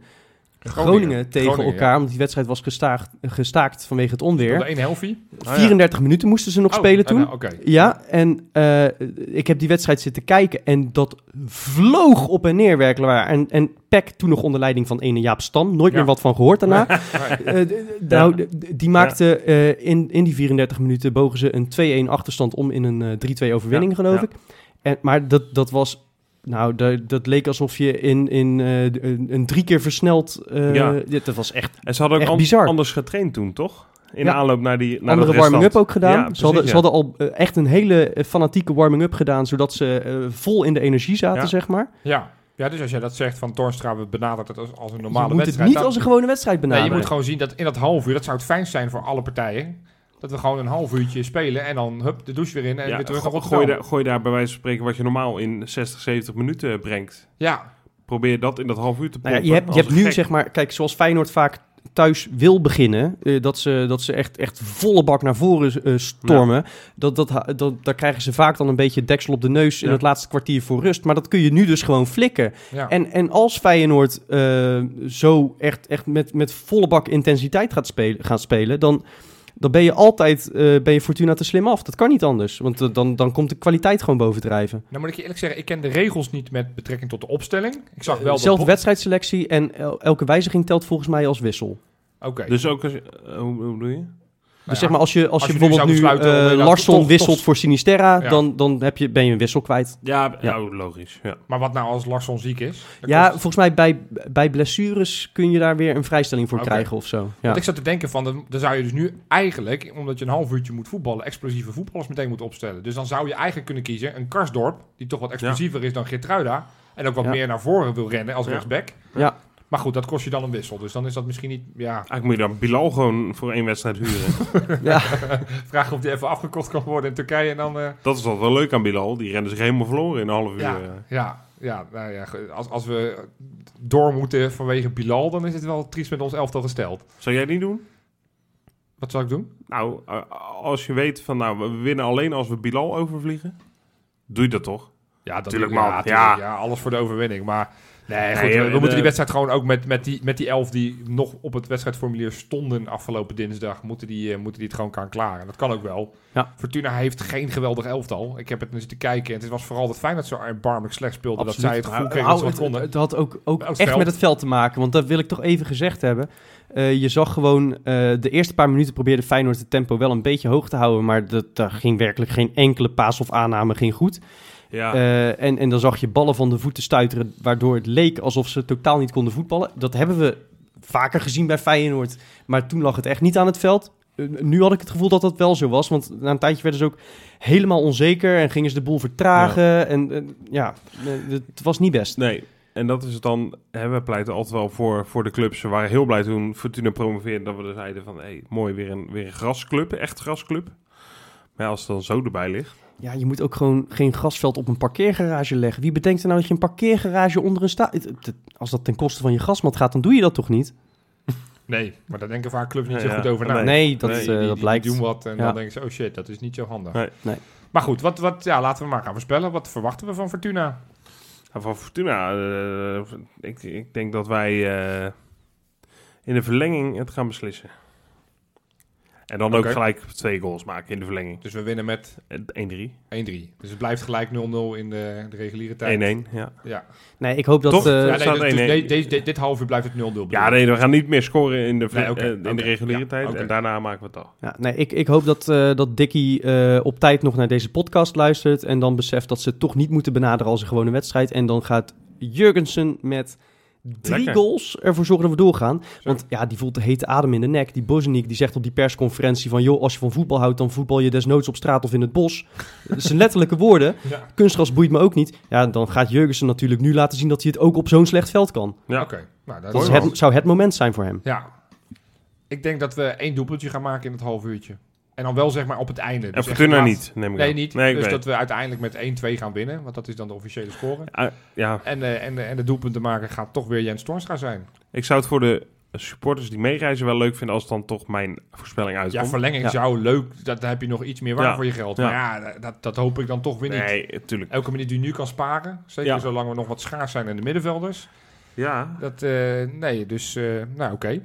[SPEAKER 2] Groningen, tegen
[SPEAKER 3] Groningen,
[SPEAKER 2] elkaar... omdat die wedstrijd was gestaakt, gestaakt vanwege het
[SPEAKER 3] Ah, Ja. De
[SPEAKER 2] onweer.
[SPEAKER 3] een helfie.
[SPEAKER 2] 34 minuten moesten ze nog
[SPEAKER 3] Oh,
[SPEAKER 2] spelen
[SPEAKER 3] eh,
[SPEAKER 2] toen.
[SPEAKER 3] nou, Oké.
[SPEAKER 2] Ja, en eh, ik heb die wedstrijd zitten kijken en dat vloog op en neer werkelijk waar. En, en Peck toen nog onder leiding van ene Jaap Stam, nooit
[SPEAKER 3] Ja.
[SPEAKER 2] meer wat van gehoord
[SPEAKER 1] [LAUGHS]
[SPEAKER 2] daarna.
[SPEAKER 3] Nee.
[SPEAKER 2] Eh, d- d- nou, d- d- die maakte eh, in, in die 34 minuten bogen ze een 2-1 achterstand om in een eh, 3-2 overwinning,
[SPEAKER 1] Ja,
[SPEAKER 2] geloof
[SPEAKER 1] ja.
[SPEAKER 2] ik. En, maar dat, dat was, nou, da- dat leek alsof je in, in eh, een, een drie keer versneld, eh,
[SPEAKER 1] Ja.
[SPEAKER 2] dit- dat was echt
[SPEAKER 1] En ze hadden ook
[SPEAKER 2] Echt
[SPEAKER 1] an-
[SPEAKER 2] bizar.
[SPEAKER 1] anders getraind toen, toch? In
[SPEAKER 2] Ja.
[SPEAKER 1] aanloop naar die naar
[SPEAKER 2] andere
[SPEAKER 1] dat restant.
[SPEAKER 2] warming-up ook gedaan.
[SPEAKER 1] Ja,
[SPEAKER 2] ze,
[SPEAKER 1] precies,
[SPEAKER 2] hadden, ze
[SPEAKER 1] ja.
[SPEAKER 2] hadden al eh, echt een hele eh, fanatieke warming-up gedaan, zodat ze eh, vol in de energie zaten,
[SPEAKER 1] Ja.
[SPEAKER 2] zeg maar.
[SPEAKER 3] Ja. ja, dus als jij dat zegt van Toornstra, we benaderen het als, als een
[SPEAKER 2] je
[SPEAKER 3] normale
[SPEAKER 2] moet het
[SPEAKER 3] wedstrijd.
[SPEAKER 2] niet
[SPEAKER 3] dan-
[SPEAKER 2] als een gewone wedstrijd
[SPEAKER 3] nee,
[SPEAKER 2] benaderen.
[SPEAKER 3] je moet gewoon zien dat in dat half uur, dat zou het fijn zijn voor alle partijen, dat we gewoon een half uurtje spelen en dan hup, de douche weer in en
[SPEAKER 1] Ja,
[SPEAKER 3] weer terug
[SPEAKER 1] go-
[SPEAKER 3] naar Rotterdam.
[SPEAKER 1] gooi, daar, gooi daar bij wijze van spreken wat je normaal in 60, 70 minuten brengt.
[SPEAKER 3] Ja,
[SPEAKER 1] Probeer dat in dat half uur te
[SPEAKER 2] Nou
[SPEAKER 1] pompen.
[SPEAKER 2] ja, je hebt, je
[SPEAKER 1] als
[SPEAKER 2] hebt nu,
[SPEAKER 1] gek.
[SPEAKER 2] zeg maar, kijk, zoals Feyenoord vaak thuis wil beginnen, eh, dat ze, dat ze echt, echt volle bak naar voren eh, stormen, dat, dat, ha- dat, daar krijgen ze vaak dan een beetje deksel op de neus in
[SPEAKER 1] Ja.
[SPEAKER 2] het laatste kwartier voor rust. Maar dat kun je nu dus gewoon flikken.
[SPEAKER 3] ja.
[SPEAKER 2] En, en als Feyenoord eh, zo echt, echt met, met volle bak intensiteit gaat spelen, gaat spelen dan, dan ben je altijd eh, ben je Fortuna te slim af. Dat kan niet anders, want eh, dan, dan komt de kwaliteit gewoon bovendrijven.
[SPEAKER 3] nou moet ik je eerlijk zeggen, ik ken de regels niet met betrekking tot de opstelling. Ik zag wel
[SPEAKER 2] Zelfde
[SPEAKER 3] dat...
[SPEAKER 2] wedstrijdselectie en el- elke wijziging telt volgens mij als wissel.
[SPEAKER 3] Oké. Nou
[SPEAKER 1] Dus ook als... eh, hoe, hoe bedoel je?
[SPEAKER 3] ja.
[SPEAKER 2] Dus zeg maar, als je, als je,
[SPEAKER 3] je nu
[SPEAKER 2] bijvoorbeeld nu,
[SPEAKER 3] zou besluiten om
[SPEAKER 2] eh,
[SPEAKER 3] inderdaad
[SPEAKER 2] Larsson
[SPEAKER 3] toch- toch-
[SPEAKER 2] wisselt voor Sinisterra,
[SPEAKER 3] Ja.
[SPEAKER 2] dan, dan heb je, ben je een wissel kwijt.
[SPEAKER 1] Ja,
[SPEAKER 2] Ja.
[SPEAKER 1] nou, logisch. Ja.
[SPEAKER 3] Maar wat nou als Larsson ziek is? Dan
[SPEAKER 2] ja,
[SPEAKER 3] kost-
[SPEAKER 2] volgens mij bij, bij blessures kun je daar weer een vrijstelling voor
[SPEAKER 3] Oké.
[SPEAKER 2] krijgen of zo. Ja.
[SPEAKER 3] Want ik zat te denken van, dan dan zou je dus nu eigenlijk, omdat je een half uurtje moet voetballen, explosieve voetballers meteen moeten opstellen. Dus dan zou je eigenlijk kunnen kiezen een Karsdorp, die toch wat explosiever is dan Gertruida. En ook wat
[SPEAKER 2] Ja.
[SPEAKER 3] meer naar voren wil rennen als
[SPEAKER 1] Ja.
[SPEAKER 3] rechtsback.
[SPEAKER 2] Ja.
[SPEAKER 3] Maar Maar goed, dat kost je dan een wissel. Dus dan is dat misschien niet... Ja,
[SPEAKER 1] Eigenlijk moet je dan Bilal gewoon voor één wedstrijd huren.
[SPEAKER 3] vraag of die even afgekocht kan worden in Turkije en dan... eh,
[SPEAKER 1] dat is wat wel leuk aan Bilal. Die rennen zich helemaal verloren in een half uur.
[SPEAKER 3] Ja,
[SPEAKER 1] eh.
[SPEAKER 3] ja, ja, nou ja, ge- als, als we door moeten vanwege Bilal, dan is het wel triest met ons elftal gesteld.
[SPEAKER 1] Zou jij die doen?
[SPEAKER 3] Wat zou ik doen?
[SPEAKER 1] Nou, eh, als je weet van nou, we winnen alleen als we Bilal overvliegen. Doe je dat toch?
[SPEAKER 3] Ja, dat,
[SPEAKER 1] Tuurlijk,
[SPEAKER 3] ja,
[SPEAKER 1] man.
[SPEAKER 3] tuurlijk,
[SPEAKER 1] Ja.
[SPEAKER 3] ja. alles voor de overwinning. Maar nee, goed,
[SPEAKER 1] Nee,
[SPEAKER 3] we, we
[SPEAKER 1] de-
[SPEAKER 3] moeten die wedstrijd gewoon ook met, met, die, met die elf die nog op het wedstrijdformulier stonden afgelopen dinsdag, moeten die, eh, moeten die het gewoon gaan klaren. Dat kan ook wel.
[SPEAKER 2] Ja.
[SPEAKER 3] Fortuna heeft geen geweldig elftal. Ik heb het nu zitten kijken en het was vooral dat Feyenoord zo erbarmelijk slecht speelde, dat zij het gevoel kregen dat ze
[SPEAKER 2] Nou, het,
[SPEAKER 3] wat konden.
[SPEAKER 2] het had ook, ook
[SPEAKER 3] Met het
[SPEAKER 2] echt
[SPEAKER 3] veld.
[SPEAKER 2] met het veld te maken. Want dat wil ik toch even gezegd hebben. Eh, je zag gewoon, eh, de eerste paar minuten probeerde Feyenoord het tempo wel een beetje hoog te houden. Maar dat, daar ging werkelijk geen enkele paas of aanname ging goed.
[SPEAKER 1] Ja.
[SPEAKER 2] Eh, en, en dan zag je ballen van de voeten stuiteren, waardoor het leek alsof ze totaal niet konden voetballen. Dat hebben we vaker gezien bij Feyenoord, maar toen lag het echt niet aan het veld. Eh, nu had ik het gevoel dat dat wel zo was, want na een tijdje werden ze ook helemaal onzeker en gingen ze de boel vertragen. En eh, ja, eh, het was niet best.
[SPEAKER 1] Nee, en dat is het dan. Hè, we pleiten altijd wel voor, voor de clubs. We waren heel blij toen Fortuna promoveerde. Dat we er zeiden van, hey, mooi, weer een, weer een grasclub. Echt grasclub. Maar ja, als het dan zo erbij ligt.
[SPEAKER 2] Ja, je moet ook gewoon geen grasveld op een parkeergarage leggen. Wie bedenkt er nou dat je een parkeergarage onder een sta... Het- het- Als dat ten koste van je gasmat gaat, dan doe je dat toch niet?
[SPEAKER 3] Nee, maar daar denken vaak clubs niet
[SPEAKER 1] Ja,
[SPEAKER 3] zo goed over na.
[SPEAKER 1] nee.
[SPEAKER 2] Nee, dat,
[SPEAKER 1] Nee,
[SPEAKER 2] eh,
[SPEAKER 1] die-
[SPEAKER 3] die,
[SPEAKER 2] dat
[SPEAKER 3] die
[SPEAKER 2] blijkt.
[SPEAKER 3] doen wat en
[SPEAKER 2] Ja.
[SPEAKER 3] dan denken ze, oh shit, dat is niet zo handig.
[SPEAKER 1] Nee.
[SPEAKER 2] Nee.
[SPEAKER 3] Maar goed, wat, wat, ja, laten we maar gaan voorspellen. Wat verwachten we van Fortuna?
[SPEAKER 1] En Nou, van Fortuna, eh, ik, ik denk dat wij eh, in de verlenging het gaan beslissen. En dan
[SPEAKER 3] Oké.
[SPEAKER 1] ook gelijk twee goals maken in de verlenging.
[SPEAKER 3] Dus we winnen met 1-3.
[SPEAKER 1] Eh, 1-3, 1-1,
[SPEAKER 3] Dus het blijft gelijk 0-0 in de, de reguliere tijd.
[SPEAKER 1] ja.
[SPEAKER 3] Ja.
[SPEAKER 2] Nee, ik hoop dat...
[SPEAKER 1] Toch?
[SPEAKER 2] eh,
[SPEAKER 3] Ja,
[SPEAKER 1] Ja,
[SPEAKER 3] nee,
[SPEAKER 1] Eh, staat
[SPEAKER 3] dus- dus
[SPEAKER 1] 1-1.
[SPEAKER 3] de- deze- de- dit half uur blijft het 0-0. bedoel
[SPEAKER 1] Ja,
[SPEAKER 3] ik.
[SPEAKER 1] nee, we gaan niet meer scoren in de, verle-
[SPEAKER 3] Nee, oké,
[SPEAKER 1] eh, in
[SPEAKER 3] oké,
[SPEAKER 1] de reguliere
[SPEAKER 3] ja,
[SPEAKER 1] tijd.
[SPEAKER 3] oké. Dus
[SPEAKER 1] En daarna maken we het al.
[SPEAKER 2] Ja, nee, ik, ik hoop dat, eh, dat Dickie eh, op tijd nog naar deze podcast luistert. En dan beseft dat ze het toch niet moeten benaderen als een gewone wedstrijd. En dan gaat Jurgensen met drie
[SPEAKER 1] Lekker.
[SPEAKER 2] goals ervoor zorgen dat we doorgaan. Want ja, die voelt de hete adem in de nek. Die Bozeniek die zegt op die persconferentie van... joh, als je van voetbal houdt, dan voetbal je desnoods op straat of in het bos. [LAUGHS] Dat zijn letterlijke woorden.
[SPEAKER 3] Ja.
[SPEAKER 2] Kunstgras boeit me ook niet. Ja, dan gaat Jurgensen natuurlijk nu laten zien dat hij het ook op zo'n slecht veld kan.
[SPEAKER 1] Ja.
[SPEAKER 3] Oké. Nou, dat
[SPEAKER 2] Dat is
[SPEAKER 3] is
[SPEAKER 2] het, zou het moment zijn voor hem.
[SPEAKER 3] Ja. Ik denk dat we één doelpuntje gaan maken in het half uurtje. En dan wel zeg maar op het einde.
[SPEAKER 1] En
[SPEAKER 3] Dus echt
[SPEAKER 1] Fortuna
[SPEAKER 3] laat-
[SPEAKER 1] niet, neem ik
[SPEAKER 3] Nee,
[SPEAKER 1] aan.
[SPEAKER 3] niet.
[SPEAKER 1] Nee, ik
[SPEAKER 3] dus
[SPEAKER 1] weet.
[SPEAKER 3] dat we uiteindelijk met 1-2 gaan winnen. Want dat is dan de officiële score.
[SPEAKER 1] Ah, ja,
[SPEAKER 3] En, eh, en, en de doelpunten maken gaat toch weer Jens Torstra zijn.
[SPEAKER 1] Ik zou het voor de supporters die meereizen wel leuk vinden als dan toch mijn voorspelling
[SPEAKER 3] Ja,
[SPEAKER 1] uitkomt.
[SPEAKER 3] verlenging
[SPEAKER 2] Ja.
[SPEAKER 3] zou leuk. Dat, daar heb je nog iets meer waar
[SPEAKER 1] Ja.
[SPEAKER 3] voor je geld.
[SPEAKER 1] Ja.
[SPEAKER 3] Maar ja, dat, dat hoop ik dan toch weer niet.
[SPEAKER 1] nee, natuurlijk.
[SPEAKER 3] Elke minuut die je nu kan sparen. Zeker
[SPEAKER 1] Ja.
[SPEAKER 3] zolang we nog wat schaars zijn in de middenvelders.
[SPEAKER 1] Ja,
[SPEAKER 3] Dat, eh, nee, dus eh, nou oké.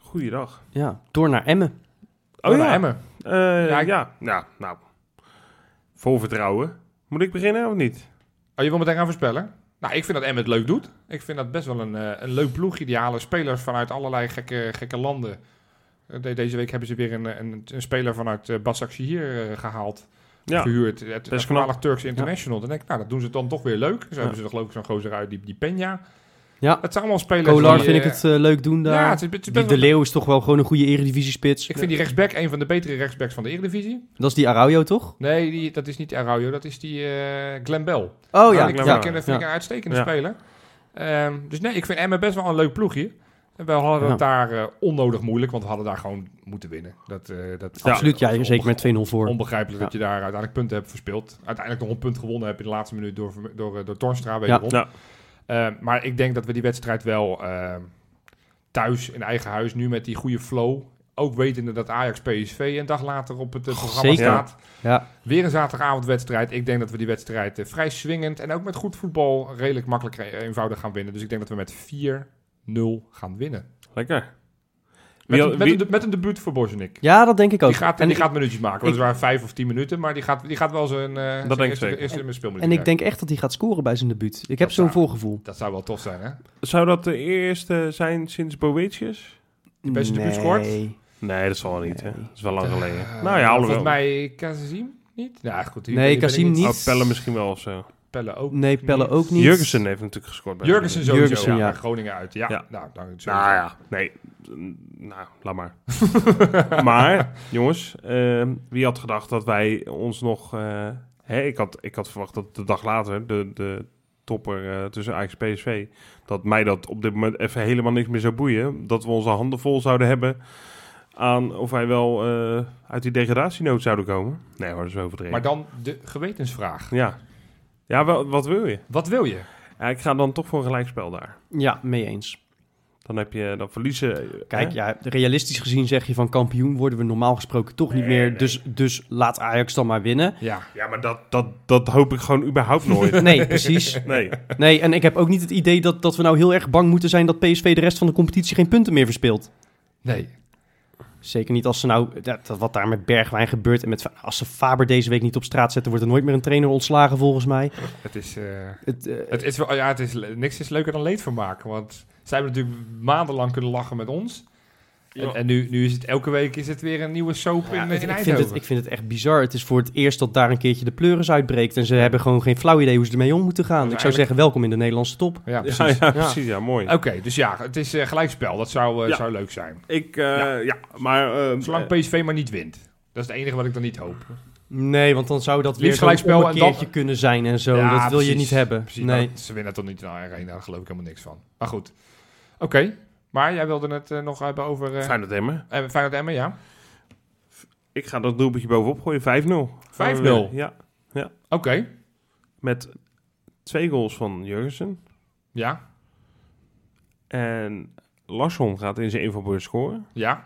[SPEAKER 1] goeiedag.
[SPEAKER 2] Ja, door naar Emmen.
[SPEAKER 1] Oh
[SPEAKER 3] Nou,
[SPEAKER 1] ja,
[SPEAKER 3] Emmen.
[SPEAKER 1] Eh,
[SPEAKER 3] Ja,
[SPEAKER 1] ja,
[SPEAKER 3] ik-
[SPEAKER 1] ja. nou. Vol vertrouwen. Moet ik beginnen of niet?
[SPEAKER 3] Oh, je wil meteen gaan voorspellen? Nou, ik vind dat Emmen het leuk doet. Ik vind dat best wel een, eh, een leuk ploeg. Ideale spelers vanuit allerlei gekke, gekke landen. Eh, de- deze week hebben ze weer een, eh, een, een speler vanuit eh Basaksehir hier gehaald.
[SPEAKER 1] Ja,
[SPEAKER 3] Gehuurd. Het
[SPEAKER 1] knap.
[SPEAKER 3] het voormalig Turks International. Dan denk ik, nou, dat doen ze dan toch weer leuk. Zo hebben ze er geloof ik zo'n gozer uit, die, die Peña.
[SPEAKER 2] Ja.
[SPEAKER 3] Dat zijn allemaal spelers
[SPEAKER 2] Kolar
[SPEAKER 3] die,
[SPEAKER 2] vind ik
[SPEAKER 3] eh,
[SPEAKER 2] het eh, leuk doen daar.
[SPEAKER 3] Ja, het is, het is
[SPEAKER 2] Die
[SPEAKER 3] best
[SPEAKER 2] de
[SPEAKER 3] wel...
[SPEAKER 2] Leeuw is toch wel gewoon een goede eredivisiespits.
[SPEAKER 3] Ik vind die rechtsback een van de betere rechtsbacks van de Eredivisie.
[SPEAKER 2] Dat is die Araujo, toch?
[SPEAKER 3] Nee, die, dat is niet Araujo, dat is die eh Glenn Bell.
[SPEAKER 2] Oh
[SPEAKER 3] ja,
[SPEAKER 2] ja,
[SPEAKER 3] ik
[SPEAKER 1] Glenn
[SPEAKER 3] vind,
[SPEAKER 1] Bell.
[SPEAKER 2] ja.
[SPEAKER 3] ik- dat vind ik een uitstekende
[SPEAKER 1] Ja.
[SPEAKER 3] speler. Ehm, dus nee, ik vind Emmen best wel een leuk ploegje. En we hadden het daar eh, onnodig moeilijk, want we hadden daar gewoon moeten winnen. Dat, eh, dat,
[SPEAKER 2] absoluut. Ja,
[SPEAKER 3] dat is
[SPEAKER 2] zeker
[SPEAKER 3] onbe-
[SPEAKER 2] met 2-0 voor.
[SPEAKER 3] Onbegrijpelijk dat je daar uiteindelijk punten hebt verspeeld. Uiteindelijk nog een punt gewonnen heb in de laatste minuut door, door, eh, door Torstra wederom.
[SPEAKER 1] Ja.
[SPEAKER 3] Eh, maar ik denk dat we die wedstrijd wel eh, thuis in eigen huis, nu met die goede flow... Ook wetende dat Ajax PSV een dag later op het eh, programma
[SPEAKER 2] Zeker.
[SPEAKER 3] staat.
[SPEAKER 2] Ja.
[SPEAKER 3] Weer een zaterdagavondwedstrijd. Ik denk dat we die wedstrijd eh, vrij swingend en ook met goed voetbal redelijk makkelijk en eenvoudig gaan winnen. Dus ik denk dat we met 4-0 gaan winnen.
[SPEAKER 1] lekker.
[SPEAKER 3] Met,
[SPEAKER 1] Wie-
[SPEAKER 3] een, met,
[SPEAKER 1] wie-
[SPEAKER 3] een, de- met een debuut voor Bozenik.
[SPEAKER 2] ja, dat denk ik ook.
[SPEAKER 3] Die gaat,
[SPEAKER 2] en
[SPEAKER 3] die
[SPEAKER 2] ik-
[SPEAKER 3] gaat minuutjes maken. Weliswaar vijf of tien minuten, maar die gaat, die gaat wel zijn, eh zijn
[SPEAKER 1] denk ik
[SPEAKER 3] eerste,
[SPEAKER 1] zeker.
[SPEAKER 3] eerste speelminuut
[SPEAKER 2] en ik
[SPEAKER 3] krijgen.
[SPEAKER 2] denk echt dat hij gaat scoren bij zijn debuut. Ik heb
[SPEAKER 3] Dat
[SPEAKER 2] zo'n
[SPEAKER 3] zou-
[SPEAKER 2] voorgevoel.
[SPEAKER 3] Dat zou wel tof zijn, hè?
[SPEAKER 1] Zou dat de eerste zijn sinds Boetius?
[SPEAKER 2] Die
[SPEAKER 3] bij zijn debuut scoort?
[SPEAKER 1] Nee, dat zal wel niet. Hè.
[SPEAKER 2] Nee.
[SPEAKER 1] Dat is wel lang geleden.
[SPEAKER 3] Eh,
[SPEAKER 1] nou ja,
[SPEAKER 3] Volgens
[SPEAKER 1] alhoewel. Mij...
[SPEAKER 3] mij Kazim niet? Ja, goed. hier-
[SPEAKER 2] Nee,
[SPEAKER 3] hier ben ik
[SPEAKER 2] Kazim niet.
[SPEAKER 1] Oh, Pelle misschien wel of zo.
[SPEAKER 3] Pelle ook
[SPEAKER 2] Nee, Pelle
[SPEAKER 3] niet.
[SPEAKER 2] ook niet.
[SPEAKER 1] Jurgensen heeft natuurlijk gescoord. bij
[SPEAKER 3] Jurgensen sowieso.
[SPEAKER 2] Jurgensen,
[SPEAKER 3] ja,
[SPEAKER 2] ja.
[SPEAKER 3] bij Groningen uit. Ja,
[SPEAKER 1] Ja.
[SPEAKER 3] nou, dan sowieso.
[SPEAKER 1] Nou ja, nee. Nou, laat maar. [LAUGHS] maar, jongens, ehm, wie had gedacht dat wij ons nog... eh, hè, ik, had, ik had verwacht dat de dag later de, de topper eh, tussen Ajax en PSV. Dat mij dat op dit moment even helemaal niks meer zou boeien. Dat we onze handen vol zouden hebben aan of wij wel eh, uit die degradatienood zouden komen. Nee hoor, dat is overdreven.
[SPEAKER 3] Maar dan de gewetensvraag.
[SPEAKER 1] Ja, ja wel, wat wil je?
[SPEAKER 3] Wat wil je?
[SPEAKER 1] Ja, ik ga dan toch voor een gelijkspel daar.
[SPEAKER 2] Ja, mee eens.
[SPEAKER 1] Dan heb je dan verliezen. eh,
[SPEAKER 2] Kijk,
[SPEAKER 1] hè?
[SPEAKER 2] ja, realistisch gezien zeg je van kampioen worden we normaal gesproken toch niet meer. Dus, dus laat Ajax dan maar winnen.
[SPEAKER 3] Ja.
[SPEAKER 1] ja maar dat, dat, dat hoop ik gewoon überhaupt [LAUGHS]
[SPEAKER 3] [LAUGHS]
[SPEAKER 1] nooit.
[SPEAKER 2] Nee, precies.
[SPEAKER 1] Nee.
[SPEAKER 2] Nee, en ik heb ook niet het idee dat, dat we nou heel erg bang moeten zijn dat PSV de rest van de competitie geen punten meer verspeelt.
[SPEAKER 3] Nee.
[SPEAKER 2] Zeker niet als ze nou, dat, dat wat daar met Bergwijn gebeurt en met, als ze Faber deze week niet op straat zetten, wordt er nooit meer een trainer ontslagen volgens mij.
[SPEAKER 3] Het is, eh,
[SPEAKER 2] Het, eh,
[SPEAKER 3] het is, wel- ja, het is, le- niks is leuker dan leedvermaak. Want zij hebben natuurlijk maandenlang kunnen lachen met ons. En,
[SPEAKER 1] Ja.
[SPEAKER 3] en nu, nu is het elke week is het weer een nieuwe soap
[SPEAKER 2] ja, het-
[SPEAKER 3] in, in
[SPEAKER 2] ik, vind
[SPEAKER 3] Eindhoven.
[SPEAKER 2] het, ik vind het echt bizar. Het is voor het eerst dat daar een keertje de pleuris uitbreekt en ze hebben gewoon geen flauw idee hoe ze ermee om moeten gaan.
[SPEAKER 3] Dus
[SPEAKER 2] ik zou
[SPEAKER 3] eigenlijk-
[SPEAKER 2] zeggen, welkom in de Nederlandse top.
[SPEAKER 3] Ja,
[SPEAKER 1] Ja,
[SPEAKER 3] precies.
[SPEAKER 1] ja, precies. Ja, mooi.
[SPEAKER 3] Oké, dus ja, het is eh, gelijkspel. Dat zou, eh,
[SPEAKER 1] Ja.
[SPEAKER 3] zou leuk zijn.
[SPEAKER 1] Ik, eh, ja. maar... eh,
[SPEAKER 3] Zolang
[SPEAKER 1] eh,
[SPEAKER 3] PSV maar niet wint. Dat is het enige wat ik dan niet hoop.
[SPEAKER 2] Nee, want dan zou dat weer
[SPEAKER 3] Liefst
[SPEAKER 2] zo'n
[SPEAKER 3] gelijkspel en dan-
[SPEAKER 2] keertje kunnen zijn en zo.
[SPEAKER 3] Ja,
[SPEAKER 2] dat wil je
[SPEAKER 3] precies.
[SPEAKER 2] niet hebben.
[SPEAKER 3] Precies,
[SPEAKER 2] nee.
[SPEAKER 3] maar ze winnen toch niet in de arena, nou daar geloof ik helemaal niks van. Maar goed. Oké, maar jij wilde het eh, nog hebben over eh
[SPEAKER 1] Feyenoord Emmen.
[SPEAKER 3] eh, Feyenoord Emmen, ja?
[SPEAKER 1] Ik ga dat doelpuntje bovenop gooien. 5-0. Gaan we
[SPEAKER 3] 5-0?
[SPEAKER 1] weer. Ja.
[SPEAKER 3] Oké,
[SPEAKER 1] Met twee goals van Jurgensen.
[SPEAKER 3] ja,
[SPEAKER 1] En Larsson gaat in zijn invalbeurt scoren.
[SPEAKER 3] ja,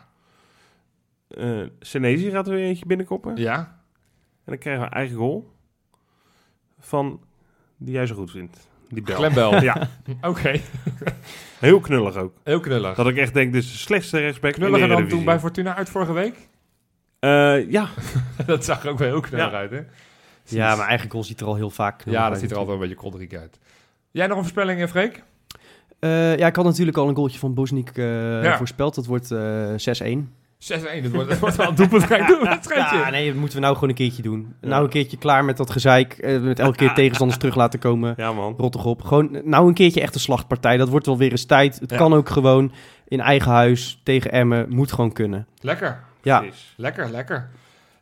[SPEAKER 1] Eh Senesi gaat er weer eentje binnenkoppen.
[SPEAKER 3] ja.
[SPEAKER 1] En dan krijgen we een eigen goal. Van die jij zo goed vindt. Die Bel.
[SPEAKER 3] Glembel.
[SPEAKER 1] [LAUGHS] Ja,
[SPEAKER 3] Oké,
[SPEAKER 1] heel knullig ook.
[SPEAKER 3] heel knullig.
[SPEAKER 1] Dat ik echt denk, dit is de slechtste rechtsback
[SPEAKER 3] Knulliger
[SPEAKER 1] in de
[SPEAKER 3] dan toen
[SPEAKER 1] Eredivisie.
[SPEAKER 3] bij Fortuna uit vorige week? [LAUGHS]
[SPEAKER 1] Eh, ja,
[SPEAKER 3] dat zag er ook wel heel knullig
[SPEAKER 1] Ja.
[SPEAKER 3] uit, hè?
[SPEAKER 2] Ja, maar eigen goal ziet er al heel vaak.
[SPEAKER 3] Ja, dat ziet er altijd wel een beetje kodderik uit. Jij nog een voorspelling, eh, Freek?
[SPEAKER 2] Eh, ja, ik had natuurlijk al een goaltje van Bosnik eh,
[SPEAKER 3] Ja.
[SPEAKER 2] voorspeld. Dat wordt eh 6-1.
[SPEAKER 3] 6-1, dat wordt, dat wordt wel een doelpunt. Ga ik doen, dat schijnt je.
[SPEAKER 2] Ja, nee, dat moeten we nou gewoon een keertje doen. Nou een keertje klaar met dat gezeik. eh, met elke keer tegenstanders terug laten komen.
[SPEAKER 1] ja man.
[SPEAKER 2] Rot toch op. Gewoon eh, nou een keertje echt een slachtpartij. Dat wordt wel weer eens tijd. Het
[SPEAKER 3] Ja.
[SPEAKER 2] kan ook gewoon in eigen huis tegen Emmen. Moet gewoon kunnen.
[SPEAKER 3] Lekker,
[SPEAKER 2] Ja,
[SPEAKER 1] Precies.
[SPEAKER 3] lekker, lekker.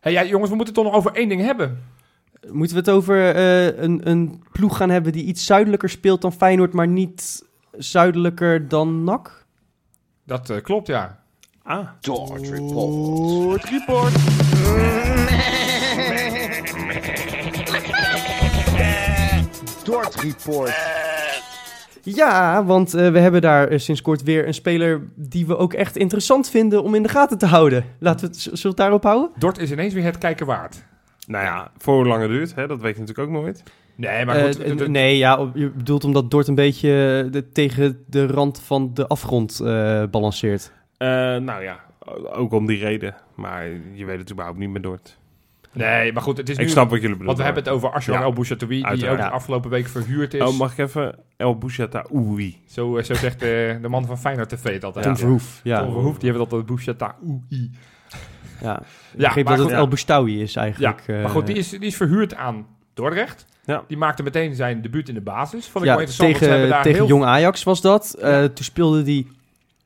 [SPEAKER 3] hey, ja, jongens, we moeten het toch nog over één ding hebben.
[SPEAKER 2] moeten we het over eh, een, een ploeg gaan hebben die iets zuidelijker speelt dan Feyenoord, maar niet zuidelijker dan NAC?
[SPEAKER 3] Dat eh, klopt, ja.
[SPEAKER 1] Ah,
[SPEAKER 4] Dort Report.
[SPEAKER 2] Ja, want eh, we hebben daar eh, sinds kort weer een speler die we ook echt interessant vinden om in de gaten te houden. Laten we het, z- zullen we het daarop houden?
[SPEAKER 3] Dort is ineens weer het kijken waard.
[SPEAKER 1] nou ja, voor hoe lang het duurt, hè, dat weet je natuurlijk ook nooit.
[SPEAKER 3] Nee, maar goed.
[SPEAKER 2] Eh,
[SPEAKER 3] de- de-
[SPEAKER 2] nee, ja, op- je bedoelt omdat Dort een beetje eh, de, tegen de rand van de afgrond eh, balanceert.
[SPEAKER 1] Eh, nou ja, o- ook om die reden. Maar je weet het überhaupt niet meer door. het-
[SPEAKER 3] nee, maar goed, het is nu...
[SPEAKER 1] Ik snap wat jullie bedoelen.
[SPEAKER 3] Want we hebben het over Arshon
[SPEAKER 1] Ja.
[SPEAKER 3] El Bouchatoui, die
[SPEAKER 1] Uiteraard.
[SPEAKER 3] ook de afgelopen week verhuurd is.
[SPEAKER 1] Oh, mag ik even? El Bouchataoui.
[SPEAKER 3] zo, eh, zo zegt eh, de man van Feyenoord TV dat altijd.
[SPEAKER 2] Tom Verhoef, ja.
[SPEAKER 3] Tom Verhoef, die hebben dat El Bouchatoui.
[SPEAKER 2] ja. Ik
[SPEAKER 3] Ja,
[SPEAKER 2] begreep
[SPEAKER 3] maar
[SPEAKER 2] dat het
[SPEAKER 3] goed.
[SPEAKER 2] El Boustawi is
[SPEAKER 3] Ja,
[SPEAKER 2] eigenlijk. eh,
[SPEAKER 3] maar goed, die is, die is verhuurd aan Dordrecht.
[SPEAKER 1] Ja.
[SPEAKER 3] Die maakte meteen zijn debuut in de basis. Vond ik
[SPEAKER 2] ja,
[SPEAKER 3] wel interessant, want ze hebben
[SPEAKER 2] tegen,
[SPEAKER 3] daar
[SPEAKER 2] tegen
[SPEAKER 3] heel...
[SPEAKER 2] Jong Ajax was dat. Eh, Toen speelde die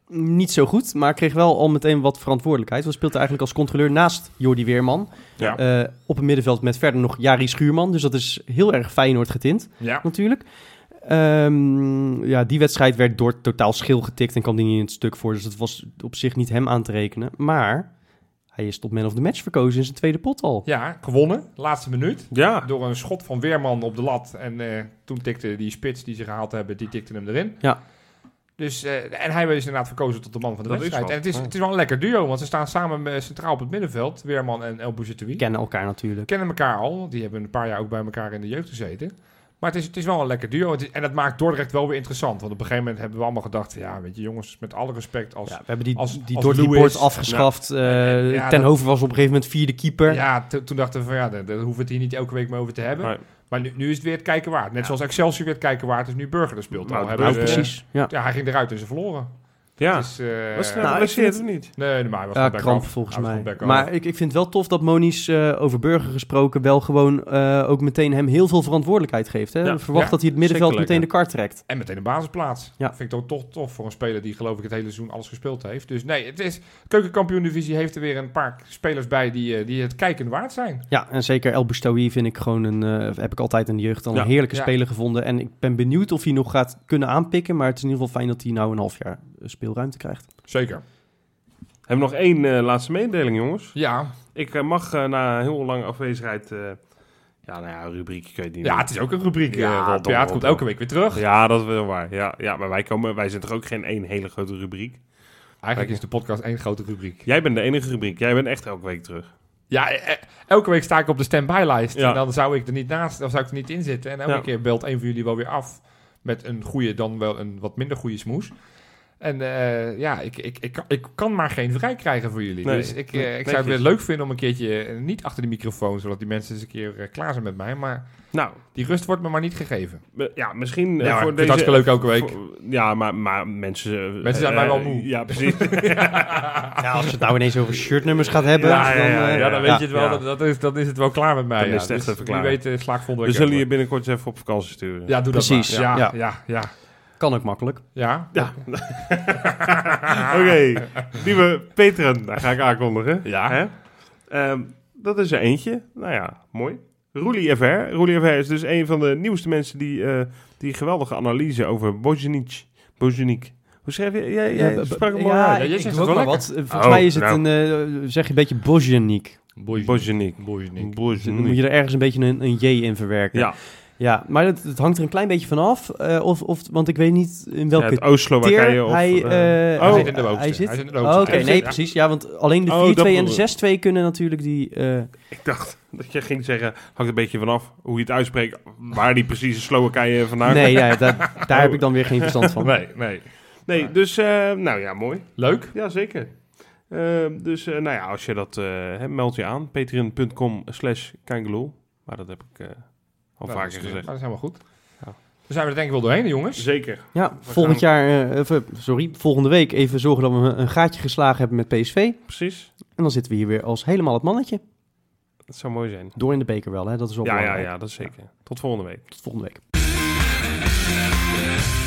[SPEAKER 2] niet zo goed, maar kreeg wel al meteen wat verantwoordelijkheid. Want speelde eigenlijk als controleur naast Jordi Weerman.
[SPEAKER 1] Ja.
[SPEAKER 2] Eh, op het middenveld met verder nog Jari Schuurman. Dus dat is heel erg Feyenoord getint,
[SPEAKER 3] Ja,
[SPEAKER 2] natuurlijk. Ehm, ja, die wedstrijd werd door totaal schil getikt en kwam die niet in het stuk voor. Dus dat was op zich niet hem aan te rekenen. Maar hij is tot man of the match verkozen in zijn tweede pot al.
[SPEAKER 3] ja, gewonnen. Laatste minuut.
[SPEAKER 2] Ah.
[SPEAKER 1] Ja,
[SPEAKER 3] Door een schot van Weerman op de lat. En eh, toen tikte die spits die ze gehaald hebben, die tikte hem erin.
[SPEAKER 2] Ja.
[SPEAKER 3] Dus, eh, en hij is inderdaad verkozen tot de man van de
[SPEAKER 1] Dat is
[SPEAKER 3] wedstrijd.
[SPEAKER 1] wat.
[SPEAKER 3] En het is,
[SPEAKER 1] Ja.
[SPEAKER 3] het is wel een lekker duo, want ze staan samen eh, centraal op het middenveld. Weerman en El Bouchatoui.
[SPEAKER 2] Kennen elkaar natuurlijk.
[SPEAKER 3] kennen elkaar al. Die hebben een paar jaar ook bij elkaar in de jeugd gezeten. Maar het is, het is wel een lekker duo. Het is- en dat maakt Dordrecht wel weer interessant. Want op een gegeven moment hebben we allemaal gedacht... Ja, weet je jongens, met alle respect als...
[SPEAKER 2] Ja,
[SPEAKER 3] Ja,
[SPEAKER 2] we hebben die,
[SPEAKER 3] als-
[SPEAKER 2] die
[SPEAKER 3] als
[SPEAKER 2] door die
[SPEAKER 3] Lewis-
[SPEAKER 2] bord afgeschaft. Eh,
[SPEAKER 3] ja,
[SPEAKER 2] Ten
[SPEAKER 3] dat-
[SPEAKER 2] Hoven was op een gegeven moment vierde keeper.
[SPEAKER 3] to- toen dachten we van... Ja, daar, daar hoeven we het hier niet elke week mee over te hebben.
[SPEAKER 1] maar,
[SPEAKER 3] Maar nu, nu is het weer het kijken waard. Net zoals Excelsior weer het kijken waard is nu Burger er speelt.
[SPEAKER 1] Nou,
[SPEAKER 3] Al
[SPEAKER 1] dat
[SPEAKER 3] hebben
[SPEAKER 1] is
[SPEAKER 2] Nou,
[SPEAKER 3] ze-
[SPEAKER 1] eh,
[SPEAKER 2] precies. Ja.
[SPEAKER 3] Ja, hij ging eruit en ze verloren.
[SPEAKER 1] Ja.
[SPEAKER 3] Het is, eh,
[SPEAKER 1] was hij
[SPEAKER 2] nou,
[SPEAKER 1] nou,
[SPEAKER 2] ik vind
[SPEAKER 1] geblesseerd of
[SPEAKER 2] het-
[SPEAKER 1] niet?
[SPEAKER 3] nee, nee, maar hij was
[SPEAKER 2] Ja,
[SPEAKER 3] van back-off.
[SPEAKER 2] kramp volgens
[SPEAKER 3] Hij was
[SPEAKER 2] mij.
[SPEAKER 3] van back-off.
[SPEAKER 2] Maar ik, ik vind het wel tof dat Monies, eh over Burger gesproken, wel gewoon eh, ook meteen hem heel veel verantwoordelijkheid geeft. Hè?
[SPEAKER 1] Ja,
[SPEAKER 2] Verwacht
[SPEAKER 3] ja,
[SPEAKER 2] dat hij het middenveld
[SPEAKER 1] zeker
[SPEAKER 2] meteen de kar
[SPEAKER 1] lekker.
[SPEAKER 2] trekt.
[SPEAKER 3] En meteen een basisplaats.
[SPEAKER 2] Ja.
[SPEAKER 3] Vind ik toch toch tof voor een speler die geloof ik het hele seizoen alles gespeeld heeft. Dus nee, het is, keukenkampioen divisie heeft er weer een paar spelers bij die, eh, die het kijken waard zijn.
[SPEAKER 2] Ja, en zeker El Boustoui vind ik gewoon een, eh, heb ik altijd in de jeugd al een
[SPEAKER 1] Ja.
[SPEAKER 2] heerlijke
[SPEAKER 3] Ja.
[SPEAKER 2] speler gevonden. En ik ben benieuwd of hij nog gaat kunnen aanpikken. Maar het is in ieder geval fijn dat hij nou een half jaar eh, speelruimte krijgt.
[SPEAKER 3] Zeker.
[SPEAKER 1] Hebben we nog één eh, laatste mededeling, jongens?
[SPEAKER 3] Ja,
[SPEAKER 1] Ik eh, mag eh, na heel lange afwezigheid... eh, ja, nou ja, rubriekje kun je het niet
[SPEAKER 3] ja
[SPEAKER 1] noemen.
[SPEAKER 3] het is ook een rubriek.
[SPEAKER 1] Ja,
[SPEAKER 3] Ja,
[SPEAKER 1] dom,
[SPEAKER 3] ja het
[SPEAKER 1] dom,
[SPEAKER 3] komt
[SPEAKER 1] dom.
[SPEAKER 3] elke week weer terug.
[SPEAKER 1] Ja, dat is wel waar. Ja, ja, maar wij, komen, wij zijn toch ook geen één hele grote rubriek?
[SPEAKER 3] Eigenlijk is de podcast één grote rubriek.
[SPEAKER 1] Jij bent de enige rubriek. Jij bent echt elke week terug.
[SPEAKER 3] Ja, eh, eh, elke week sta ik op de stand-by-lijst.
[SPEAKER 1] Ja.
[SPEAKER 3] En dan zou ik er niet naast, dan zou ik er niet in zitten. En elke
[SPEAKER 1] Ja.
[SPEAKER 3] keer belt een van jullie wel weer af met een goede, dan wel een wat minder goede smoes. En eh, ja, ik, ik, ik, ik kan maar geen vrij krijgen voor jullie.
[SPEAKER 1] Nee,
[SPEAKER 3] dus ik, eh,
[SPEAKER 1] nee,
[SPEAKER 3] ik zou het weer
[SPEAKER 1] netjes.
[SPEAKER 3] leuk vinden om een keertje eh, niet achter de microfoon, zodat die mensen eens een keer eh, klaar zijn met mij. Maar
[SPEAKER 1] Nou,
[SPEAKER 3] die rust wordt me maar niet gegeven.
[SPEAKER 1] eh, ja, misschien eh,
[SPEAKER 3] Ja, maar
[SPEAKER 1] voor
[SPEAKER 3] ik vind het
[SPEAKER 1] deze...
[SPEAKER 3] hartstikke leuk elke week.
[SPEAKER 1] voor- ja, maar, maar mensen... eh,
[SPEAKER 3] Mensen zijn mij wel
[SPEAKER 1] eh,
[SPEAKER 3] moe.
[SPEAKER 1] Ja,
[SPEAKER 2] [LAUGHS]
[SPEAKER 1] precies.
[SPEAKER 2] Ja, als je
[SPEAKER 1] [LAUGHS]
[SPEAKER 2] het nou ineens over shirtnummers gaat hebben.
[SPEAKER 1] Ja, ja, ja,
[SPEAKER 2] dan, eh,
[SPEAKER 3] ja, dan weet je het wel.
[SPEAKER 1] ja.
[SPEAKER 3] Dat, dat is, dan is het wel klaar met mij.
[SPEAKER 1] Dan
[SPEAKER 3] ja.
[SPEAKER 1] is het echt
[SPEAKER 3] Dus
[SPEAKER 1] even klaar.
[SPEAKER 3] Wie weet eh, sla ik volgende
[SPEAKER 1] We
[SPEAKER 3] week
[SPEAKER 1] zullen
[SPEAKER 3] over.
[SPEAKER 1] je binnenkort eens even op vakantie sturen.
[SPEAKER 3] Ja, doe dat
[SPEAKER 2] Precies,
[SPEAKER 3] maar.
[SPEAKER 2] ja.
[SPEAKER 3] Ja, ja, ja.
[SPEAKER 2] Kan ook makkelijk.
[SPEAKER 3] Ja,
[SPEAKER 1] Ja. [LAUGHS] Oké, lieve Petren, daar ga ik aankondigen.
[SPEAKER 3] Ja.
[SPEAKER 1] Hè? Ehm, dat is er eentje. Nou ja, mooi. Roelie FR. Roelie FR is dus een van de nieuwste mensen die eh, die geweldige analyse over Bozjanic. Bozjanic. Hoe schrijf je? Jij, jij
[SPEAKER 2] Ja, b-
[SPEAKER 1] sprak hem
[SPEAKER 2] b-
[SPEAKER 1] al
[SPEAKER 2] ja,
[SPEAKER 1] uit.
[SPEAKER 3] jij
[SPEAKER 2] ik
[SPEAKER 3] zegt
[SPEAKER 2] doe
[SPEAKER 3] het
[SPEAKER 2] ook
[SPEAKER 3] wel
[SPEAKER 2] maar wat. Eh, Volgens
[SPEAKER 1] Oh,
[SPEAKER 2] mij is het
[SPEAKER 1] nou.
[SPEAKER 2] een, eh, zeg je een beetje Bozjanik.
[SPEAKER 1] Bozjanic.
[SPEAKER 3] Boeiend.
[SPEAKER 2] Dan moet
[SPEAKER 1] Bozjanic.
[SPEAKER 2] je er ergens een beetje een, een J in verwerken.
[SPEAKER 1] Hm. Ja,
[SPEAKER 2] Ja, maar het, het hangt er een klein beetje van af. eh, of, of, want ik weet niet in welke
[SPEAKER 1] het Oost-Slowakije.
[SPEAKER 2] teer
[SPEAKER 1] of,
[SPEAKER 2] hij,
[SPEAKER 1] eh,
[SPEAKER 2] eh,
[SPEAKER 1] oh,
[SPEAKER 3] hij zit in de bovenste.
[SPEAKER 2] hij zit-
[SPEAKER 3] Hij zit in de
[SPEAKER 2] Oh,
[SPEAKER 3] bovenste.
[SPEAKER 2] Oké,
[SPEAKER 3] Hij zit-
[SPEAKER 2] nee,
[SPEAKER 3] ja.
[SPEAKER 2] precies. Ja, want alleen de 4-2
[SPEAKER 1] Oh, dat
[SPEAKER 2] en
[SPEAKER 1] bedoel
[SPEAKER 2] de 6-2 kunnen natuurlijk die... eh,
[SPEAKER 1] Ik dacht dat je ging zeggen, hangt een beetje vanaf hoe je het uitspreekt, waar die precies in Slowakije vandaan
[SPEAKER 2] nee, ja, daar,
[SPEAKER 1] [LAUGHS]
[SPEAKER 2] daar heb ik dan weer geen verstand van.
[SPEAKER 3] Nee, nee.
[SPEAKER 1] Nee, dus eh, nou ja, mooi.
[SPEAKER 3] Leuk.
[SPEAKER 1] Jazeker. Ehm, dus eh, nou ja, als je dat eh, hè, meld je aan. patreon.com slash kangeloel. Maar dat heb ik eh, al
[SPEAKER 3] Nou, dat is-
[SPEAKER 1] vaker gezegd.
[SPEAKER 3] Maar dat is helemaal goed.
[SPEAKER 1] Ja.
[SPEAKER 3] Dan zijn we er denk ik wel doorheen, jongens.
[SPEAKER 1] Zeker.
[SPEAKER 2] Ja, volgend jaar, eh, of, eh, sorry, volgende week even zorgen dat we een gaatje geslagen hebben met PSV.
[SPEAKER 1] Precies.
[SPEAKER 2] En dan zitten we hier weer als helemaal het mannetje.
[SPEAKER 1] Dat zou mooi zijn.
[SPEAKER 2] Door in de beker wel, hè? dat is wel
[SPEAKER 1] Ja, ja,
[SPEAKER 2] belangrijk.
[SPEAKER 1] ja, dat is zeker. Tot volgende week.
[SPEAKER 2] Tot volgende week.
[SPEAKER 5] Thank you.